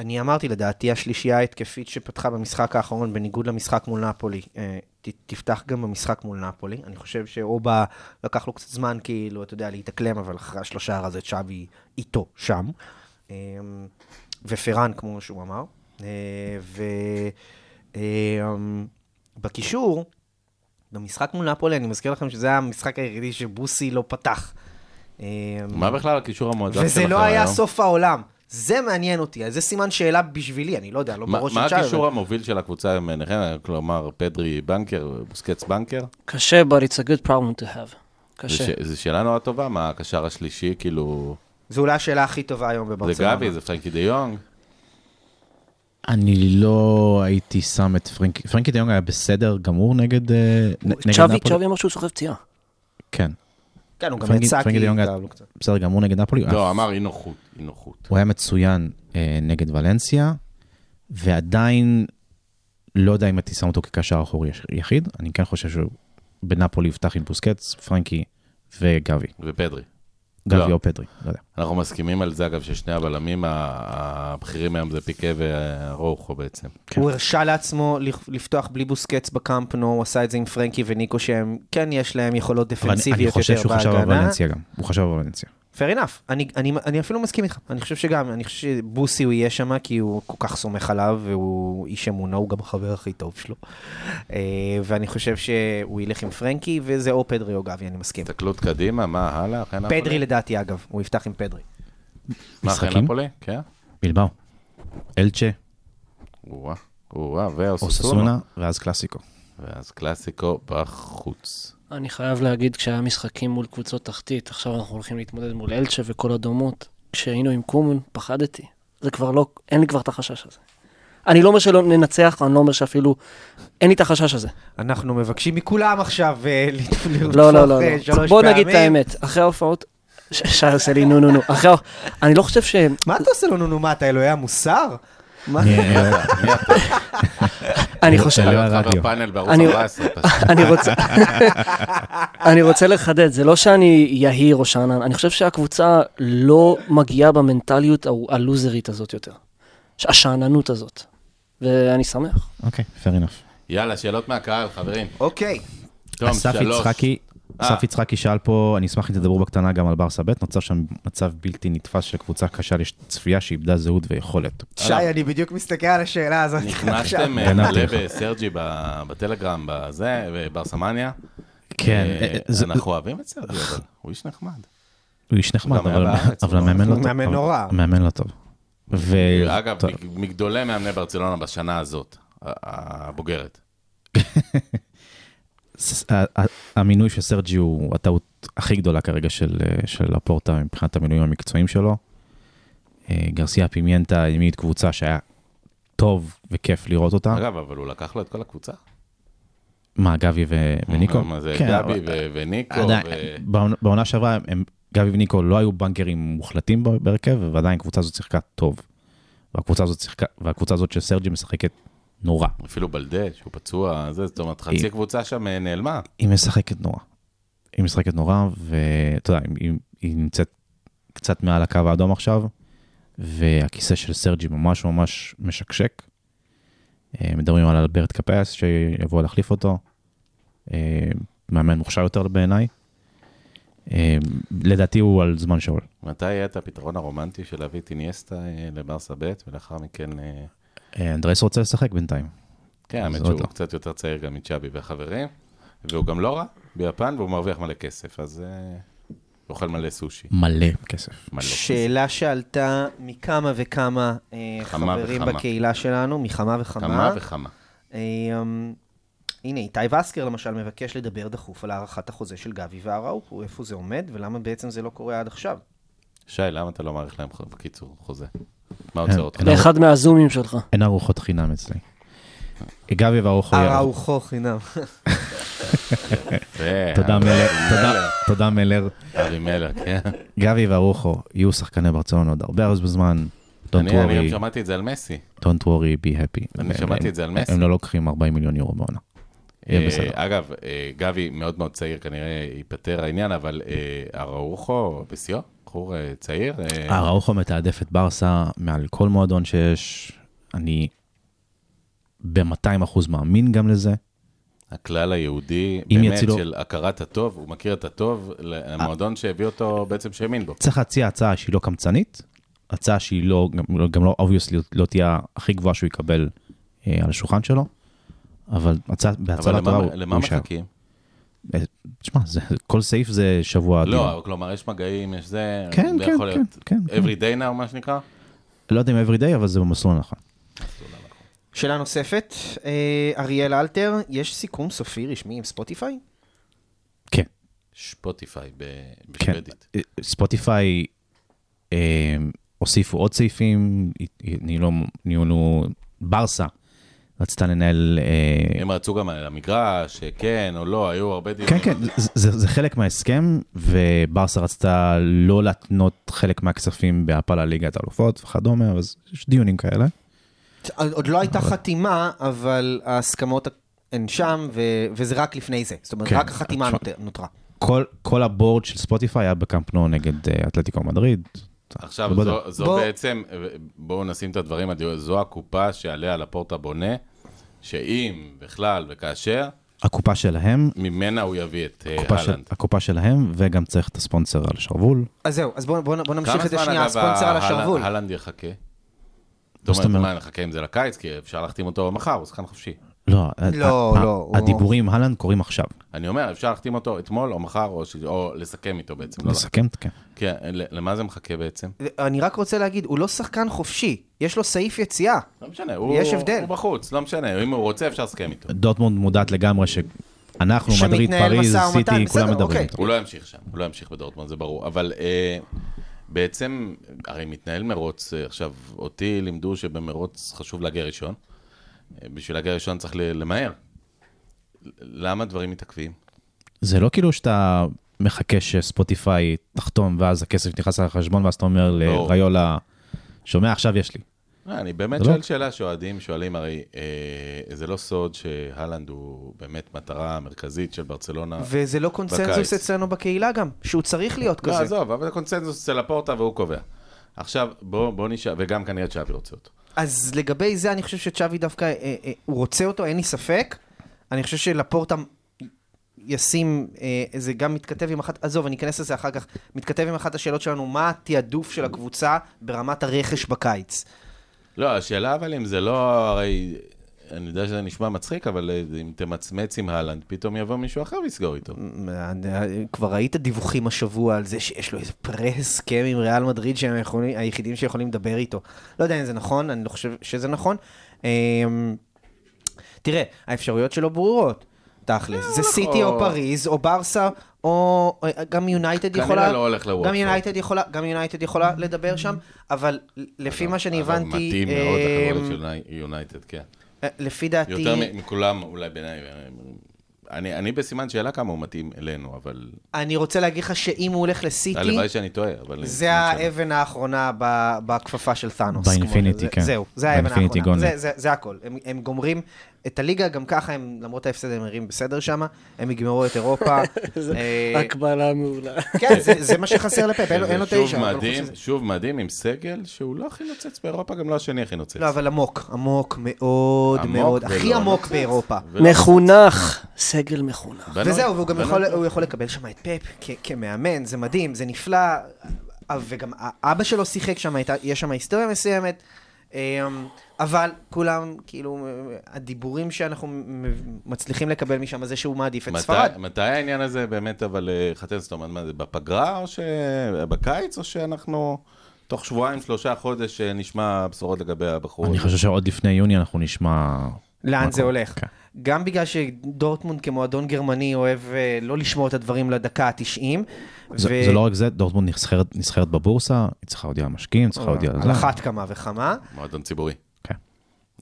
Speaker 5: אני אמרתי, לדעתי השלישייה ההתקפית שפתחה במשחק האחרון, בניגוד למשחק מול נפולי, אה, ת- תפתח גם במשחק מול נפולי. אני חושב שאובה, לקח לו קצת זמן, כאילו, אתה יודע, להתאקלם, אבל אחרי השלושה הר הזה צ'אבי איתו שם. אה, ופרן, כמו שהוא אמר. אה, ו... אה, בקישור, במשחק מול נפולי, אני מזכיר לכם שזה היה המשחק היחידי שבוסי לא פתח. אה,
Speaker 4: מה בכלל הקישור המועדף שלכם
Speaker 5: וזה
Speaker 4: היום?
Speaker 5: לא היה סוף העולם. זה מעניין אותי, אז זה סימן שאלה בשבילי, אני לא יודע, לא
Speaker 4: מה-
Speaker 5: בראש של
Speaker 4: מה
Speaker 5: צ'אבי.
Speaker 4: הקישור המוביל של הקבוצה ביניכם? כלומר, פדרי בנקר, בוסקץ בנקר?
Speaker 6: קשה, but it's a good problem to have. קשה.
Speaker 4: זו שאלה נורא טובה, מה הקשר השלישי, כאילו...
Speaker 5: זו אולי השאלה הכי טובה היום
Speaker 4: זה
Speaker 5: בברצלונה.
Speaker 4: גבי, זה פרנקי דה יונג.
Speaker 7: אני לא הייתי שם את פרנקי, פרנקי דיונג היה בסדר גמור נגד אה, נ- נגד
Speaker 6: צ'אבי,
Speaker 7: נפולי.
Speaker 6: צ'אבי אמר שהוא סוחב פציעה.
Speaker 7: כן,
Speaker 5: כן, הוא גם
Speaker 7: פרנקי-
Speaker 5: יצא כי...
Speaker 7: פרנקי דה יונג היה
Speaker 5: כאב לו קצת.
Speaker 7: בסדר גמור נגד נפולי. הוא היה
Speaker 4: לא, אמר אי נוחות, אי נוחות.
Speaker 7: הוא היה מצוין אה, נגד ולנסיה, ועדיין לא יודע אם הייתי שם אותו כקשר אחורי יש- יחיד. אני כן חושב שהוא בנפולי יפתח עם בוסקץ, פרנקי וגבי.
Speaker 4: ופדרי.
Speaker 7: גבי או פדרי, לא יודע.
Speaker 4: אנחנו מסכימים על זה, אגב, ששני הבלמים ה- הבכירים היום זה פיקה ורוחו בעצם.
Speaker 7: כן.
Speaker 5: הוא הרשה לעצמו לכ- לפתוח בלי בוסקץ בקאמפ נו, הוא עשה את זה עם פרנקי וניקו, שהם כן יש להם יכולות
Speaker 7: אבל אני-
Speaker 5: דפנסיביות
Speaker 7: אני חושב
Speaker 5: יותר
Speaker 7: שהוא חשב על
Speaker 5: בהגנה.
Speaker 7: ולנסיה גם. הוא חשב על ולנסיה.
Speaker 5: fair enough, אני, אני, אני אפילו מסכים איתך. אני חושב שגם, אני חושב שבוסי הוא יהיה שם, כי הוא כל כך סומך עליו, והוא איש אמונה, הוא גם החבר הכי טוב שלו. אה, ואני חושב שהוא ילך עם פרנקי, וזה או פדרי או גבי, אני מסכים.
Speaker 4: הסתכלות קדימה, מה הלאה? אחרי נפולי?
Speaker 5: פדרי לדעתי, אגב, הוא יפתח עם פדרי.
Speaker 4: מה, אחרי
Speaker 7: משחקים?
Speaker 4: נפולי? כן.
Speaker 7: בלבאו. אלצ'ה,
Speaker 4: או-אה, או-אה, ואוססונה.
Speaker 7: אוססונה, ואז קלאסיקו.
Speaker 4: ואז קלאסיקו בחוץ.
Speaker 6: אני חייב להגיד, כשהיה משחקים מול קבוצות תחתית, עכשיו אנחנו הולכים להתמודד מול אלצ'ה וכל הדומות, כשהיינו עם קומן, פחדתי. זה כבר לא, אין לי כבר את החשש הזה. אני לא אומר שלא ננצח, אני לא אומר שאפילו, אין לי את החשש הזה.
Speaker 5: אנחנו מבקשים מכולם עכשיו אה, לת- לרצוח
Speaker 6: לא, לא, לא,
Speaker 5: אה,
Speaker 6: לא.
Speaker 5: שלוש
Speaker 6: בוא נגיד את
Speaker 5: פעמים.
Speaker 6: האמת, אחרי ההופעות, ש- שי עושה לי נו נו נו, אחרי, ה- אני לא חושב ש...
Speaker 5: מה אתה עושה לנו, נו, מה, אתה אלוהי המוסר? מה?
Speaker 7: אה,
Speaker 6: אני חושב...
Speaker 7: לא
Speaker 4: היה אותך
Speaker 7: הרדיו.
Speaker 4: בפאנל בערוץ
Speaker 6: אני-
Speaker 4: 14, פשוט.
Speaker 6: אני רוצה, אני רוצה לחדד, זה לא שאני יהיר או שאנן, אני חושב שהקבוצה לא מגיעה במנטליות ה- הלוזרית הזאת יותר. השאננות הזאת. ואני שמח.
Speaker 7: אוקיי, fair enough.
Speaker 4: יאללה, שאלות מהקהל, חברים.
Speaker 5: אוקיי.
Speaker 4: תום,
Speaker 7: אסף
Speaker 4: שלוש.
Speaker 7: יצחקי,
Speaker 4: אה.
Speaker 7: אסף יצחקי שאל פה, אני אשמח אם תדברו בקטנה גם על ברסה ב', נוצר שם מצב בלתי נתפס של קבוצה קשה לצפייה שאיבדה זהות ויכולת.
Speaker 5: שי, אני בדיוק מסתכל על השאלה הזאת. עכשיו.
Speaker 4: נכנסתם אה,
Speaker 7: גנבתי
Speaker 4: מלא
Speaker 7: לך.
Speaker 4: בסרג'י ב- בטלגרם, בזה, בברסמניה.
Speaker 7: כן,
Speaker 4: אה,
Speaker 7: אה, זה- אה,
Speaker 4: אנחנו אוהבים את סרג'י, אבל הוא איש נחמד.
Speaker 7: הוא איש נחמד,
Speaker 4: הוא גם
Speaker 7: אבל
Speaker 4: היה בארץ,
Speaker 7: אבל
Speaker 4: הוא
Speaker 7: המאמן לא
Speaker 5: הוא
Speaker 7: טוב.
Speaker 5: מאמן
Speaker 7: אבל-
Speaker 5: נורא.
Speaker 7: מאמן לא טוב. ו...
Speaker 4: אה, אגב,
Speaker 7: אה, טוב,
Speaker 4: מג- מגדולי מאמני ברצלונה בשנה הזאת, ה- הבוגרת.
Speaker 7: ס- ה- ה- המינוי של סרג'י הוא הטעות הכי גדולה כרגע של, אה, של הפורטה מבחינת המינויים המקצועיים שלו. אה, גרסיה פימיינטה העמיד קבוצה שהיה טוב וכיף לראות אותה.
Speaker 4: אגב, אבל הוא לקח לו את כל הקבוצה.
Speaker 7: מה, גבי ו- וניקו?
Speaker 4: אה, מה זה,
Speaker 7: כן,
Speaker 4: גבי
Speaker 7: אבל-
Speaker 4: ו- וניקו.
Speaker 7: עדיין,
Speaker 4: ו-
Speaker 7: בעונה- בעונה שעברה, הם- גבי וניקו לא היו בנקרים מוחלטים ב- בהרכב, ועדיין הקבוצה הזאת שיחקה טוב. והקבוצה הזאת שיחקה, והקבוצה הזאת של סרג'י משחקת נורא.
Speaker 4: אפילו בלדה, שהוא פצוע, זה, זאת אומרת, חצי
Speaker 7: היא-
Speaker 4: קבוצה שם אה, נעלמה.
Speaker 7: היא משחקת נורא. היא משחקת נורא, ואתה יודע, היא, היא נמצאת קצת מעל הקו האדום עכשיו, והכיסא של סרג'י ממש ממש משקשק. אה, מדברים על אלברט קפס שיבוא להחליף אותו. אה, מאמן מוכשר יותר בעיניי. אה, לדעתי הוא על זמן שאול.
Speaker 4: מתי היה את הפתרון הרומנטי של להביא את איניאסטה אה, לברסה ב' ולאחר מכן... אה,
Speaker 7: אה, אנדרס רוצה לשחק בינתיים.
Speaker 4: כן,
Speaker 7: זה
Speaker 4: האמת
Speaker 7: עוד
Speaker 4: שהוא
Speaker 7: לא.
Speaker 4: קצת יותר צעיר גם מצ'אבי והחברים, והוא גם לא רע ביפן, והוא מרוויח מלא כסף, אז אה, אוכל מלא סושי.
Speaker 7: מלא כסף.
Speaker 4: מלא.
Speaker 5: שאלה שעלתה מכמה וכמה אה,
Speaker 4: כמה
Speaker 5: חברים
Speaker 4: וכמה.
Speaker 5: בקהילה שלנו, מכמה וכמה.
Speaker 4: כמה וכמה.
Speaker 5: אה, אמ, הנה, איתי וסקר למשל מבקש לדבר דחוף על הארכת החוזה של גבי והראוכו, איפה זה עומד ולמה בעצם זה לא קורה עד עכשיו.
Speaker 4: שי, למה אתה לא מאריך להם, ח- בקיצור, חוזה? מה
Speaker 7: כן.
Speaker 4: עוצר אותך?
Speaker 6: לאחד מהזומים שלך.
Speaker 7: אין ארוחות חינם אצלי. גבי וארוחו ירוק.
Speaker 5: הראוכו חינם.
Speaker 4: יפה,
Speaker 7: תודה מלר, תודה- תודה מלר.
Speaker 4: ארי מלר, כן.
Speaker 7: גבי וארוחו יהיו שחקני ברצלונה עוד הרבה הרבה זמן. Don't
Speaker 4: אני אני גם
Speaker 7: worry,
Speaker 4: שמעתי את זה על מסי.
Speaker 7: don't worry, be happy.
Speaker 4: אני
Speaker 7: הם-
Speaker 4: שמעתי
Speaker 7: הם-
Speaker 4: את זה על מסי.
Speaker 7: הם לא לוקחים 40 מיליון יורו בעונה. יהיה
Speaker 4: אה,
Speaker 7: בסדר.
Speaker 4: אגב, אה, גבי מאוד מאוד צעיר, כנראה ייפתר העניין, אבל אה, אראוחו בשיאו, בחור אה, צעיר. אה,
Speaker 7: אראוחו מתעדף את ברסה מעל כל מועדון שיש. אני ב-200 אחוז מאמין גם לזה.
Speaker 4: הכלל היהודי,
Speaker 7: אם
Speaker 4: באמת,
Speaker 7: יצילו-
Speaker 4: של הכרת הטוב, הוא מכיר את הטוב, למועדון שהביא אותו, בעצם שהאמין בו.
Speaker 7: צריך להציע הצעה שהיא לא קמצנית, הצעה שהיא לא, גם, גם לא, אובייסלי, לא תהיה הכי גבוהה שהוא יקבל אה, על השולחן שלו, אבל הצעה,
Speaker 4: אבל
Speaker 7: בהצעה
Speaker 4: למה-
Speaker 7: טובה הוא
Speaker 4: למה
Speaker 7: הוא יישאר.
Speaker 4: מחכים?
Speaker 7: אה, תשמע, זה- כל סעיף זה שבוע עד
Speaker 4: לא, אבל כלומר, יש מגעים, יש זה,
Speaker 7: כן,
Speaker 4: זה
Speaker 7: כן,
Speaker 4: יכול להיות
Speaker 7: כן, כן, כן.
Speaker 4: every day now, מה שנקרא.
Speaker 7: לא יודע אם every day, אבל זה במסלול הנכון.
Speaker 5: שאלה נוספת, אה, אריאל אלתר, יש סיכום סופי רשמי עם ספוטיפיי?
Speaker 7: כן,
Speaker 4: שפוטיפיי ב-
Speaker 7: כן.
Speaker 4: בשוודית.
Speaker 7: אה, ספוטיפיי אה, הוסיפו עוד סעיפים, אה, ניהלו, ניהלו ברסה, רצתה לנהל... אה,
Speaker 4: הם רצו גם על המגרש, כן או לא, היו הרבה דיונים.
Speaker 7: כן, כן, זה- זה, זה חלק מההסכם, וברסה רצתה לא להתנות חלק מהכספים בהפלה ליגת האלופות וכדומה, אז יש דיונים כאלה.
Speaker 5: עוד לא הייתה חתימה, אבל ההסכמות הן שם, ו- וזה רק לפני זה. זאת אומרת,
Speaker 7: כן,
Speaker 5: רק החתימה
Speaker 7: עכשיו-
Speaker 5: נות- נותרה.
Speaker 7: כל, כל הבורד של ספוטיפיי היה בקמפנו נגד אה, אתלטיקו מדריד.
Speaker 4: עכשיו,
Speaker 7: לא בדק.
Speaker 4: זו, זו
Speaker 5: בוא-
Speaker 4: בעצם, בואו נשים את הדברים, על דיו- זו הקופה שעליה לפורטה בונה, שאם, בכלל וכאשר,
Speaker 7: הקופה שלהם,
Speaker 4: ממנה הוא יביא את אה,
Speaker 7: הקופה, של,
Speaker 4: הלנד.
Speaker 7: הקופה שלהם, וגם צריך את הספונסר על השרוול.
Speaker 5: אז זהו, אז בואו נמשיך
Speaker 4: כמה
Speaker 5: את זה
Speaker 4: זמן,
Speaker 5: שנייה,
Speaker 4: אגב,
Speaker 5: הספונסר על
Speaker 4: ההלנד-
Speaker 5: השרוול.
Speaker 4: הלנד יחכה? זאת
Speaker 7: זאת
Speaker 4: אומרת,
Speaker 7: אומרת?
Speaker 4: מה, נחכה עם זה לקיץ? כי אפשר להחתים אותו מחר, הוא שחקן חופשי.
Speaker 7: לא,
Speaker 5: לא,
Speaker 7: ה- ה-
Speaker 5: לא, הוא-
Speaker 7: הדיבורים אהלן קורים עכשיו.
Speaker 4: אני אומר, אפשר להחתים אותו אתמול או מחר, או, ש... או לסכם איתו בעצם. לא
Speaker 7: לסכם, כן.
Speaker 4: לח- כן, ל- למה זה מחכה בעצם?
Speaker 5: אני רק רוצה להגיד, הוא לא שחקן חופשי, יש לו סעיף יציאה.
Speaker 4: לא משנה, הוא,
Speaker 5: יש הבדל.
Speaker 4: הוא בחוץ, לא משנה, אם הוא רוצה אפשר לסכם איתו.
Speaker 7: דורטמונד מודעת לגמרי שאנחנו,
Speaker 5: שמתנהל
Speaker 7: מדריד,
Speaker 5: משא
Speaker 7: פריז,
Speaker 5: ומתן,
Speaker 7: סיטי,
Speaker 5: בסדר,
Speaker 7: כולם
Speaker 5: אוקיי.
Speaker 7: מדברים איתו.
Speaker 4: הוא לא ימשיך שם, הוא לא ימשיך בדורטמונד, זה ברור. אבל אה, בעצם, הרי מתנהל מרוץ, אה, עכשיו, אותי לימדו שבמרוץ חשוב להגיע ראשון. אה, בשביל להגיע ראשון צריך ל- למהר. למה דברים מתעכבים?
Speaker 7: זה לא כאילו שאתה מחכה שספוטיפיי תחתום, ואז הכסף נכנס לחשבון, ואז אתה אומר
Speaker 4: לא.
Speaker 7: לריולה, שומע, עכשיו יש לי.
Speaker 4: אה, אני באמת
Speaker 7: זה לא-
Speaker 4: שואל שאלה שאוהדים שואלים, הרי אה, זה לא סוד שהלנד הוא באמת מטרה מרכזית של ברצלונה.
Speaker 5: וזה לא קונצנזוס
Speaker 4: בקיץ.
Speaker 5: אצלנו בקהילה גם, שהוא צריך להיות
Speaker 4: לא,
Speaker 5: כזה.
Speaker 4: עזוב, אבל זה קונצנזוס אצל הפורטה והוא קובע. עכשיו, בוא, בוא נשאל, וגם כנראה צ'אבי רוצה אותו.
Speaker 5: אז לגבי זה, אני חושב שצ'אבי דווקא, אה, אה, הוא רוצה אותו, אין לי ספק. אני חושב שלפורטה ישים, אה, זה גם מתכתב עם אחת, עזוב, אני אכנס לזה אחר כך, מתכתב עם אחת השאלות שלנו, מה התעדוף של הקבוצה ברמת הרכש בקיץ?
Speaker 4: לא, השאלה אבל אם זה לא, הרי, אני יודע שזה נשמע מצחיק, אבל אה, אם תמצמץ עם אהלנד, פתאום יבוא מישהו אחר ויסגור איתו.
Speaker 5: אה, כבר ראית דיווחים השבוע על זה שיש לו איזה פרה-הסכם עם ריאל מדריד שהם יכולים, היחידים שיכולים לדבר איתו. לא יודע אם זה נכון, אני לא חושב שזה נכון. אמ, תראה, האפשרויות שלו ברורות,
Speaker 4: אה,
Speaker 5: תכלס.
Speaker 4: לא
Speaker 5: זה סיטי או פריז, או ברסה, או אה, גם יונייטד
Speaker 4: כנראה
Speaker 5: יכולה...
Speaker 4: לא הולך לוואטפורד.
Speaker 5: גם יונייטד יכולה, גם יונייטד יכולה לדבר שם, אבל לפי מה שאני
Speaker 4: אה, אבל
Speaker 5: הבנתי...
Speaker 4: מתאים מאוד
Speaker 5: אמ,
Speaker 4: לחברות של יוני- יונייטד, כן.
Speaker 5: אה, לפי דעתי...
Speaker 4: יותר מ- מכולם, אולי בעיניי. אה, אני, אני בסימן שאלה כמה הוא מתאים אלינו, אבל
Speaker 5: אני רוצה להגיד לך שאם הוא הולך לסיטי...
Speaker 4: הלוואי שאני טועה, אבל... לא
Speaker 5: זה האבן האחרונה ב- בכפפה של תאנוס.
Speaker 7: באינפיניטי,
Speaker 5: כמו-
Speaker 7: כן.
Speaker 5: זה- זהו, זה האבן
Speaker 7: באינפיניטי
Speaker 5: האחרונה.
Speaker 7: גונלי.
Speaker 5: זה- זה- זה הכל. הם- הם גומרים את הליגה, גם ככה הם, למרות ההפסד הם נראים בסדר שם, הם יגמרו את אירופה. אה,
Speaker 6: הקבלה מעולה.
Speaker 5: כן, זה- זה מה שחסר לפאפ, אין לו-
Speaker 4: שזה
Speaker 5: אין לו תשע. לא
Speaker 4: שוב
Speaker 5: אבל חוץ
Speaker 4: מדהים,
Speaker 5: מזה-
Speaker 4: שוב מדהים עם סגל שהוא לא הכי נוצץ באירופה, גם לא השני הכי נוצץ.
Speaker 5: לא, אבל עמוק, עמוק מאוד
Speaker 4: עמוק
Speaker 5: מאוד,
Speaker 4: ולא
Speaker 5: הכי עמוק
Speaker 4: נוצץ.
Speaker 5: באירופה.
Speaker 7: נכון.
Speaker 4: ולא-
Speaker 6: מחונך, סגל מחונך.
Speaker 4: בנוי,
Speaker 5: וזהו, והוא גם
Speaker 4: בנוי.
Speaker 5: יכול, הוא יכול לקבל שם את פאפ כ- כמאמן, זה מדהים, זה נפלא, אה, וגם ה- אבא שלו שיחק שם, הייתה- יש שם היסטוריה מסוימת. אמ, אבל כולם, כאילו, הדיבורים שאנחנו מ- מ- מצליחים לקבל משם, זה שהוא מעדיף את
Speaker 4: מתי-
Speaker 5: ספרד.
Speaker 4: מתי העניין הזה באמת, אבל אה, חתן סתום, מה זה, בפגרה או ש... בקיץ, או שאנחנו תוך שבועיים, שלושה חודש אה, נשמע בשורות לגבי הבחור?
Speaker 7: אני
Speaker 4: הזה?
Speaker 7: חושב שעוד לפני יוני אנחנו נשמע...
Speaker 5: לאן
Speaker 7: מה
Speaker 5: זה
Speaker 7: קורה.
Speaker 5: הולך.
Speaker 7: כן.
Speaker 5: גם בגלל שדורטמונד כמועדון גרמני אוהב אה, לא לשמור את הדברים לדקה ה-90.
Speaker 7: זה זה לא רק זה, דורטמונד נסחרת- נסחרת בבורסה, היא צריכה להודיע על משקיעים, צריכה להודיע על זה.
Speaker 5: לא. על אחת כמה וכמה.
Speaker 4: מועדון ציבורי.
Speaker 7: כן.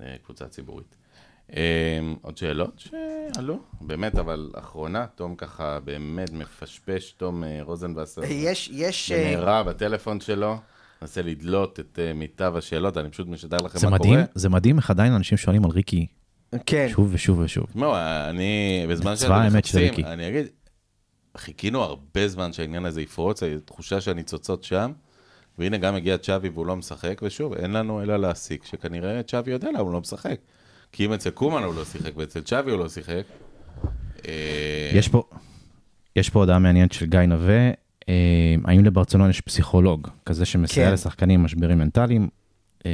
Speaker 4: אה, קבוצה ציבורית. אה, עוד שאלות שעלו? באמת, אבל אחרונה, תום ככה באמת מפשפש, תום אה, רוזנבסר.
Speaker 5: יש, יש... אה,
Speaker 4: במהרה בטלפון שלו, מנסה לדלות את אה, מיטב השאלות, אני פשוט משדר לכם
Speaker 7: זה
Speaker 4: מה
Speaker 7: מדהים,
Speaker 4: קורה.
Speaker 7: זה מדהים איך עדיין אנשים שואלים על ריקי
Speaker 5: כן.
Speaker 7: שוב ושוב ושוב.
Speaker 4: תשמעו, אני, בזמן
Speaker 7: צבא
Speaker 4: שאתם
Speaker 7: האמת של
Speaker 4: מחפשים,
Speaker 7: ריקי.
Speaker 4: אני אגיד, חיכינו הרבה זמן שהעניין הזה יפרוץ, תחושה שהניצוצות שם, והנה גם הגיע צ'אבי והוא לא משחק, ושוב, אין לנו אלא להסיק שכנראה צ'אבי יודע למה הוא לא משחק. כי אם אצל קומן הוא לא שיחק ואצל צ'אבי הוא לא שיחק, אה,
Speaker 7: יש פה, יש פה הודעה מעניינת של גיא נווה, אה, האם לברצלון יש פסיכולוג כזה שמסייע
Speaker 5: כן.
Speaker 7: לשחקנים עם משברים מנטליים? אה,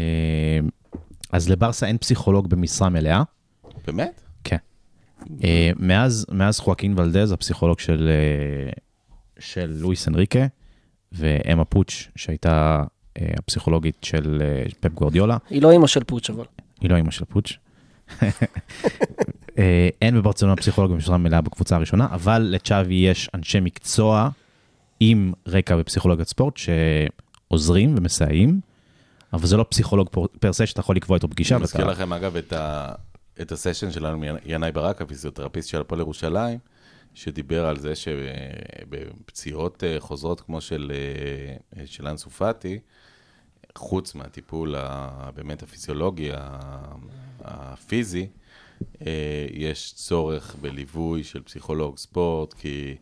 Speaker 7: אז לברסה אין פסיכולוג במשרה מלאה.
Speaker 4: באמת?
Speaker 7: כן. אה, מאז, מאז חואקין ולדז, הפסיכולוג של, אה, של לואיס אנריקה, ואמה פוטש, שהייתה אה, הפסיכולוגית של אה, פפ גוורדיולה,
Speaker 6: היא לא אימא של פוטש, אבל.
Speaker 7: היא לא אימא של פוטש. אה, אין בברצלונה פסיכולוג במשרה מלאה בקבוצה הראשונה, אבל לצ'אבי יש אנשי מקצוע עם רקע בפסיכולוגיית ספורט שעוזרים ומסייעים, אבל זה לא פסיכולוג פור- פר סה שאתה יכול לקבוע איתו פגישה.
Speaker 4: אני מזכיר
Speaker 7: ואתה-
Speaker 4: לכם, אגב, את, ה... את הסשן שלנו עם ינאי ברק, הפיזיותרפיסט של הפועל ירושלים, שדיבר על זה שבפציעות אה, חוזרות כמו של, אה, של אנסו פאטי, חוץ מהטיפול ה- באמת הפיזיולוגי, ה- הפיזי, אה, יש צורך בליווי של פסיכולוג ספורט, כי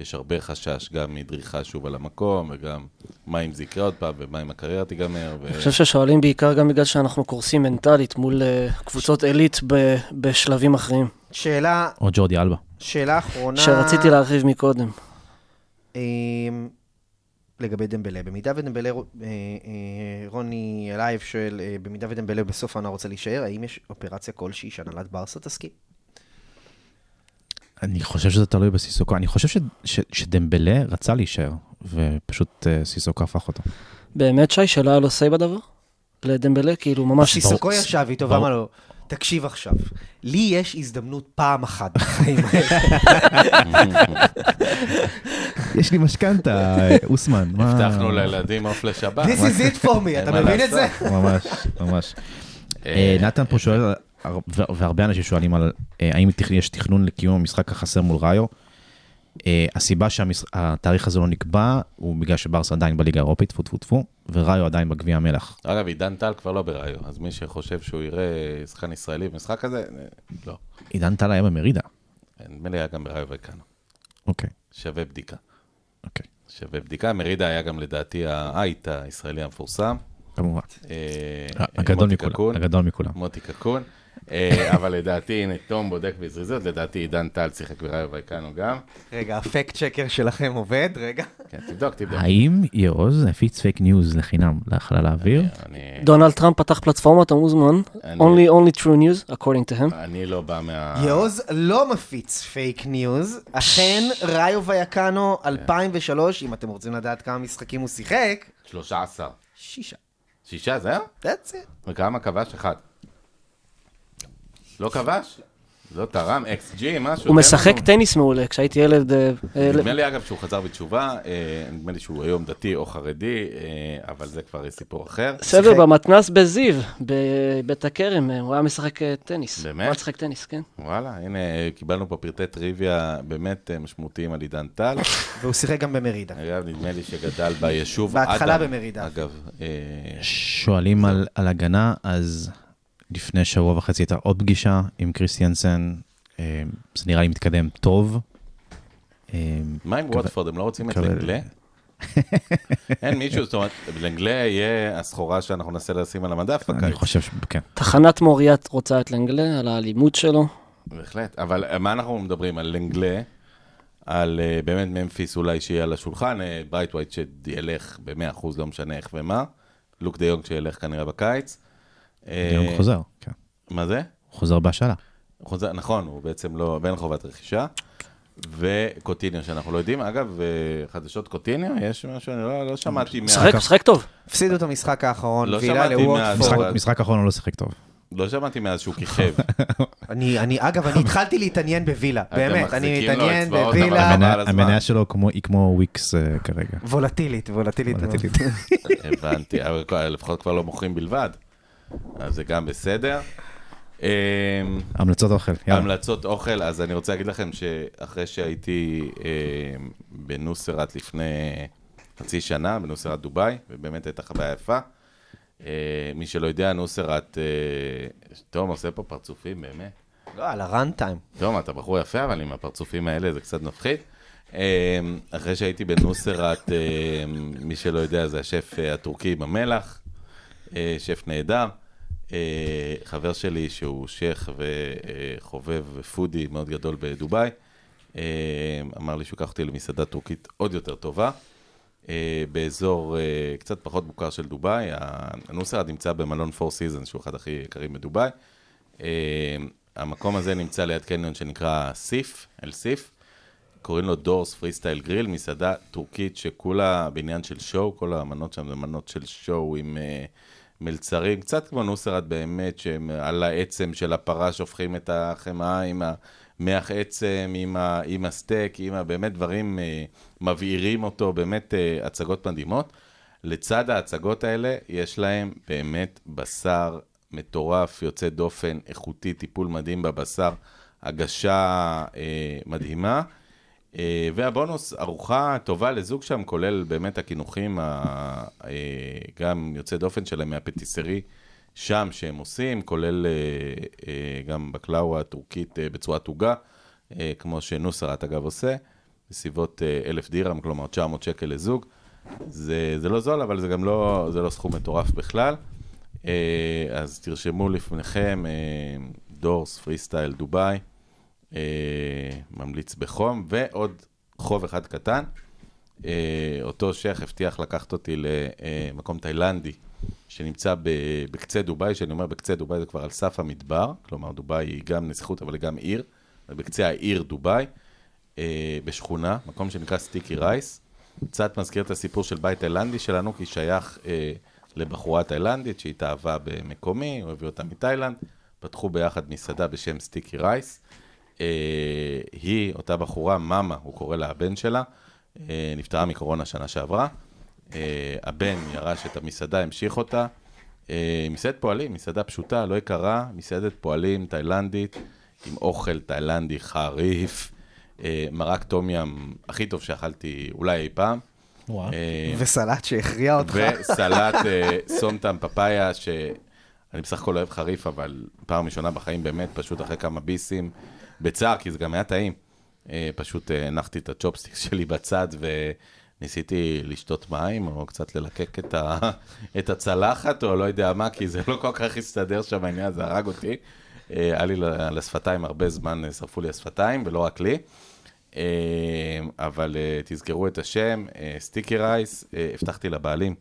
Speaker 4: יש הרבה חשש גם מדריכה שוב על המקום, וגם מה אם זה יקרה עוד פעם, ומה אם הקריירה תיגמר. ו...
Speaker 6: אני חושב ששואלים בעיקר גם בגלל שאנחנו קורסים מנטלית מול אה, קבוצות עילית ב- בשלבים אחרים,
Speaker 5: שאלה,
Speaker 7: או ג'ורדי אלבה.
Speaker 5: שאלה אחרונה.
Speaker 6: שרציתי להרחיב מקודם.
Speaker 5: אמ, לגבי דמבלה, במידה ודמבלה, אה, אה, רוני אלייב שואל, אה, במידה ודמבלה בסוף העונה רוצה להישאר, האם יש אופרציה כלשהי שהנהלת ברסה תסכים?
Speaker 7: אני חושב שזה תלוי בסיסוקו, אני חושב ש- ש- שדמבלה רצה להישאר, ופשוט אה, סיסוקו הפך אותו.
Speaker 6: באמת, שי, שלא היה לו סיי בדבר? לדמבלה? כאילו, ממש...
Speaker 5: סיסוקו ישב איתו
Speaker 7: ברור.
Speaker 5: ואמר לו, תקשיב עכשיו, לי יש הזדמנות פעם אחת בחיים האלה.
Speaker 7: יש לי משכנתה, אה, אוסמן. מה-
Speaker 4: הבטחנו לילדים עוף לשבת.
Speaker 5: This is it for me, אתה
Speaker 4: מה
Speaker 5: מבין את זה?
Speaker 7: ממש, ממש. אה, נתן פה שואל, הר- ו- והרבה אנשים שואלים על אה, האם תכ- יש תכנון לקיום המשחק החסר מול ראיו. אה, הסיבה שהתאריך הזה לא נקבע, הוא בגלל שברסה עדיין בליגה האירופית, טפו טפו טפו, וראיו עדיין בגביע המלח.
Speaker 4: אגב, עידן טל כבר לא ברעיון, אז מי שחושב שהוא יראה שחקן ישראלי במשחק הזה, אה, לא.
Speaker 7: עידן טל היה במרידה.
Speaker 4: נדמה לי היה גם ברעיון וכאן.
Speaker 7: אוקיי,
Speaker 4: שווה בדיקה.
Speaker 7: אוקיי,
Speaker 4: שווה בדיקה. מרידה היה גם לדעתי האייט הישראלי המפורסם.
Speaker 7: כמובן.
Speaker 4: אה,
Speaker 7: הגדול
Speaker 4: מוטי
Speaker 7: מכולם,
Speaker 4: קקון.
Speaker 7: הגדול מכולם.
Speaker 4: מוטי קקון. אה, אבל לדעתי, הנה, תום בודק בזריזות, לדעתי עידן טל שיחק ברעיון וכאן גם.
Speaker 5: רגע, הפקט שקר שלכם עובד, רגע.
Speaker 4: כן, תבדוק, תבדוק.
Speaker 7: האם יעוז הפיץ פייק ניוז לחינם לחלל האוויר?
Speaker 4: אני-
Speaker 6: דונלד טראמפ פתח פלטפורמה, אתה מוזמן.
Speaker 4: אני-
Speaker 6: Only only true news, according to him.
Speaker 4: אני לא בא מה...
Speaker 5: יעוז לא מפיץ פייק ניוז, אכן ראיו ויקאנו 2003, אם אתם רוצים לדעת כמה משחקים הוא שיחק,
Speaker 4: 13.
Speaker 5: שישה.
Speaker 4: שישה, זהו?
Speaker 5: That's it.
Speaker 4: וכמה כבש? אחד. לא כבש? לא תרם? אקס ג'י, משהו?
Speaker 6: הוא
Speaker 4: תן
Speaker 6: משחק
Speaker 4: לנו.
Speaker 6: טניס מעולה, כשהייתי ילד... אה, אה,
Speaker 4: נדמה לי אגב שהוא חזר בתשובה, אה, נדמה לי שהוא היום דתי או חרדי, אה, אבל זה כבר סיפור אחר.
Speaker 6: בסדר, במתנס בזיו, בבית הכרם, אה, הוא היה משחק אה, טניס.
Speaker 4: באמת?
Speaker 6: הוא היה משחק טניס, כן.
Speaker 4: וואלה, הנה, אה, קיבלנו פה פרטי טריוויה באמת אה, משמעותיים על עידן טל.
Speaker 5: והוא שיחק גם במרידה.
Speaker 4: אגב, נדמה לי שגדל ביישוב אדם.
Speaker 5: בהתחלה במרידה.
Speaker 4: אגב, אה,
Speaker 7: שואלים על, על הגנה, אז לפני שבוע וחצי הייתה עוד פגישה עם קריסטיאנסן, אה, זה נראה לי מתקדם טוב. אה,
Speaker 4: מה עם ווטפורד? הם לא רוצים את
Speaker 7: מקבל.
Speaker 4: לנגלה? אין מישהו, זאת אומרת, לנגלה יהיה הסחורה שאנחנו ננסה לשים על המדף
Speaker 7: אני
Speaker 4: בקיץ.
Speaker 7: חושב כן, שכן.
Speaker 6: תחנת מוריית רוצה את לנגלה, על האלימות שלו.
Speaker 4: בהחלט, אבל אה, מה אנחנו מדברים? על לנגלה, על אה, באמת ממפיס אולי שיהיה על השולחן, אה, ברייט ווייט שילך ב-100%, לא משנה איך ומה, לוק דה יונג שילך כנראה בקיץ,
Speaker 7: היום
Speaker 4: אה,
Speaker 7: הוא חוזר, כן.
Speaker 4: מה זה?
Speaker 7: הוא חוזר בהשאלה.
Speaker 4: הוא חוזר, נכון, הוא בעצם לא, ואין חובת רכישה. וקוטיניו, שאנחנו לא יודעים. אגב, אה, חדשות קוטיניו, יש משהו, אני לא, לא שמעתי מה...
Speaker 6: משחק, משחק טוב.
Speaker 5: הפסידו את המשחק האחרון,
Speaker 4: לא
Speaker 5: וילה
Speaker 4: שמעתי
Speaker 5: לווטפורד.
Speaker 4: מההצהרה.
Speaker 7: משחק אחרון הוא לא שיחק טוב.
Speaker 4: לא שמעתי מאז שהוא כיכב.
Speaker 5: אני, אני, אגב, אני התחלתי להתעניין בווילה,
Speaker 4: אתם
Speaker 5: באמת, אני
Speaker 4: מחזיקים לו
Speaker 5: מתעניין
Speaker 4: אצבעות, אה, אבל
Speaker 5: בווילה.
Speaker 4: חבל
Speaker 7: המניה-
Speaker 4: על הזמן.
Speaker 7: המניה שלו כמו- היא כמו וויקס אה, כרגע.
Speaker 5: וולטילית, וולטילית.
Speaker 7: וולטילית.
Speaker 4: הבנתי, אבל כבר- לפחות כבר לא מוכרים בלבד. אז זה גם בסדר. אמ,
Speaker 7: המלצות אוכל, יאללה.
Speaker 4: המלצות אוכל, אז אני רוצה להגיד לכם שאחרי שהייתי אה, בנוסרת לפני חצי שנה, בנוסרת דובאי, ובאמת הייתה חוויה יפה. אה, מי שלא יודע, נוסרת... אה, תום עושה פה פרצופים, באמת.
Speaker 5: לא, על הראן טיים.
Speaker 4: תום, אתה בחור יפה, אבל עם הפרצופים האלה זה קצת מפחיד. אה, אחרי שהייתי בנוסרת, אה, מי שלא יודע, זה השף אה, הטורקי במלח, אה, שף נהדר. אה, חבר שלי שהוא שייח וחובב ופודי מאוד גדול בדובאי, אה, אמר לי שהוא ייקח אותי למסעדה טורקית עוד יותר טובה. אה, באזור אה, קצת פחות מוכר של דובאי. הנוסרד נמצא במלון פור סיזון, שהוא אחד הכי יקרים בדובאי. אה, המקום הזה נמצא ליד קניון שנקרא סיף, אל סיף. קוראים לו דורס פרי סטייל גריל, מסעדה טורקית שכולה בעניין של שואו, כל המנות שם זה מנות של שואו עם אה, מלצרים, קצת כמו נוסרת באמת, שהם על העצם של הפרה שופכים את החמאה עם המח עצם, עם, ה, עם הסטייק, עם ה, באמת דברים אה, מבעירים אותו, באמת אה, הצגות מדהימות. לצד ההצגות האלה, יש להם באמת בשר מטורף, יוצא דופן, איכותי, טיפול מדהים בבשר, הגשה אה, מדהימה. אה, והבונוס, ארוחה טובה לזוג שם, כולל באמת הקינוחים, ה- אה, גם יוצא דופן שלהם מהפטיסרי שם שהם עושים, כולל אה, אה, גם בקלאווה הטורקית אה, בצורת עוגה, אה, כמו שנוסרת אגב עושה, בסביבות אה, אלף דירם, כלומר 900 שקל לזוג. זה, זה לא זול, אבל זה גם לא, זה לא סכום מטורף בכלל. אה, אז תרשמו לפניכם, אה, דורס פרי סטייל דובאי. אה, ממליץ בחום, ועוד חוב אחד קטן. אה, אותו שייח הבטיח לקחת אותי למקום תאילנדי, שנמצא ב- בקצה דובאי, שאני אומר בקצה דובאי זה כבר על סף המדבר, כלומר דובאי היא גם נסיכות אבל היא גם עיר, אז בקצה העיר דובאי, אה, בשכונה, מקום שנקרא סטיקי רייס. קצת מזכיר את הסיפור של בית תאילנדי שלנו, כי שייך אה, לבחורה תאילנדית שהתאהבה במקומי, הוא הביא אותה מתאילנד, פתחו ביחד מסעדה בשם סטיקי רייס. אה, היא, אותה בחורה, מאמה, הוא קורא לה הבן שלה, אה, נפטרה מקורונה שנה שעברה. אה, הבן ירש את המסעדה, המשיך אותה. אה, מסעדת פועלים, מסעדה פשוטה, לא יקרה, מסעדת פועלים תאילנדית, עם אוכל תאילנדי חריף, אה, מרק טום ים הכי טוב שאכלתי אולי אי פעם. אה,
Speaker 5: וסלט שהכריע אותך.
Speaker 4: וסלט אה, סומטם פפאיה, שאני בסך הכל אוהב חריף, אבל פעם ראשונה בחיים באמת, פשוט אחרי כמה ביסים, בצער, כי זה גם היה טעים. אה, פשוט אה, הנחתי את הצ'ופסטיק שלי בצד וניסיתי לשתות מים, או קצת ללקק את, ה... את הצלחת, או לא יודע מה, כי זה לא כל כך הסתדר שם העניין, זה הרג אותי. אה, היה לי ל- על השפתיים הרבה זמן, אה, שרפו לי השפתיים, ולא רק לי. אה, אבל אה, תזכרו את השם, אה, סטיקי רייס, אה, הבטחתי לבעלים,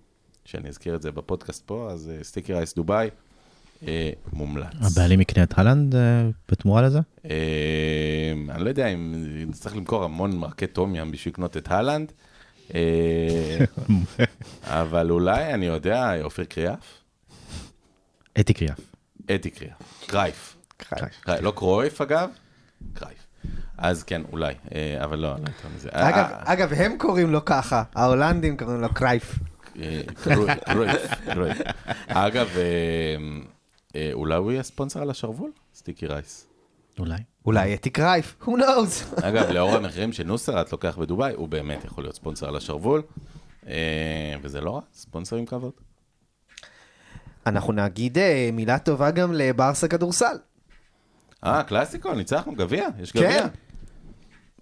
Speaker 4: שאני אזכיר את זה בפודקאסט פה, אז אה, סטיקי רייס דובאי, אה, מומלץ.
Speaker 7: הבעלים יקנה את הלנד בתמורה לזה?
Speaker 4: אה, אני לא יודע אם נצטרך למכור המון מרקי טום ים בשביל לקנות את הלנד, אה, אבל אולי, אני יודע, אופיר קריאף?
Speaker 7: אתי קריאף.
Speaker 4: אתי קריאף, קרייף. קרייף. לא קרויף אגב, קרייף. אז כן, אולי, אה, אבל לא, לא יותר מזה.
Speaker 5: אגב,
Speaker 4: אה,
Speaker 5: אגב, הם קוראים לו ככה, ההולנדים קוראים לו קרייף.
Speaker 4: אה, קרוי, קרוי, קרוי. אגב, אה, אה, אולי הוא יהיה ספונסר על השרוול? סטיקי רייס.
Speaker 7: אולי.
Speaker 5: אולי אתי קרייף, who knows.
Speaker 4: אגב, לאור המחירים שנוסרת לוקח בדובאי, הוא באמת יכול להיות ספונסר על השרוול, אה, וזה לא רע, ספונסר עם כבוד.
Speaker 5: אנחנו נגיד אה, מילה טובה גם לברסה כדורסל.
Speaker 4: אה, קלאסיקו, ניצחנו, גביע, יש גביע.
Speaker 5: כן.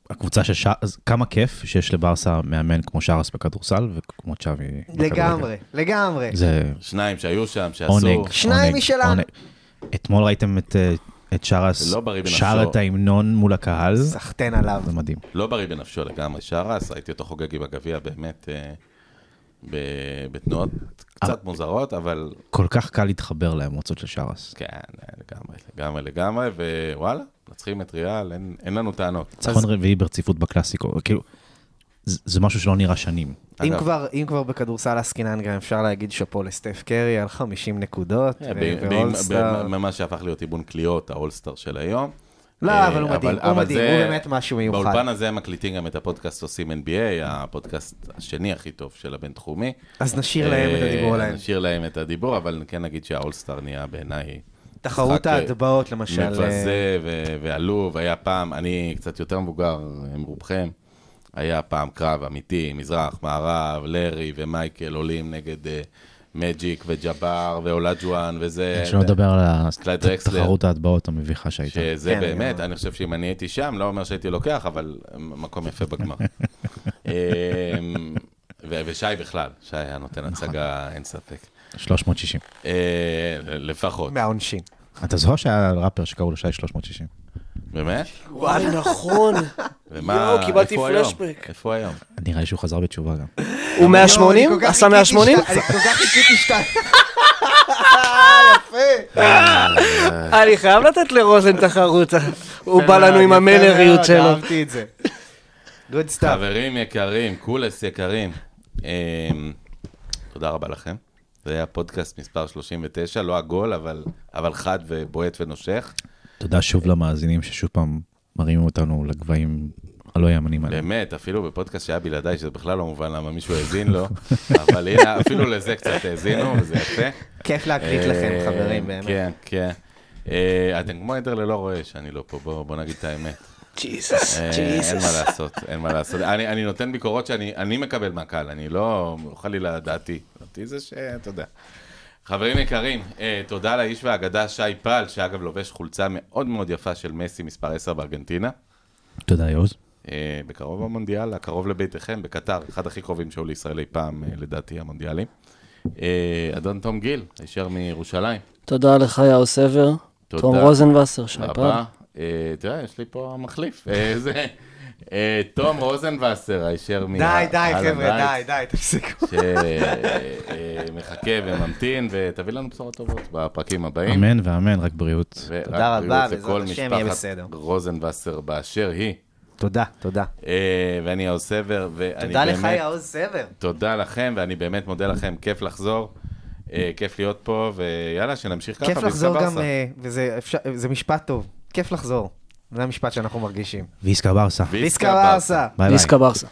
Speaker 7: הקבוצה של ש... אז כמה כיף שיש לברסה מאמן כמו שרס בכדורסל וכמו צ'אבי. בכדורגל.
Speaker 5: לגמרי, לגמרי.
Speaker 7: זה
Speaker 4: שניים שהיו שם, שעשו.
Speaker 7: עונג.
Speaker 5: שניים
Speaker 7: עונג,
Speaker 5: משלנו.
Speaker 7: עונג. אתמול ראיתם את, אה, את שרס
Speaker 4: זה לא בריא בנפשו.
Speaker 7: שר את ההמנון מול הקהל? זה
Speaker 5: סחטיין עליו.
Speaker 7: מדהים.
Speaker 4: לא בריא בנפשו לגמרי, שרס, ראיתי אותו חוגג עם הגביע, באמת אה, ב- בתנועות קצת מוזרות, אבל
Speaker 7: כל כך קל להתחבר לאמוציות של שרס.
Speaker 4: כן, לגמרי, לגמרי, לגמרי, ווואלה, מנצחים את ריאל, אין, אין לנו טענות. נכון.
Speaker 7: ניצחון נכון רביעי ברציפות בקלאסיקו, כאילו, זה זה משהו שלא נראה שנים.
Speaker 5: אם
Speaker 4: אגב.
Speaker 5: כבר, אם כבר בכדורסל עסקינן גם אפשר להגיד שאפו לסטף קרי על 50 נקודות,
Speaker 4: אה, ב-
Speaker 5: ו-
Speaker 4: ב-
Speaker 5: ואולסטאר.
Speaker 4: ב- ממה שהפך להיות איבון קליעות, האולסטאר של היום.
Speaker 5: לא,
Speaker 4: אה,
Speaker 5: אבל הוא מדהים, הוא
Speaker 4: אבל
Speaker 5: מדהים,
Speaker 4: זה-
Speaker 5: הוא באמת משהו מיוחד.
Speaker 4: באולפן הזה הם מקליטים גם את הפודקאסט עושים NBA, הפודקאסט השני הכי טוב של הבינתחומי.
Speaker 5: אז נשאיר להם את
Speaker 4: אה,
Speaker 5: הדיבור עליהם.
Speaker 4: נשאיר להם את הדיבור, אבל כן נגיד שהאולסטאר נהיה בעיניי...
Speaker 5: תחרות
Speaker 4: משחק, אה,
Speaker 5: ההטבעות למשל. אה,
Speaker 4: מבזה ו- ועלוב, היה פעם, אני קצת יותר מבוגר עם רובכם, היה פעם קרב אמיתי, מזרח, מערב, לארי ומייקל עולים נגד אה, מג'יק וג'אבר ואולג'ואן וזה.
Speaker 7: שלא נדבר על ה-
Speaker 4: כן, קלייד דרקסלר.
Speaker 7: תחרות ההטבעות המביכה שהייתה.
Speaker 4: שזה
Speaker 5: כן,
Speaker 4: באמת,
Speaker 5: גם.
Speaker 4: אני חושב שאם אני הייתי שם, לא אומר שהייתי לוקח, אבל מקום יפה בגמר. אמ, ו- ושי בכלל, שי היה נותן הצגה, אין ספק.
Speaker 7: 360.
Speaker 4: אה, לפחות,
Speaker 5: מהעונשין.
Speaker 7: אתה זוכר שהיה ראפר שקראו לו שי 360?
Speaker 4: באמת?
Speaker 6: וואי, נכון.
Speaker 4: ומה,
Speaker 5: לא,
Speaker 6: יואו, קיבלתי
Speaker 4: איפה הוא היום?
Speaker 6: פלשבק.
Speaker 4: איפה הוא היום?
Speaker 7: נראה לי שהוא חזר בתשובה גם.
Speaker 6: הוא
Speaker 5: יואו, לא, אני כל
Speaker 6: 180?
Speaker 5: כך
Speaker 6: עשה
Speaker 5: חיכיתי
Speaker 6: 180?
Speaker 5: שאתה- אני כל כך חיכיתי שאתה...
Speaker 6: אה, אני חייב לתת לרוזן תחרות. הוא בא לנו עם
Speaker 5: יפה מאוד,
Speaker 6: המלריות שלו.
Speaker 5: אהבתי את זה. גוד סטאפ.
Speaker 4: חברים יקרים, קולס יקרים, אמ, תודה רבה לכם. זה היה פודקאסט מספר 39, לא עגול, אבל, אבל חד ובועט ונושך.
Speaker 7: תודה שוב למאזינים ששוב פעם מרימים אותנו לגבהים הלא יאמנים עליהם.
Speaker 4: באמת, אפילו בפודקאסט שהיה בלעדיי, שזה בכלל לא מובן למה מישהו האזין לו, אבל הנה, אפילו לזה קצת האזינו, וזה יפה.
Speaker 5: כיף להקליט לכם,
Speaker 4: אה,
Speaker 5: חברים, באמת.
Speaker 4: כן, כן. אה, אתם כמו עדר ללא רואה שאני לא פה, בואו בואו נגיד את האמת.
Speaker 6: ג'יזוס,
Speaker 4: אה, אין מה
Speaker 6: ג'יזוס.
Speaker 4: לעשות, אין מה לעשות. אני אני נותן ביקורות שאני אני מקבל מהקהל, אני לא, חלילה דעתי. דעתי זה שאתה יודע. חברים יקרים, אה, תודה לאיש והאגדה שי פל, שאגב לובש חולצה מאוד מאוד יפה של מסי מספר 10 בארגנטינה.
Speaker 7: תודה יוז.
Speaker 4: אה, בקרוב המונדיאל, הקרוב לביתכם, בקטר, אחד הכי קרובים שהיו לישראל אי פעם, אה, לדעתי, המונדיאלים. אה, אדון תום גיל, הישר מירושלים.
Speaker 6: תודה לך, יאו סבר.
Speaker 4: תודה.
Speaker 6: תום רוזנבסר, שי פעם.
Speaker 4: הבא. אה, תראה, יש לי פה מחליף. אה, זה... אה, תום רוזנבסר, הישר מ...
Speaker 5: די, די,
Speaker 4: אהלן
Speaker 5: חבר'ה, די,
Speaker 4: לייטס,
Speaker 5: די, תפסיקו.
Speaker 4: שמחכה אה, וממתין, ותביא לנו בשורות טובות בפרקים הבאים.
Speaker 7: אמן ואמן, רק בריאות.
Speaker 5: תודה רבה, בעזרת
Speaker 4: וכל
Speaker 5: השם יהיה
Speaker 4: משפחת
Speaker 5: בסדר.
Speaker 4: רוזנבסר באשר היא.
Speaker 5: תודה, תודה.
Speaker 4: אה, ואני האוס סבר, ואני
Speaker 5: תודה
Speaker 4: באמת...
Speaker 5: לך, יאוז סבר.
Speaker 4: תודה לכם, ואני באמת מודה לכם, כיף לחזור, אה, כיף להיות פה, ויאללה, שנמשיך ככה.
Speaker 5: כיף לחזור
Speaker 4: ויסקה
Speaker 5: גם,
Speaker 4: ברסה.
Speaker 5: אה, וזה אפשר- זה משפט טוב. כיף לחזור. זה המשפט שאנחנו מרגישים.
Speaker 7: ויסקה ברסה.
Speaker 4: ויסקה
Speaker 5: ויסקה
Speaker 4: ברסה.
Speaker 5: ברסה.
Speaker 7: ביי ביי.
Speaker 6: ליסקה ברסה.